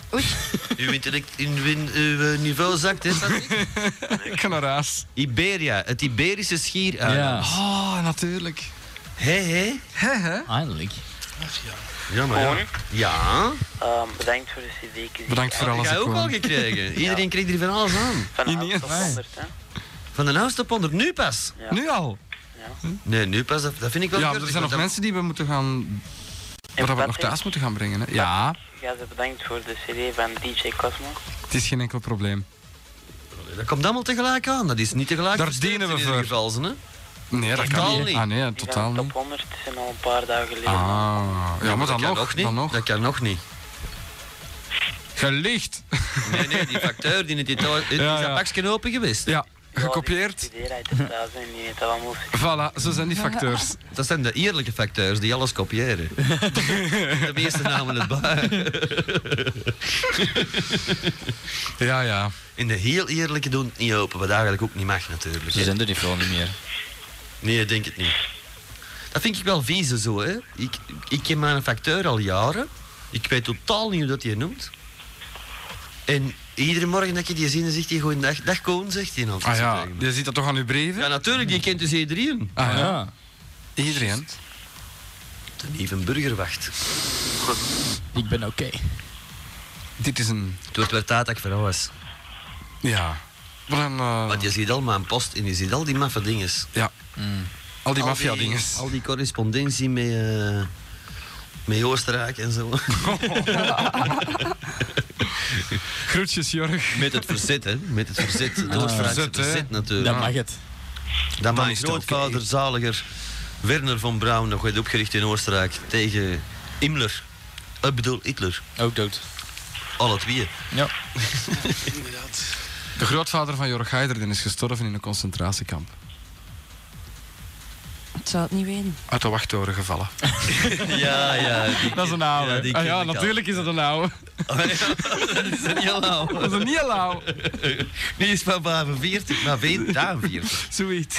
Uw, intellect, uw, in- uw eh, niveau zakt, hè, Ik ga naar huis. Iberia, het Iberische schiereiland. Oh, natuurlijk. Hé, hé. Hé, hé. Eindelijk. Ja, maar ja. Hoi. Ja. Ehm, bedankt voor de cd. Heb jij ook al gekregen? Iedereen kreeg er van alles aan. Van de oudste tot honderd, hè? Van de oudste ponder, nu pas. Nu al? Nee, nu pas, dat, dat vind ik wel Ja, maar keurig, er zijn want nog dat- mensen die we moeten gaan... Waar we nog thuis moeten gaan brengen, hè. Ja, Ja, ze bedankt voor de cd van DJ Cosmo. het is geen enkel probleem. Dat komt allemaal tegelijk aan, dat is niet tegelijk. Daar verstuurd dienen we in ieder voor. geval, hè? Nee, dat Totaal kan niet. niet. hè. Ah, nee, Die totaal van niet. top 100 zijn al een paar dagen geleden. Ah, ja, dat maar dan kan nog. niet. Dan nog. Dat kan nog niet. Gelicht. Nee, nee, die facteur die het dit is Ja, dat ja. pakje open geweest. Ja, gekopieerd. Voilà, zo zijn die facteurs. Dat zijn de eerlijke facteurs die alles kopiëren. de meeste namen het bij. ja, ja. In de heel eerlijke doen het niet open, wat eigenlijk ook niet mag natuurlijk. Ze zijn er niet veel niet meer. Nee, ik denk het niet. Dat vind ik wel vies zo, hè. Ik, ik ken mijn facteur al jaren. Ik weet totaal niet hoe dat hij noemt. En iedere morgen dat je die zin zegt hij goeiedag. Dag Koen, zegt hij altijd. Ah ja, je ziet dat toch aan uw brieven? Ja, natuurlijk, die kent dus iedereen. Ah ja. Iedereen. Een even burgerwacht. Ik ben oké. Dit is een... Hm. Het wordt weer tijd dat ik van was. Ja. Maar dan... eh, Want je ziet al mijn post en je ziet al die maffe dinges. Ja. Mm. Al die maffia-dinges. Al, die correspondentie met, eh, met Oostenrijk en zo. Groetjes, Jorg. Met het verzet, hè. Met het verzet. Door het Ah. Franse Verzet, hè. verzet, natuurlijk. Dan mag het. Dat mijn is het grootvader, zaliger Werner van Braun, nog werd opgericht in Oostenrijk tegen Himmler. Ik bedoel, Hitler. Ook dood. Alle twee. Ja. De grootvader van Jorg Heiderden is gestorven in een concentratiekamp. Ik zou het niet weten. Uit de wachttoren gevallen. Ja, ja. Dat is een oude. Ja, Ja, die ken ja ik al. Oh, natuurlijk is dat een oude. dat is een heel oude. Dat is een heel oude. Die is van 45, maar weet daar 40. Zoiets.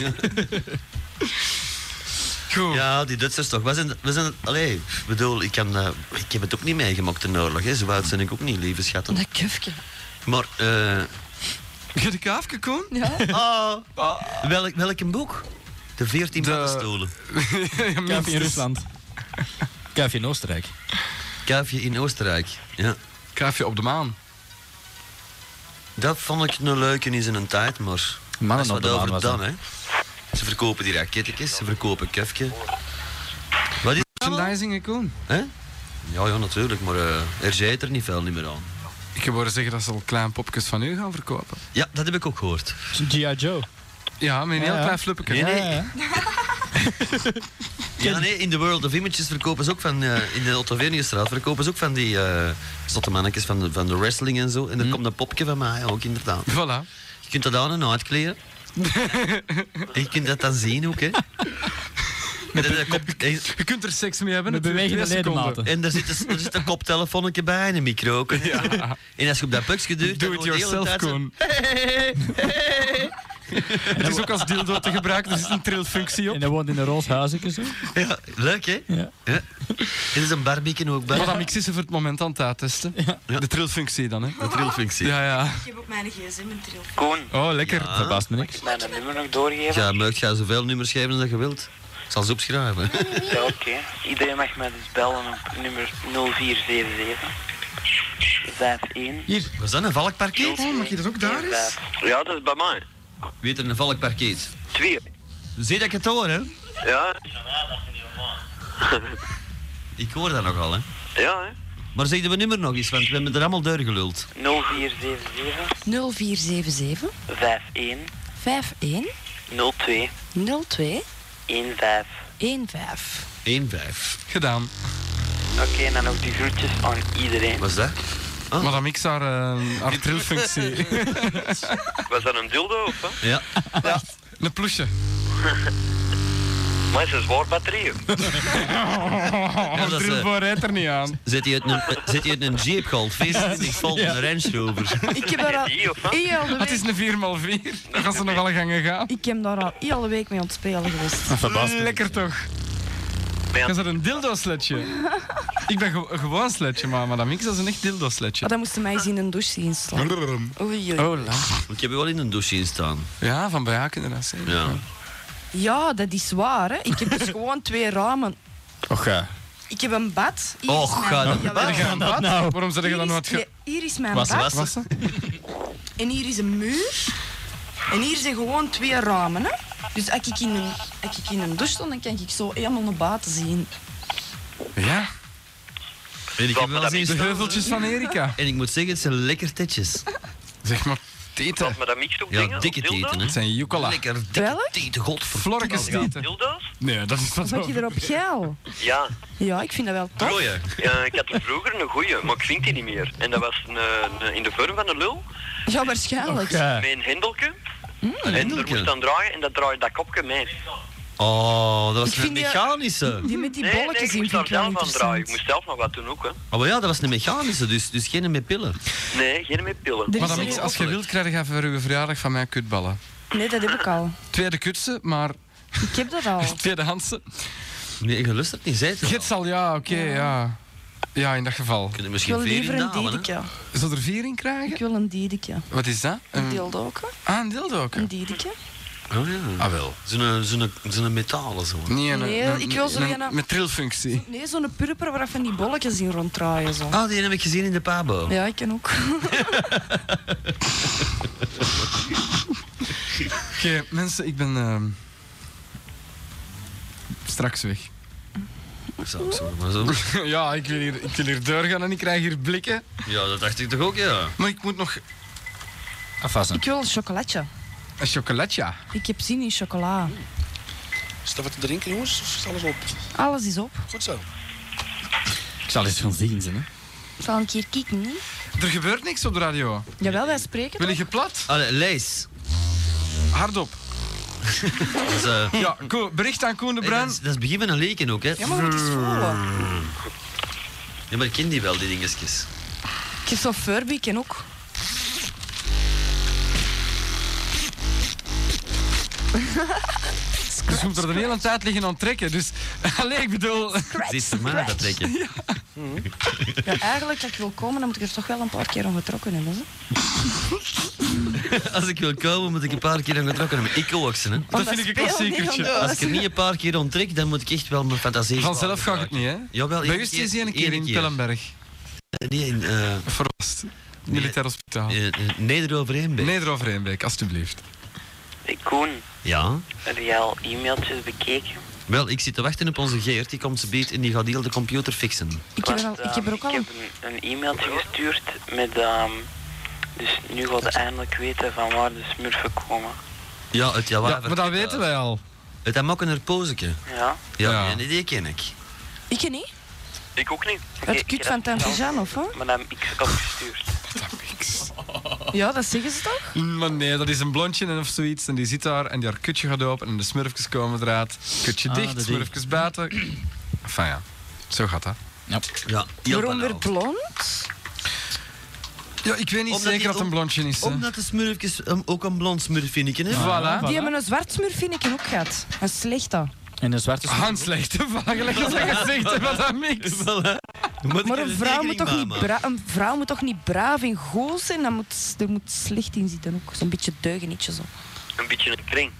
Ja, die Duitsers toch. We zijn, we zijn, allee, ik bedoel, ik, kan, eh, ik heb het ook niet meegemaakt in de oorlog. Hè. Zo oud ben ik ook niet, lieve schatten. Dat kufje. Maar, eh Je de kaafje, Koen? Ja. Ah. welk, welk een boek? De 14 paddenstoelen. Kuifje in Rusland. Kuifje in Oostenrijk. Kuifje in Oostenrijk, ja. Kuifje op de maan. Dat vond ik een leuke in zijn tijd, maar... Mannen dat op is de wat maan over was dan, dat. hè. Ze verkopen die raketjes, ze verkopen kefje. Wat is het allemaal? Merchandising, Koen. Hè? Ja, ja, natuurlijk, maar eh, er zit er niet veel niet meer aan. Ik heb horen zeggen dat ze al klein popjes van u gaan verkopen. Ja, dat heb ik ook gehoord. G.I. Joe. Ja, met een Ja, heel ja. klein fluppetje. Nee, nee. Ja, ja. Ja, nee, in de World of Images verkopen ze ook van... eh, in de Ottoveniestraat verkopen ze ook van die... eh zotte mannetjes van de, van de wrestling en zo. En er komt een popje van mij ook, inderdaad. Hm. Voilà. Je kunt dat aan en uitkleden. en je kunt dat dan zien ook, hè. En dat- dat komt- en- Je kunt er seks mee hebben. Met natuurlijk, bewegende twee seconden. ledematen. En daar zit, een, daar zit een koptelefoonnetje bij en een micro ook. En als je op dat pukje duwt... Do dan it hoor je de hele yourself, tijd zo- Koen. Het is ook als dildo te gebruiken, er zit een trillfunctie op. En hij woont in een roze huizen zo. Ja, leuk, hè? Ja. Er is een barbecue ook bij. Maar dat mix is ze voor het moment aan het uittesten. De trillfunctie dan, hè? De trillfunctie. Ja, ja. Ik heb ook mijn gsm in trilf. Koen, Oh, lekker. Ja. Verbaast me niks. mijn nummer nog doorgeven? Ja, mag jij zoveel nummers geven als dat je wilt. Ik zal ze opschrijven. Ja, oké. Iedereen mag mij dus bellen op nummer 0477. 51. Hier. Was dat een valkparkeet? Oh, mag je dat ook daar eens? Ja, dat is bij mij. Weet er een valkparkeet? Twee. Zie dat ik het hoor, hè? Ja, Ik hoor dat nogal, hè? Ja, hè? Maar zeg we nummer nog eens, want we hebben er allemaal deur geluld. 0477 0477 51 51 02 02 15. 1-5. 1-5. Gedaan. Oké, en dan ook de groetjes aan iedereen. Wat is dat? Oh. Maar dan mix haar, eh, haar trilfunctie. Was dat een dildo of wat? Ja. ja. Een ploesje. Maar het is een zwaar batterij. dat is, eh, Drillboor rijdt er niet aan. Zit hij uit een, eh, zit hij uit een Jeep gehaald? 24 volt Ja. een Range Rover. Ik heb daar al heel de Ah, Het is week... een 4x4. Dan gaan ze nog alle gangen gaan. Ik heb daar al heel de week mee aan het spelen geweest. Lekker toch? Is dat een dildo-sletje? Ik ben ge- een gewoon sletje, maar Madame Mix dat is een echt dildo-sletje. Maar dan moesten mij eens in een douche zien staan. Brrrrum. Oei, oei. Oh, lach. Want je hebt wel in een douche in staan. Ja, van bij haar inderdaad. zeker. Ja. Ja, dat is waar. Hè. Ik heb dus gewoon twee ramen. Och ga. Ik heb een bad. Hier Och, is mijn- ga dan Jawel. bad. Ga dan bad. Nou. Waarom zeg je Hier dan is- wat ge- nee, Hier is mijn Wassen, bad. wassen. En hier is een muur. En hier zijn gewoon twee ramen. Hè. Dus als ik, in een, als ik in een douche stond, dan kan ik zo helemaal naar buiten zien. Ja. En ik heb wel eens De heuveltjes van Erika. En ik moet zeggen, het zijn lekker tetjes. Zeg maar, teten. Maar dat mixed ook Ja, dingen? dikke Of dildo's? teten, hè. Het zijn Jucola. Lekker dikke teten, godverdomme. Florkes teten. Dildo's? Nee, dat is wat Zat je erop geil? Ja. Ja, ik vind dat wel tof. Rooie. Ja, ik had er vroeger een goeie, maar ik vind die niet meer. En dat was een, een- in de vorm van een lul, Ja, waarschijnlijk. eh, met een hendelke. Mm. en hendelke. er moest aan draaien en dat draaide dat kopje mee. Oh, dat was Ik een vind die- mechanische. Die met die Nee, nee, bolletjes ik in moest vind daar ik wel zelf aan draaien. Ik interessant. moest zelf nog wat doen ook, hè. Oh, maar ja, dat was een mechanische, dus, dus geen met pillen. Nee, geen met pillen. Madame Mix, als je wilt, krijg je voor uw verjaardag van mij kutballen. Nee, dat heb ik al. Tweede kutsen, maar Ik heb dat al. tweedehandse. Nee, je lust het niet, zei het al. Gids al, ja, oké, ja. Ja, in dat geval. Kun je Dus Ik wil misschien vier liever in een dalen, hè? diertje. Zou er vier in Ik krijgen? wil een diertje. Wat is dat? Een dildoke. Ah, een dildo ook. Een diertje. Oh ja. Ah, wel. Zo'n zo'n- zo'n metalen zo. Nee, een, Nee, een- ik wil zo een- geen- Met trilfunctie. Nee, zo'n purper waar van die bolletjes in ronddraaien. Zo. Ah, die heb ik gezien in de Pabo. Ja, ik ken ook. Oké, mensen, ik ben ehm, straks weg. Zo, zo, maar zo. ja, ik wil, hier, ik wil hier doorgaan en ik krijg hier blikken. Ja, dat dacht ik toch ook, ja. Maar ik moet nog ik wil een chocolatje. een chocolatje. Ik heb zin in chocola. Is dat wat te drinken, jongens? Of is alles op? Alles is op. Goed zo. Ik zal eens gaan zien, ze, hè. Zal ik hier kijken? hè? Er gebeurt niks op de radio. Jawel, wij spreken. Wil je geplat? Allee, lees. Hardop. Dat is, eh, Ja, Ko- bericht aan Koen hey, de dat, Bruin. is, dat is begin van een leken ook, hè. Ja, maar het is voelen. Ja, maar ik ken die wel, die dingetjes. Ik heb zo'n Furby, ik ken ook. Ze moet er de hele tijd liggen aan het trekken, dus... Allee, ik bedoel... Zit ze maar aan dat trekken. Ja, eigenlijk, als ik wil komen, dan moet ik er toch wel een paar keer aan getrokken hebben. Hè? Als ik wil komen, moet ik een paar keer aan getrokken hebben. Ik ook ze, hè. Dat vind ik een klassiekertje. Als ik er niet een paar keer onttrek, dan moet ik echt wel mijn fantasie... Vanzelf gaat het niet, hè? Jawel, Bij één u is die keer- een keer één in Pellenberg. Nee, in eh, Verrast. Militair hospitaal. eh, eh, Neder-Overheenbeek. Neder-Overheenbeek, alstublieft. Hey, Koen, Ja. heb jij al e-mailtjes bekeken? Wel, ik zit te wachten op onze Geert. Die komt ze beet en die gaat heel de computer fixen. Ik heb, er al, Want, ik heb er ook ehm, al een... ik heb een, een e-mailtje gestuurd met... ehm, dus nu gaat je eindelijk weten van waar de smurfen komen. Ja, het Ja, Jawara. maar dat weten wij al. Het Amokkener Pozeke. Ja? Ja, Ja. nee, die ken ik. Ik ken niet. Ik ook niet. Ik- Het ik kut heb van dat Tante Jeanne, of wat? Maar dan heb ik ze opgestuurd. Ja, dat zeggen ze toch? Mm, Maar nee, dat is een blondje en of zoiets. En die zit daar en die haar kutje gaat open. En de smurfjes komen eruit. Kutje Ah, dicht, dat smurfjes buiten. Enfin ja, zo gaat dat. Ja. Ja, heel Waarom weer banaal. blond? Ja, ik weet niet Omdat zeker die- dat het een blondje is. hè. Omdat de smurfjes ehm, ook een blond smurfinnetje hebben. Voilà. Die hebben een zwart smurf, vind ik, ook gehad. Een slechte. En een zwarte Ah, smurf. Hans legt de vagel en zijn gezicht en wat aan mix. Maar een vrouw, moet toch niet bra- een vrouw moet toch niet braaf en goed zijn? Dat moet, er moet slecht in zitten ook. Zo'n beetje deugenetje zo. Een beetje een kring.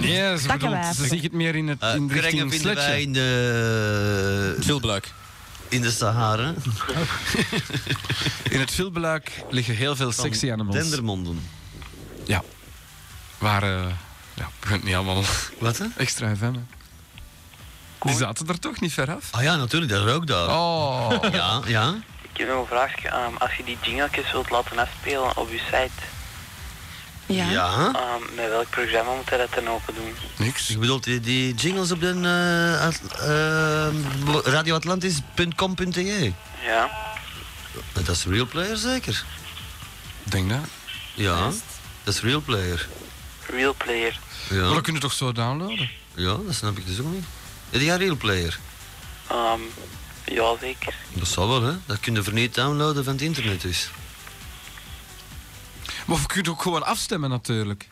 Nee, ze, Takken bedoelt, wij. ze ziet het meer in, het, in Krengen de richting Eh, vinden wij sletje. in de, Vulbluik. in de Sahara. In het filbeluik liggen heel veel van sexy animals. Dendermonden. Ja. Waar, eh ja, begint niet allemaal Wat, hè? extra FM. hè. Die zaten er toch niet ver af? Ah ja, natuurlijk, dat ook daar. Oh. Ja, ja. Ik heb nog een vraagje. ehm, als je die jingletjes wilt laten afspelen op je site, Ja. Ehm, met welk programma moet hij dat dan open doen? Niks. Ik bedoel, die, die jingles op de eh, at- eh, radioatlantis.com.te. Ja. Dat is Real Player zeker? Denk dat. Ja, dat is Real Player. Real Player. Ja. Maar dat kun je toch zo downloaden? Ja, dat snap ik dus ook niet. Heb jij Real Player? Ehm, ja, zeker. Dat zal wel, hè? Dat kun je voor niet downloaden van het internet dus. Maar je kunt ook gewoon afstemmen natuurlijk.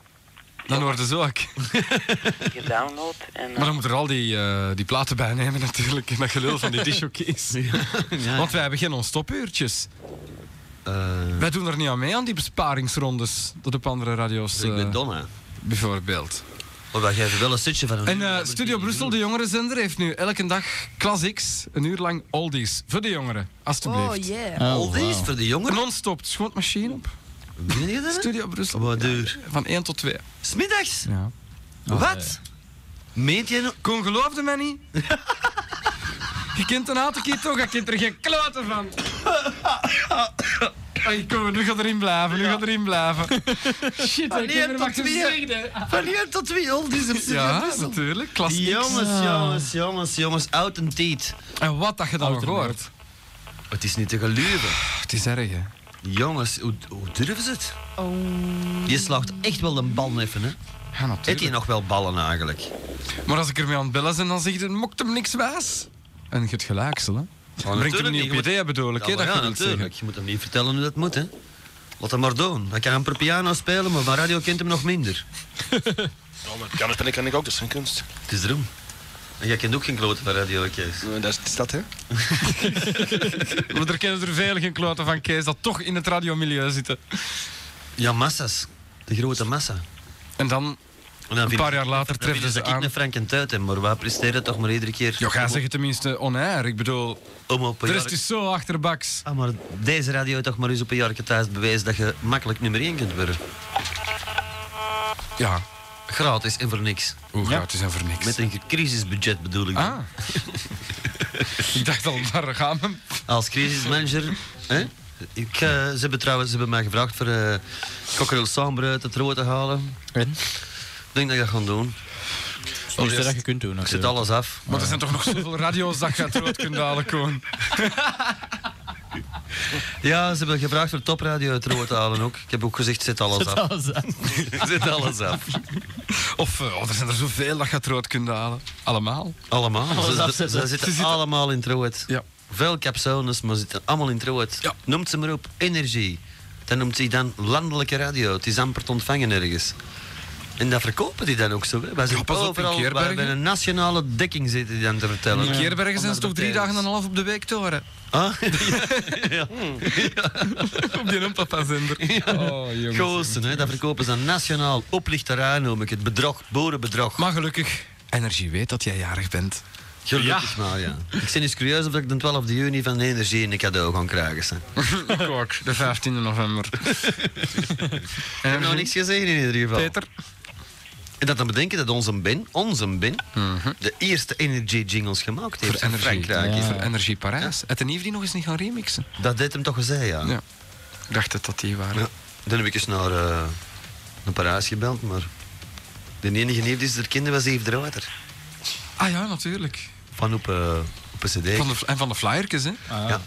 Dan wordt het zo ook. Gedownload en... ehm, Maar dan moet er al die, eh, die platen bij nemen natuurlijk. En dat gelul van die dishokies. Want wij hebben geen onstopuurtjes. Eh, Wij doen er niet aan mee aan die besparingsrondes. Dat op andere radio's. ik Oh, ben eh, Donna. Bijvoorbeeld. Maar wij geven wel een stukje van een En eh, Studio Brussel, de jongerenzender, heeft nu elke dag Class X een uur lang oldies. Voor de jongeren, alstublieft. Oh, yeah. Oh, Oldies wow. voor de jongeren? Non-stop, schoonmachine op. Meen je dat? Studio Brussel. Wat duur. Van 1 tot 2. Smiddags? Ja. Wat? Meent je nou? Kon geloofde mij niet. je kent een hatenkiet toch, je kent er geen kloten van. Ai, kom, nu gaat erin blijven, nu gaat erin blijven. Shit, Van ik één Ah, heb er tot maar twee. gezegd, Van 1 tot 2 oldies op Studio Ja, Brussel. natuurlijk. Klas X. Jongens, Ah. jongens, jongens, jongens. Oud en tiet. En wat dat je dan nog Ouder hoort. Het is niet te geluiden. Ah, Het is erg, hè. Jongens, hoe, hoe durven ze het? Oh. Je slaagt echt wel een bal even, hè? Ja, natuurlijk. Heb je nog wel ballen eigenlijk? Maar als ik ermee aan het bellen ben, dan zegt het, mokt hem niks wijs. En je het gelaaksel, hè. Brengt hem Oh, natuurlijk niet op je moet- idee, bedoel ik, Ja, hè, maar dat ja, je wilt natuurlijk. zeggen. Je moet hem niet vertellen hoe dat moet, hè. Laat hem maar doen. Hij kan een per piano spelen, maar van radio kent hem nog minder. Ja, maar piano spelen kan ik ook, dat is geen kunst. Het is erom. En jij kent ook geen klote van radio, Kees. Dat is dat, hè? Maar er kennen er veilig geen kloten van Kees dat toch in het radiomilieu zitten. Ja, massa's. De grote massa. En dan, een paar jaar later, treffen ze dat Ik aan. een Frank en Tuit, hè, maar wij presteren toch maar iedere keer. Ja, ga zeggen tenminste on-air. Ik bedoel, Om op de een rest jaar- is zo achterbaks. Ah, maar deze radio toch maar eens op een jaar thuis bewijst dat je makkelijk nummer 1 kunt worden. Ja. Gratis en voor niks. Hoe gratis en voor niks? Met een crisisbudget bedoel ik. dan. Ah. ik dacht al, daar gaan we. Als crisismanager. hè? Ik, eh, ze hebben trouwens ze hebben mij gevraagd voor eh Cockerel Sambre uit het rood te halen. Ik denk dat ik dat ga doen. Het mooiste dat je kunt doen, Ik zet natuurlijk. alles af. Maar er zijn toch nog zoveel radio's dat je het rood kunt halen, Koen. Ja, ze hebben gevraagd voor topradio uit het rood te halen ook. Ik heb ook gezegd, zet alles Zet af. alles aan. Zet alles af. Of, eh, oh, er zijn er zoveel dat je het rood kunt halen. Allemaal. Allemaal. Alles ze, ze, afzetten. ze zitten Ze zitten- allemaal in Trouwet. Ja. Veel capsules, maar ze zitten allemaal in Trouwet. Noemt ze maar op. Energie. Dat noemt zich dan landelijke radio. Het is amper te ontvangen ergens. En dat verkopen die dan ook zo. hè. Wij zijn Ja, pas op, in overal waar Keerbergen. bij een nationale dekking zitten die dan te vertellen. In Keerbergen zijn Omdat ze toch de drie tijdens- dagen en een half op de week te horen. Ah? ja. Op die papa-zender. Oh, jongens. Goossen, hè. dat verkopen ze dan nationaal. Oplichterij noem ik het. Bedrog, boerenbedrog. Maar gelukkig, Energie weet dat jij jarig bent. Gelukkig maar, ja. Ik ben eens curieus of ik de 12 juni van Energie een cadeau ga krijgen. zeg. Kort, de 15e november. Ik heb nog niks gezegd in ieder geval. Peter? En dat dan bedenken dat onze Ben, onze Ben, de eerste Energy Jingles gemaakt heeft. Mhm. Voor in energie, Frankrijk. voor energie Parijs. Het en heeft die nog eens niet gaan remixen. Dat deed hem toch gezegd, ja. Ja. Ik dacht het dat die waren. Ja. Dan heb ik eens naar, eh, naar Parijs gebeld, maar de enige neef die ze er kende was Eve Drouwer. Ah ja, natuurlijk. Van op, eh, op een cd. Van de, en van de flyerkes, hè? ja.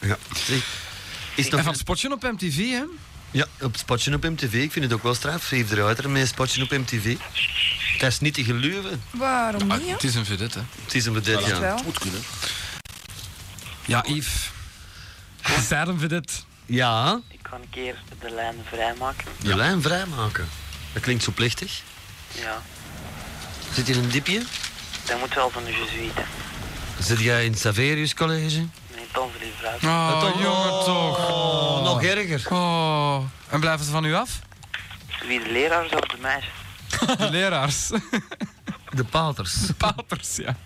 ja. Zeg, Is het nog- En van het spotje op MTV, hè? Ja, op het spotje op MTV. Ik vind het ook wel straf. Eve Drouwer met een spotje op MTV. Dat is niet te geloven. Waarom niet, Ah, Het is een vedette. hè. Ah, Het is een vedette, Echt ja. wel. Moet kunnen. Ja, Yves. Is daar een vedette? Ja, Ik kan een keer de lijn vrijmaken. de lijn vrijmaken. Dat klinkt zo plichtig. Ja. Zit hier een dipje? Dat moet wel van de Jesuiten. Zit jij in het Saverius College? Nee, dan voor die vrouw. Oh, toch- jongen toch. Oh, nog erger. Oh. En blijven ze van u af? Wie de leraars of de meisjes? De leraars. De paters. Paters, ja.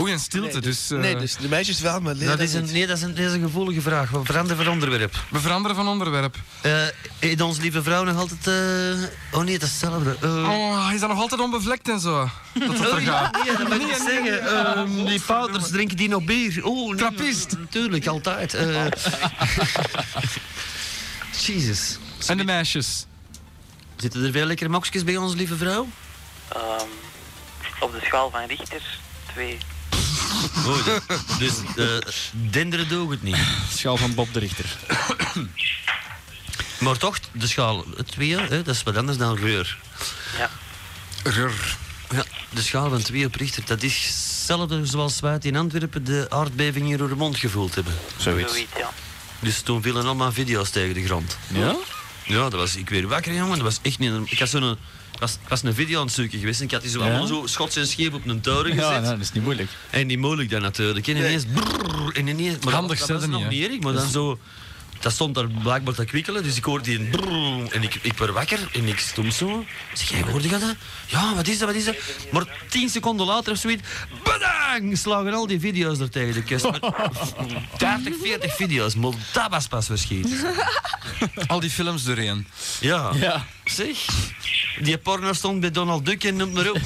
Oei, en stilte, dus... eh, Nee, dus de meisjes wel, maar leren Dat is een, nee, dat is een, dat is een gevoelige vraag. We veranderen van onderwerp. We veranderen van onderwerp. Eh eet ons lieve vrouw nog altijd... eh, Oh nee, dat is hetzelfde. Eh, Oh, is dat nog altijd onbevlekt en zo? Dat het er oh, ja, gaat. nee, dat moet ik niet zeggen. Eh, die paters, drinken die nog bier? Oh, nee, Trappist. Tuurlijk, altijd. Eh Jezus. En de meisjes. Zitten er veel lekkere mokjes bij ons, lieve vrouw? Ehm, op de schaal van Richter, twee. Goed. Dus eh denderen doe het niet. Schaal van Bob de Richter. Maar toch, de schaal 2, hè, dat is wat anders dan reur. Ja. Reur. Ja, de schaal van 2 op Richter, dat is hetzelfde zoals wij het in Antwerpen de aardbeving in Roermond gevoeld hebben. Zoiets. Zoiets, ja. Dus toen vielen allemaal video's tegen de grond. Ja? Ja, dat was, ik weer wakker, jongen. Dat was echt niet... norm- Ik, had zo'n, ik, was, ik was een video aan het zoeken geweest en ik had die zo Ja? allemaal zo schots en scheep op een toren gezet. Ja, nou, dat is niet moeilijk. En niet moeilijk dan natuurlijk. En ineens... brrrr, en ineens maar Handig dat, dat zetten was nog niet, niet hè? erg, maar dan zo... Dat stond daar blijkbaar te kwikkelen, dus ik hoorde die een brrrr, en ik, ik werd wakker en ik stond zo. Ik Zeg, jij hoorde je dat? Ja, wat is dat, wat is dat? Maar tien seconden later of zoiets, badang, slagen al die video's er tegen de kust. Maar 30, 40 video's, maar dat was pas verschiet. Al die films doorheen. Ja. Ja. Zeg, die porno stond bij Donald Duck en noem maar op.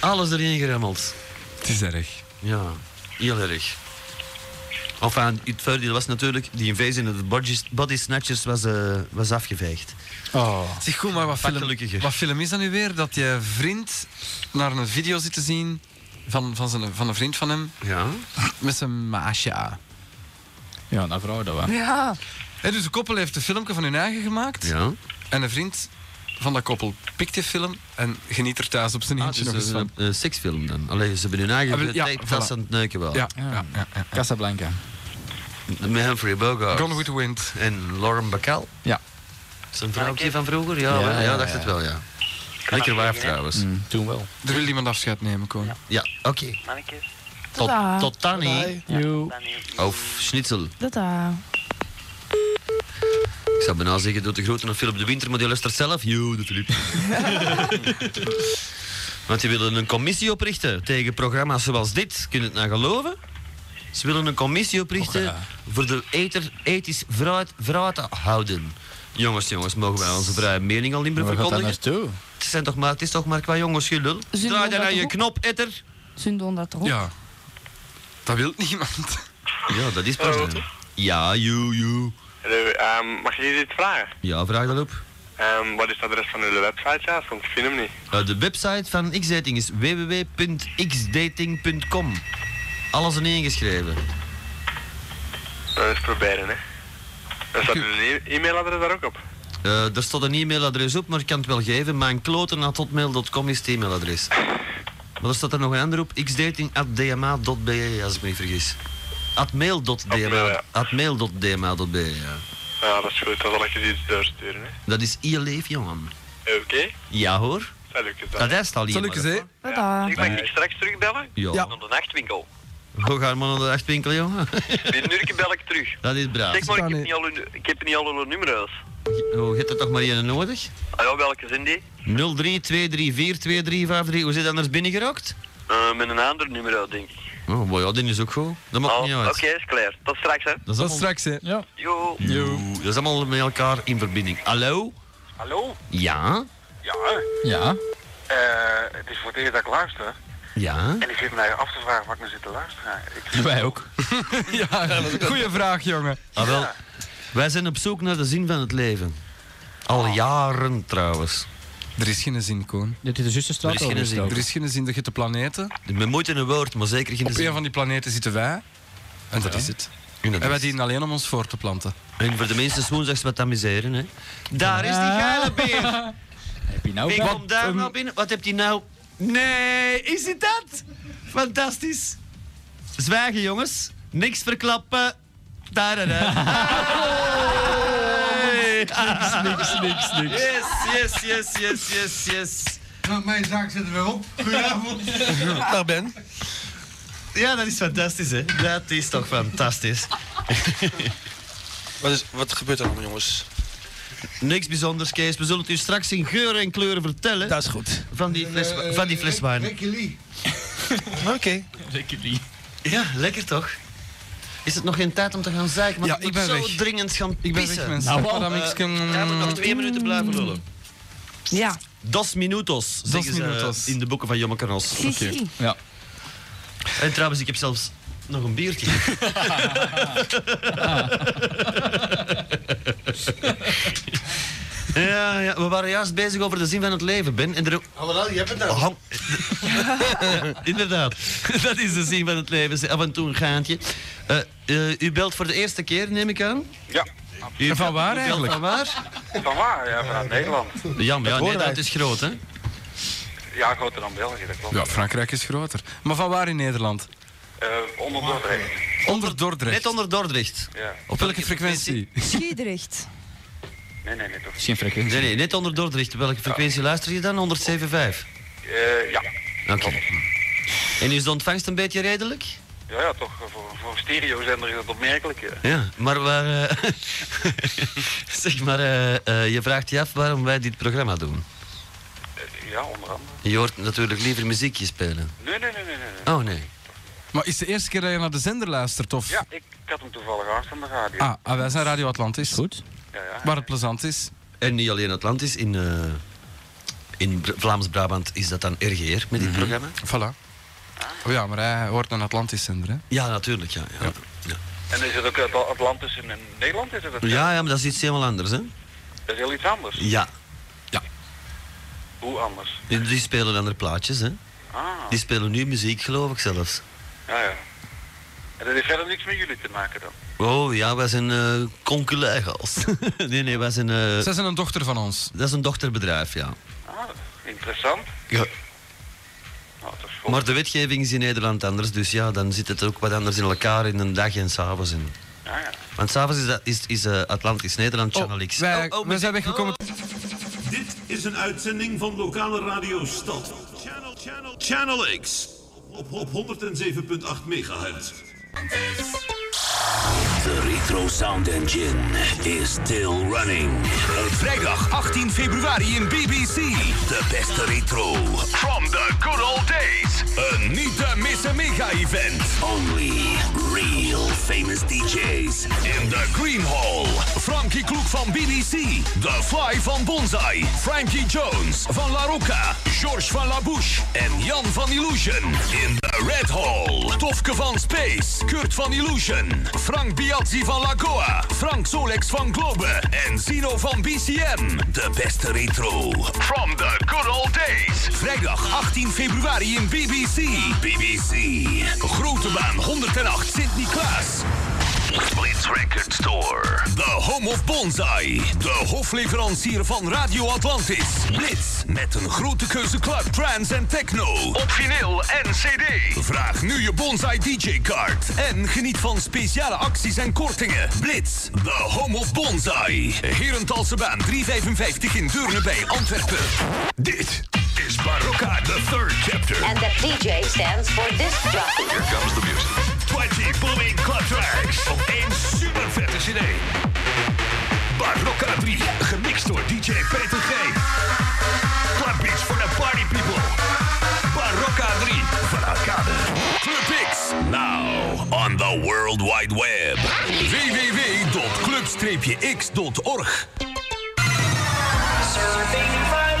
Alles erin gerammeld. Het is erg. Ja, heel erg. Enfin, het voordeel was natuurlijk, die invasie in de body- body snatchers was, eh, was afgeveegd. Oh. Zeg goed, maar wat Pak film, gelukkiger. wat film is dat nu weer? Dat je vriend naar een video zit te zien van, van, zijn, van een vriend van hem. Ja. Met zijn maasje. Ja, nou vrouw, Ah. dat wel. Ja. En dus een koppel heeft een filmpje van hun eigen gemaakt. Ja. En een vriend van dat koppel pikt die film en geniet er thuis op zijn Ah, eentje dus nog eens een, van. eh, seksfilm dan. Alleen ze hebben hun Ah, eigen wel, ja, tijd dat voilà. ze aan het neuken wel. Ja, ja, ja, ja, ja. Casablanca. Met Humphrey Bogart. Gone with the Wind. En Lauren Bacall. Ja. Zijn vrouwtje van vroeger? Ja, ja, ja, dacht het wel, ja. Lekker waar trouwens. toen wel. Er wil iemand afscheid nemen, Koen. Ja, Mm. oké. Mannetjes. Tot, Tada. tot dan, hè. Joe. Of schnitzel. Tada. Ik zou bijna zeggen, doet de grote naar Philip de Winter, maar die luistert zelf. Yo, de Philip. Want die willen een commissie oprichten tegen programma's zoals dit. Kun je het nou geloven? Ze willen een commissie oprichten voor de eter ethisch vrijheid vrij te houden. Jongens, jongens, mogen wij onze vrije mening al niet meer Maar waar gaat dat verkondigen? Het, zijn toch maar, het is toch maar qua jongens gelul. Zullen we Draai dan dat aan je ook- knop, etter. Ze doen dat toch ook? Ja. Dat wil niemand. Ja, dat is Oh, pas. Ja, joe, joe. Hallo, ehm, mag je eens iets vragen? Ja, vraag dat op. Ehm, wat is het adres van jullie website? Ja, want ik vind hem niet. Uh, de website van Xdating is www.xdating.com. Alles in één geschreven. Dat is proberen, hè. Er staat jullie e- e-mailadres daar ook op. Eh, er staat een e-mailadres op, maar ik kan het wel geven. Mijnkloten.hotmail.com is het e-mailadres. Maar er staat er nog een ander op. xdating.dma.be, e, als ik me niet vergis. Atmail.dma. Atmail.dma.be, e, ja. Ja, Ah, dat is goed. Dan zal ik je iets doorsturen, hè. Eh, Dat is je leef, jongen. Oké? Ja, hoor. Zal ik het dan? Dat is al hier. Ja. Ik mag ik straks terugbellen? Ja. Naar de nachtwinkel. Hoe gaan we naar de achtwinkel, jongen? Binnen een uurtje bel ik terug. Dat is braaf. Zeg maar, ik heb niet al hun, ik heb niet al hun nummers. Hoe je hebt er toch maar één nodig? Ah ja, welke zijn die? 03 234 2353. Hoe zit anders binnengeraakt? Eh, met een ander nummer, uit, denk ik. Oh, maar ja, die is ook goed. Dat maakt niet Oh, Oké, uit. is klaar. Tot straks, hè. Dat is allemaal- straks, hè. Ja. Jo. Yo. Dat is allemaal met elkaar in verbinding. Hallo? Hallo? Ja? Ja. Ja. Eh, het is voor het eerst dat ik luister. Ja? En ik zit mij af te vragen wat ik nu zit te luisteren. Ik... Wij ook. ja, goeie vraag, jongen. Ah, wel. Wij zijn op zoek naar de zin van het leven. Al Ah. jaren trouwens. Er is geen zin, Koen. Dit is de zusterstraat. Er is geen of zin. ook? Er is geen zin dat je de planeten... Met moeite een woord, maar zeker geen Op zin. een van die planeten zitten wij. En dat is het. dat En wij is- dienen alleen om ons voor te planten. En voor de mensen is woensdags wat amuseren, hè. Daar is die geile beer. Heb je nou Wie wat- komt daar ehm, nou binnen? Wat heb je nou? Nee, is het dat? Fantastisch. Zwijgen, jongens. Niks verklappen. Daar, daar, Niks, niks, niks, niks. Yes, yes, yes, yes, yes, yes. Nou, mijn zaak zitten we op. Goedenavond. Daar ben. Ja, dat is fantastisch, hè? Dat is toch fantastisch. Wat, is, wat gebeurt er allemaal, jongens? Niks bijzonders, Kees. We zullen het u straks in geuren en kleuren vertellen. Dat is goed. Van die fles, van die fles wijn. Ricky Lee. Oké. Ja, lekker toch? Is het nog geen tijd om te gaan zeiken? Want Ja, ik ik ben ben zo weg. dringend gaan Ik ben pissen. weg, mensen. Nou, Madame Eh, Xken- ja, we nog twee minuten blijven lullen. Ja. Dos minutos, Dos zeggen ze eh, minutos. in de boeken van Jomme Carnos. Oké. En trouwens, ik heb zelfs nog een biertje. ja, ja, we waren juist bezig over de zin van het leven, Ben. En er... Oh, Hallo, je hebt het daar. Inderdaad, dat is de zin van het leven. Ze- Af en toe een gaantje. Eh, eh, u belt voor de eerste keer, neem ik aan? Ja. U Van waar u belt eigenlijk? Van waar? Van waar? Ja, vanuit Nederland. Jammer, ja, Dat nee, horen wij. dat is groot, hè? Ja, groter dan België, dat klopt. Ja, Frankrijk is groter. Maar van waar in Nederland? Eh, onder Dordrecht. Onder Dordrecht. Net onder Dordrecht. Ja. Op welke frequentie? Schiedrecht. Nee, nee, nee, toch. Geen frequentie. Nee, nee, net onder Dordrecht. Op welke frequentie luister je dan? 107,5? Eh, ja. Oké. En is de ontvangst een beetje redelijk? Ja, ja, toch. eh, Voor, voor een stereozender is dat opmerkelijk. Ja. Ja, maar waar, eh, zeg maar, eh, eh, je vraagt je af waarom wij dit programma doen. Eh, ja, onder andere. Je hoort natuurlijk liever muziekje spelen. Nee, nee, nee, nee. nee. nee. Oh nee. Maar is de eerste keer dat je naar de zender luistert? Of? Ja, ik, ik had hem toevallig aan van de radio. Ah, ah, wij zijn Radio Atlantis. Goed. Ja, ja. Waar het plezant is. En niet alleen Atlantis, in, eh, in Br- Vlaams-Brabant is dat dan RGR met dit programma? Mhm. Voilà. Oh ja, maar hij hoort een Atlantis zender, hè? Ja, natuurlijk, ja. Ja, En is het ook uit Atlantis in, in Nederland? Is het dat? ja, ja maar dat is iets helemaal anders, hè? Dat is heel iets anders. Ja. Hoe anders? Die spelen andere plaatjes, hè? Ah, Die spelen nu muziek, geloof ik zelfs. ja, ja. En dat heeft verder niks met jullie te maken dan? Oh ja, wij zijn eh conculega's. nee, nee, wij zijn... eh, Zij zijn een dochter van ons. dat is een dochterbedrijf, ja. Ah, interessant. ja. Nou, dat is goed. Maar de wetgeving is in Nederland anders, dus ja, dan zit het ook wat anders in elkaar in een dag en s'avonds. in. Ah, ja. Want s'avonds is, dat- is, is eh, Oh, Atlantisch Nederland Channel X. Oh, Wij, Oh, wij zijn weggekomen. Dit is een uitzending van lokale radio Stad. Channel, channel, channel X. Op, op 107.8 megahertz. De Retro Sound Engine is still running. Vrijdag 18 februari in BBC. De beste retro. From the good old days. Een niet te missen mega-event. Only real famous DJs. In the Green Hall. Frankie Kloek van BBC. The Fly van Bonsai. Frankie Jones van La Rocca. George van Labouche. En Jan van Illusion. In the Red Hall. Tofke van Space. Kurt van Illusion. Frank Biazzi van Lagoa. Frank Solex van Globe. En Zino van BCM. De beste retro. From the good old days. Vrijdag 18 februari in BBC. BBC. Grote baan 108 Sint-Niklaas. Blitz Record Store. The home of Bonsai. De hofleverancier van Radio Atlantis. Blitz met een grote keuze qua trance en techno. Op vinyl en cd. Vraag nu je Bonsai DJ-kaart. En geniet van speciale acties en kortingen. Blitz, the home of Bonsai. Herenthalse baan 355 in Deurne bij Antwerpen. Dit is Barocca, the third chapter. And the DJ stands for this jockey. Here comes the music. 20 booming club tracks op één super vette CD. Barocca 3, gemixt door DJ Peter G. Club beats for the party people. Barocca 3 van Arcade. Club X, now on the World Wide Web. www.club-x.org. Surfing fun